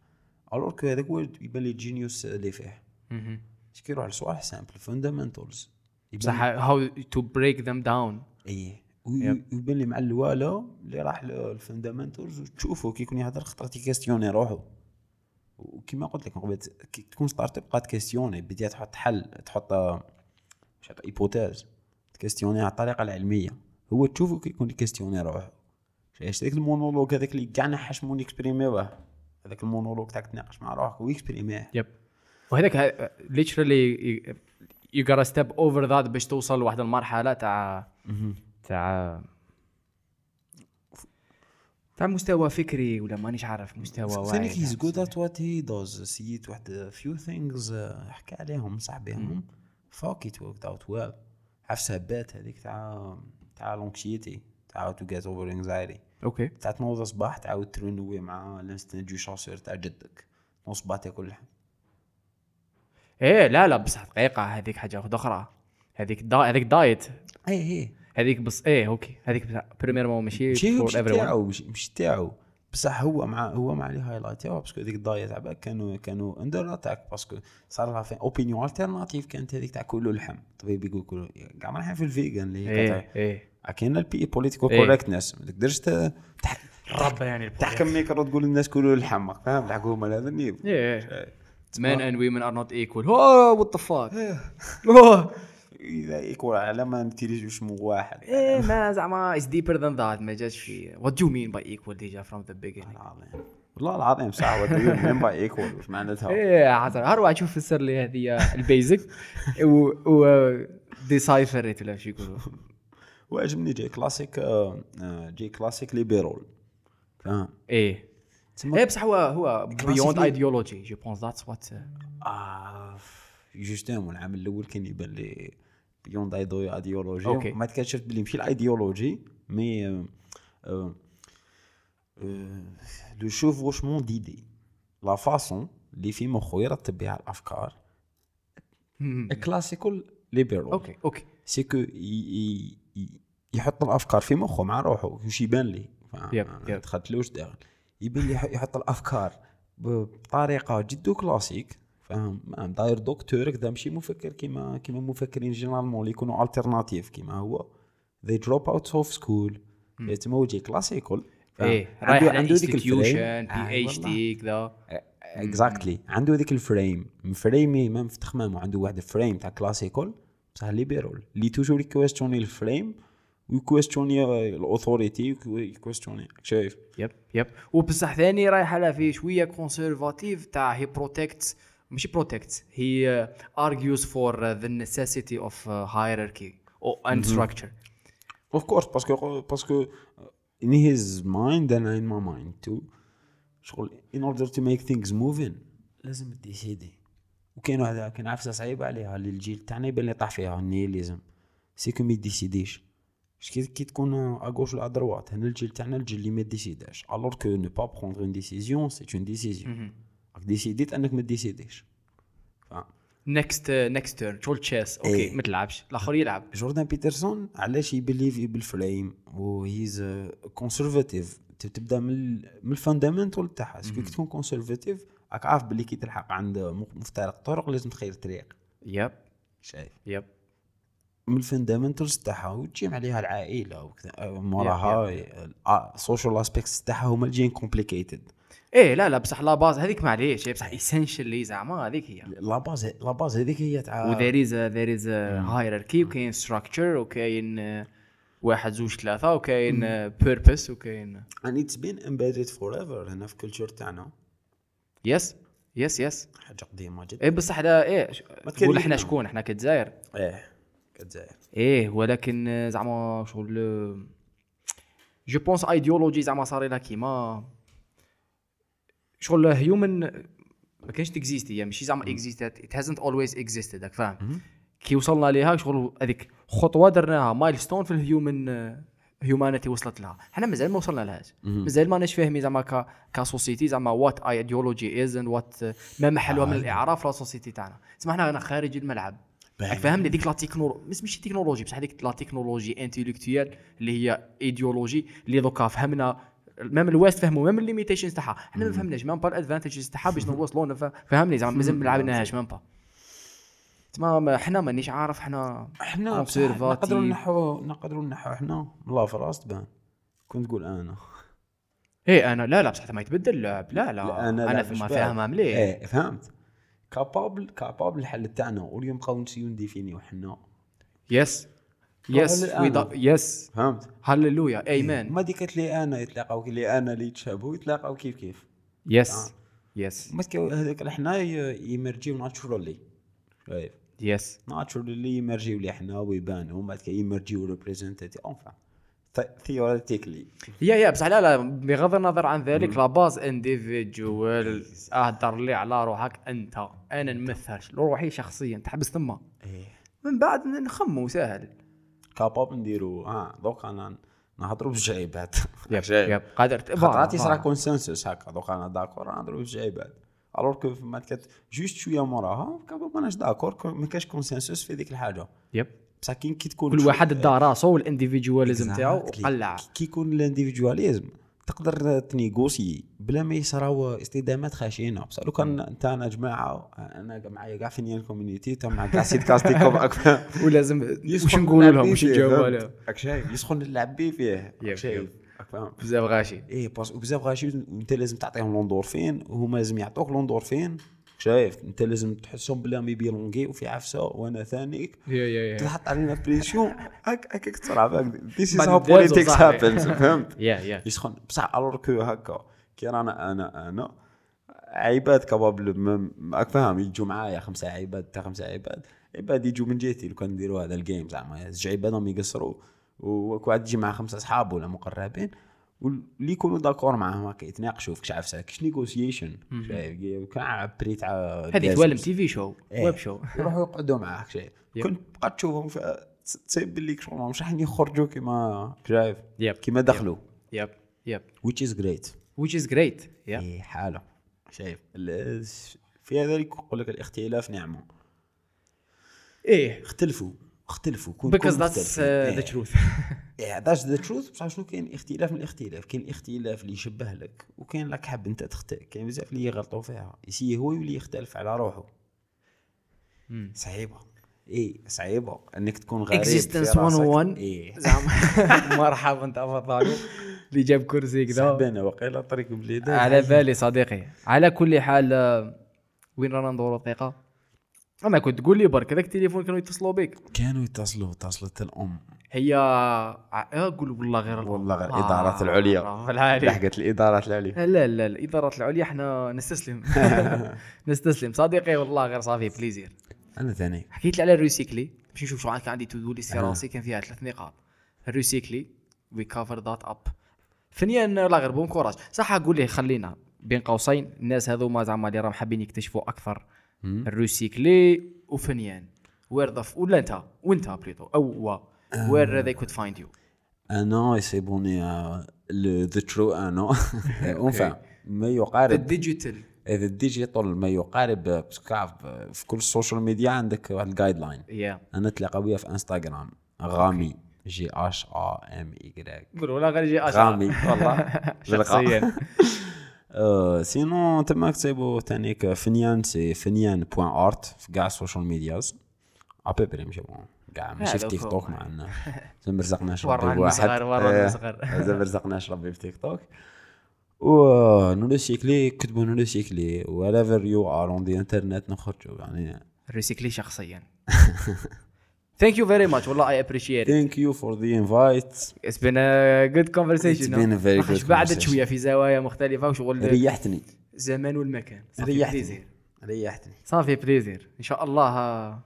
Speaker 1: الوغ كو هذاك هو يبان لي الجينيوس اللي فيه
Speaker 2: مهم.
Speaker 1: باش كيروح لصوالح سامبل فوندامنتالز
Speaker 2: بصح هاو تو بريك ذم داون
Speaker 1: ايه وي- ويبان لي مع الوالا اللي راح للفندامنتالز وتشوفه كي يكون يهضر خطرة يكاستيوني روحو وكما قلت لك من قبل كي تكون ستارت اب قاد كاستيوني بديت تحط حل تحط آه، مش عارف ايبوتاز تكاستيوني على الطريقه العلميه هو تشوفه كي يكون يكاستيوني روحو شايف هذاك المونولوج هذاك اللي كاع نحاش مون اكسبريميوه هذاك المونولوج تاعك تناقش مع روحك ويكسبريميه
Speaker 2: يب وهذاك ليترالي يو غاتا ستيب اوفر ذات باش توصل لواحد المرحله تاع تاع تاع مستوى فكري ولا مانيش عارف مستوى واعي
Speaker 1: ثاني كي هيز جود ات وات هي دوز سيت واحد فيو ثينجز حكى آه، عليهم صح بهم فوك ات وركت اوت ويل عفسها بات هذيك تاع تاع لونكشيتي تاع تو جيت اوفر انكزايتي
Speaker 2: اوكي
Speaker 1: تاع تنوض صباح تعاود ترينوي مع الانستان دو شاسور تاع جدك تنوض صباح تاكل لحم
Speaker 2: إيه، ايه لا لا بصح دقيقه هذيك إيه، حاجه واحده اخرى هذيك دا... هذيك دايت
Speaker 1: اي اي
Speaker 4: هذيك بس ايه اوكي هذيك بتاع بريميرمون ماشي
Speaker 1: ماشي هو
Speaker 4: فور
Speaker 1: مش
Speaker 4: ايفري ون
Speaker 1: تاعو مش, مش تاعو بصح هو مع هو مع لي هايلايت تاعو باسكو هذيك الضايه تاع باك كانوا كانوا اندر اتاك باسكو صار لها اوبينيون التيرناتيف كانت هذيك تاع كله لحم طبيب يقول كله كاع ما في الفيجن
Speaker 2: إيه.
Speaker 1: اللي هي
Speaker 4: ايه ايه
Speaker 1: كاع- كاين البي بوليتيكو
Speaker 4: إيه.
Speaker 1: كوريكتنس ما تقدرش ت- تح-
Speaker 4: ربا يعني
Speaker 1: تحكم ميكرو تقول للناس كله لحم فاهم تحكم هما هذا النيفو
Speaker 2: إيه،
Speaker 4: ايه
Speaker 2: مان اند ويمن ار نوت ايكول اوه وات ذا فاك
Speaker 4: اوه
Speaker 1: اذا يكون على ما نتيجوش من واحد
Speaker 2: ايه ما زعما اتس ديبر ذان ذات ما جاتش في وات يو مين باي ايكول ديجا فروم ذا بيجينينغ
Speaker 1: العظيم والله العظيم صح وين باي ايكول واش
Speaker 2: إيه.
Speaker 1: معناتها
Speaker 4: ايه عزر هر واحد يشوف فسر لي
Speaker 2: آه،
Speaker 4: هذه البيزك و و
Speaker 2: ديسايفريت ولا شو يقولوا
Speaker 1: وعجبني جاي كلاسيك آه، آه، جاي كلاسيك ليبرال فاهم
Speaker 4: ايه
Speaker 1: تسمى
Speaker 2: ايه بصح هو هو بيوند
Speaker 1: Classically-
Speaker 2: ايديولوجي جو بونس ذاتس وات
Speaker 1: آه جوستومون العام الاول كان يبان لي بيوند ايديولوجي
Speaker 2: أوكي.
Speaker 1: ما تكتشفت بلي ماشي آه، الايديولوجي مي آه، لو شوفوشمون ديدي لا فاسون اللي في مخو يرتب بها الافكار كلاسيكال ليبرال
Speaker 2: اوكي اوكي
Speaker 1: سي كو يحط الافكار في مخه مع روحه واش يبان لي فاهم؟
Speaker 4: يب،
Speaker 1: ما
Speaker 4: يب.
Speaker 1: دخلتلوش داخل يبان لي يح- يحط الافكار ب- بطريقه جدو كلاسيك فاهم فاهم داير دكتور كذا ماشي مفكر كيما كيما مفكرين جينيرالمون اللي يكونوا الترناتيف كيما هو they drop out of school إيه، تما هو يجي كلاسيكال فاهم؟
Speaker 2: إيه،
Speaker 4: ايه
Speaker 1: عنده-
Speaker 4: رايح على
Speaker 1: عنده ذيك الفريم.
Speaker 4: انستيتيوشن
Speaker 1: آه،
Speaker 4: بي اتش
Speaker 1: والله.
Speaker 4: دي كذا
Speaker 1: اكزاكتلي عنده هذيك الفريم فريمي ما مفتخ مامو عنده واحد فريم تاع كلاسيكول بصح ليبرال اللي توجور يكويستيوني الفريم ويكويستيوني الاوثوريتي ويكويستيوني شايف
Speaker 2: يب يب وبصح ثاني رايح على في شويه كونسيرفاتيف تاع هي بروتكت ماشي uh, بروتكت هي ارجيوز فور ذا نيسيسيتي اوف هايراركي او اند ستراكشر
Speaker 1: اوف كورس باسكو باسكو in his mind and in my mind too شغل in order to make things moving لازم ديسيدي وكاين واحد كاين عفسه صعيبه عليها اللي الجيل تاعنا يبان لي طاح فيها النيليزم سي كو ما يديسيديش باش كي كي تكون اغوش ولا ادروات هنا الجيل تاعنا الجيل اللي ما ديسيداش الور كو نو با بروندر اون ديسيزيون سي اون ديسيزيون راك ديسيديت انك ما ديسيديش فاهم
Speaker 2: نكست نكست تيرن شغل تشيس اوكي
Speaker 1: إيه.
Speaker 2: ما تلعبش الاخر يلعب
Speaker 1: جوردان بيترسون علاش يبليفي بالفريم وهيز كونسرفاتيف تبدا من ال- من الفاندامنتال تاعها سكو كي تكون كونسرفاتيف راك عارف باللي كي تلحق عند مخ- مفترق طرق لازم تخير طريق
Speaker 2: يب
Speaker 1: شايف
Speaker 2: يب
Speaker 1: من الفاندامنتالز تاعها وتجمع عليها العائله وكذا آه، موراها آه، السوشيال اسبيكتس تاعها هما اللي جايين كومبليكيتد
Speaker 2: ايه لا لا بصح لا باز هذيك معليش إيه، بصح اسينشلي زعما هذيك هي
Speaker 1: لا باز لا باز هذيك هي تاع
Speaker 2: وذير از ذير از هايراركي وكاين ستراكشر وكاين آه، واحد زوج ثلاثه وكاين بيربس وكاين آه.
Speaker 1: and it's been embedded forever هنا في كلتشر تاعنا
Speaker 2: يس يس يس
Speaker 1: حاجه قديمه جدا
Speaker 2: ايه بصح هذا ايه ش- تقول
Speaker 1: تكلمنا.
Speaker 2: احنا شكون احنا كتزاير
Speaker 1: ايه كتزاير
Speaker 2: ايه ولكن آه، زعما شغل جو بونس ايديولوجي زعما صار لها كيما شغل هيومن ما كانش تكزيستي يعني ماشي زعما اكزيستات ات هازنت اولويز اكزيستد راك فاهم كي وصلنا ليها شغل هذيك خطوه درناها مايلستون في الهيومن هيومانيتي وصلت لها حنا مازال ما وصلنا لهاش مازال ما ناش فاهمين زعما ك كسوسيتي زعما وات ايديولوجي از اند وات ما محلها من الاعراف لا سوسيتي تاعنا تسمى حنا رانا خارج الملعب راك فاهمني يعني ديك لا تكنولوجي ماشي تكنولوجي بصح هذيك لا تكنولوجي انتيليكتويال اللي هي ايديولوجي اللي دوكا فهمنا ميم الويست فهموا ميم الليميتيشنز تاعها حنا ما فهمناش ميم با الادفانتجز تاعها باش نوصلوا لنا فهمني زعما مازال ما لعبناهاش ميم با تما ما- حنا مانيش عارف حنا
Speaker 1: احنا بصح نقدروا
Speaker 2: conservative.
Speaker 1: نحو نقدروا نحو احنا من لا فراس تبان كنت تقول انا
Speaker 2: ايه انا لا لا بصح ما يتبدل اللعب لا لا
Speaker 1: أنا
Speaker 2: إيه. انا
Speaker 1: لعب
Speaker 2: فما
Speaker 1: شباب.
Speaker 2: فاهمها مليح
Speaker 1: ايه فهمت كابابل كابابل الحل تاعنا واليوم بقاو نسيو نديفينيو حنا
Speaker 2: يس يس
Speaker 1: قال الآن.
Speaker 2: يس
Speaker 1: فهمت
Speaker 2: هللويا ايمان
Speaker 1: ما دي قالت لي انا يتلاقاو كي لي انا اللي يتشابهوا يتلاقاو كيف كيف
Speaker 2: يس يس
Speaker 1: ما تكاو- هذاك حنا يمرجيو ناتشورالي شايف
Speaker 2: يس
Speaker 1: ناتشورالي يمرجيو لي حنا ويبانوا بعد كي يمرجيو ريبريزنتيتي اونفا ثيوريتيكلي
Speaker 2: يا يا بصح لا لا بغض النظر عن ذلك لا باز انديفيدوال اهدر لي على روحك انت انا نمثلش روحي شخصيا تحبس تما
Speaker 1: إيه.
Speaker 2: من بعد نخمو ساهل
Speaker 1: كابابل نديرو اه دوك انا نهضروا بالجعيبات
Speaker 2: يب يب قادر ت-
Speaker 1: خاطرات
Speaker 2: فوالا،
Speaker 1: يصرى كونسنسوس هكا دوك انا داكور انا نديرو بالجعيبات الوغ كو ما كانت جوست شويه موراها كابا ماناش داكور كو- ما كاش كونسنسوس في ذيك الحاجه
Speaker 2: يب
Speaker 1: بصح كي كي تكون
Speaker 2: كل
Speaker 1: شوي-
Speaker 2: واحد دا راسو والانديفيدواليزم تاعو
Speaker 1: Exactly.
Speaker 2: وقلع
Speaker 1: كي- كي يكون الانديفيدواليزم تقدر تنيغوسي بلا ما يصراو استدامات خشينه بصح لو كان انت انا جماعه انا معايا كاع فينيان كوميونيتي تا مع كاع سيت كاستيكوم اكثر
Speaker 2: ولازم واش
Speaker 1: يسخن
Speaker 2: نقولوا
Speaker 1: نلعب
Speaker 2: لهم
Speaker 1: بيه
Speaker 2: واش
Speaker 1: فيه،
Speaker 2: نجاوبوا
Speaker 1: فهمت؟
Speaker 2: عليهم
Speaker 1: راك شايف يسخن نلعب بيه فيه راك
Speaker 3: يب،
Speaker 1: شايف
Speaker 3: يب.
Speaker 1: راك فاهم
Speaker 3: بزاف غاشي
Speaker 1: ايه باسكو بزاف غاشي انت لازم تعطيهم لوندورفين وهما لازم يعطوك لوندورفين شايف انت لازم تحسهم بلا مي بيلونغي وفي عفسه وانا ثانيك
Speaker 2: يا يا يا
Speaker 1: تحط علينا بريسيون هك هك تصرع ذيس از
Speaker 2: بعد
Speaker 1: هاو
Speaker 2: الدوازو
Speaker 1: بوليتيكس
Speaker 2: صاحبي.
Speaker 1: هابنز فهمت
Speaker 2: يا يا
Speaker 1: يسخن بصح الور كو هكا كي رانا انا انا عباد كبابل مم- راك فاهم يجوا معايا خمسه عباد تاع خمسه عباد عباد يجوا من جهتي لو كان نديروا هذا الجيم زعما زوج عباد راهم يقصروا وكواحد يجي مع خمسه اصحاب ولا مقربين واللي يكونوا داكور معاهم هكا يتناقشوا في كشعف كش نيغوسيشن كاع بري تاع
Speaker 2: هذه
Speaker 1: جاز
Speaker 2: توالم تي في شو
Speaker 1: إيه.
Speaker 2: ويب شو
Speaker 1: يروحوا يقعدوا معاك شيء
Speaker 2: يب.
Speaker 1: كنت بقى تشوفهم ف- تصيب باللي شغل مش راح يخرجوا كيما شايف
Speaker 2: يب.
Speaker 1: كيما دخلوا
Speaker 2: يب يب
Speaker 1: which is great
Speaker 2: which إيه، is great يا
Speaker 1: اي حاله شايف ال- في هذا اللي يقول لك الاختلاف نعمه
Speaker 2: ايه
Speaker 1: اختلفوا اختلفوا كون إيه.
Speaker 2: because that's uh, the truth
Speaker 1: ذاتس ذا تروث بصح شنو كاين اختلاف من الاختلاف كاين الاختلاف اللي يشبه لك وكاين راك حاب انت تختار كاين بزاف اللي يغلطوا فيها يسي هو يولي يختلف على روحه
Speaker 2: مم.
Speaker 1: صعيبه اي صعيبه انك إيه، تكون غريب في
Speaker 2: Existence
Speaker 1: راسك.
Speaker 2: 101.
Speaker 1: ايه
Speaker 2: زعما مرحبا تفضلوا اللي جاب كرسي
Speaker 1: صعب
Speaker 2: كذا
Speaker 1: انا وقيلا طريق بليده
Speaker 2: على بالي صديقي على كل حال آه، وين رانا ندورو دقيقه اما كنت تقول لي برك هذاك التليفون كانوا يتصلوا بك
Speaker 1: كانوا يتصلوا اتصلت الام
Speaker 2: هي آه، قول والله غير
Speaker 1: والله غير
Speaker 2: آه.
Speaker 1: الادارات آه، العليا.
Speaker 2: في العالي
Speaker 1: لحقت الادارات العليا
Speaker 2: لا لا الادارات العليا احنا نستسلم نستسلم صديقي والله غير صافي بليزير
Speaker 1: انا ثاني
Speaker 2: حكيت لي على الريسيكلي باش نشوف شو عندك عندي تو دو ليست في
Speaker 1: آه.
Speaker 2: راسي كان فيها ثلاث نقاط الريسيكلي وي كافر ذات اب ثانيا لا غير بون كوراج صح اقول ليه خلينا بين قوسين الناس هذوما زعما اللي راهم حابين يكتشفوا اكثر
Speaker 1: مم.
Speaker 2: الريسيكلي وفنيان وير ذا ولا انت وانت بليتو او هو وير ذي كود فايند يو
Speaker 1: انا يصيبوني ذا ترو انا اونفا ما يقارب
Speaker 2: الديجيتال
Speaker 1: اذا الديجيتال ما يقارب باسكو عارف في كل السوشيال ميديا عندك واحد الجايد لاين
Speaker 2: يا
Speaker 1: انا تلاقى بيها في انستغرام غامي جي اش ا ام اي
Speaker 2: قولوا لا غير جي اش
Speaker 1: غامي والله
Speaker 2: شخصيا
Speaker 1: آه، سينو تما كتبوا تانيك فنيان سي فنيان بوان ارت في كاع السوشيال ميدياز ابيبري ماشي بون كاع ماشي في
Speaker 2: هذا
Speaker 1: تيك
Speaker 2: فوق.
Speaker 1: توك ما عندنا زعما رزقناش
Speaker 2: ورا
Speaker 1: ربي
Speaker 2: عن
Speaker 1: بواحد
Speaker 2: صغار، ورا عن
Speaker 1: آه،
Speaker 2: صغار.
Speaker 1: زعما رزقناش ربي في تيك توك و نولو سيكلي كتبوا نولو سيكلي ولا يو ار اون دي انترنت نخرجوا يعني
Speaker 2: الريسيكلي شخصيا ثانك يو فيري ماتش والله اي ابريشيت
Speaker 1: ثانك يو فور ذا انفايت
Speaker 2: اتس بين ا جود
Speaker 1: It's
Speaker 2: كونفرسيشن
Speaker 1: been a very good
Speaker 2: بعدت
Speaker 1: conversation.
Speaker 2: شويه في زوايا مختلفه وشغل
Speaker 1: ريحتني
Speaker 2: الزمان والمكان صافي بليزير
Speaker 1: ريحتني ريحتني
Speaker 2: صافي بليزير ان شاء الله آه،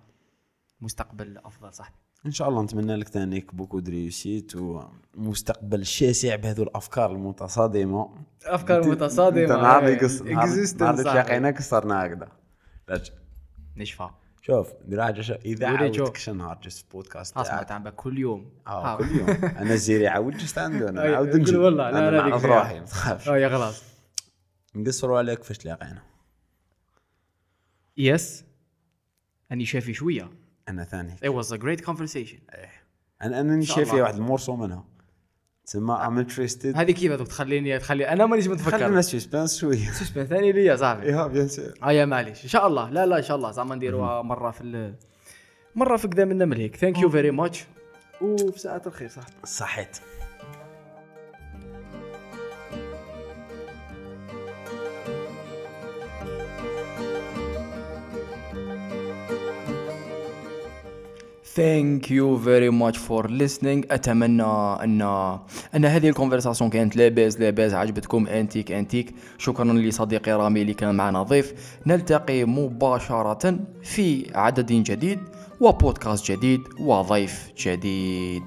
Speaker 2: مستقبل افضل صاحبي
Speaker 1: ان شاء الله نتمنى لك تانيك بوكو دريوسيت ومستقبل شاسع بهذو الافكار المتصادمه
Speaker 2: افكار
Speaker 1: انت
Speaker 2: متصادمه
Speaker 1: نهار اللي قص- نهار- نهار اللي
Speaker 2: اكزيستنس
Speaker 1: تلاقينا كسرنا هكذا لا، ش-
Speaker 2: نشفى
Speaker 1: نعم. شوف دير حاجه شا- اذا
Speaker 2: قولي شوف.
Speaker 1: عاودتك شي نهار جست بودكاست
Speaker 2: اسمع
Speaker 1: تاعك
Speaker 2: تعب كل يوم
Speaker 1: اه كل يوم انا الزيري عاود جست عنده انا
Speaker 2: أي-
Speaker 1: نعاود
Speaker 2: قول
Speaker 1: نجي
Speaker 2: والله، لا،
Speaker 1: انا
Speaker 2: لا،
Speaker 1: نعرف
Speaker 2: ديك فيها.
Speaker 1: روحي ما تخافش
Speaker 2: اه يا خلاص
Speaker 1: نقصروا عليك فاش تلاقينا
Speaker 2: يس اني شافي شويه
Speaker 1: انا ثاني
Speaker 2: it was a great conversation
Speaker 1: انا انا
Speaker 2: شاء
Speaker 1: شايف
Speaker 2: الله.
Speaker 1: فيها واحد المورسو منها تسمى ام انتريستد
Speaker 2: هذه كيف هذوك تخليني تخلي انا مانيش
Speaker 1: خلينا
Speaker 2: متفكر
Speaker 1: سسبانس شويه
Speaker 2: سسبن ثاني ليا صاحبي
Speaker 1: ايها بيان سور
Speaker 3: آه،
Speaker 2: اه يا معليش ان شاء الله لا لا ان شاء الله زعما نديروها مره في ال- مره في كذا منا من هيك ثانك يو فيري ماتش وفي ساعه الخير صح
Speaker 1: صحيت
Speaker 3: ثانك يو فيري ماتش فور listening اتمنى ان ان هذه الكونفرساسيون كانت لاباس لاباس عجبتكم انتيك انتيك شكرا لصديقي رامي اللي كان معنا ضيف نلتقي مباشره في عدد جديد وبودكاست جديد وضيف جديد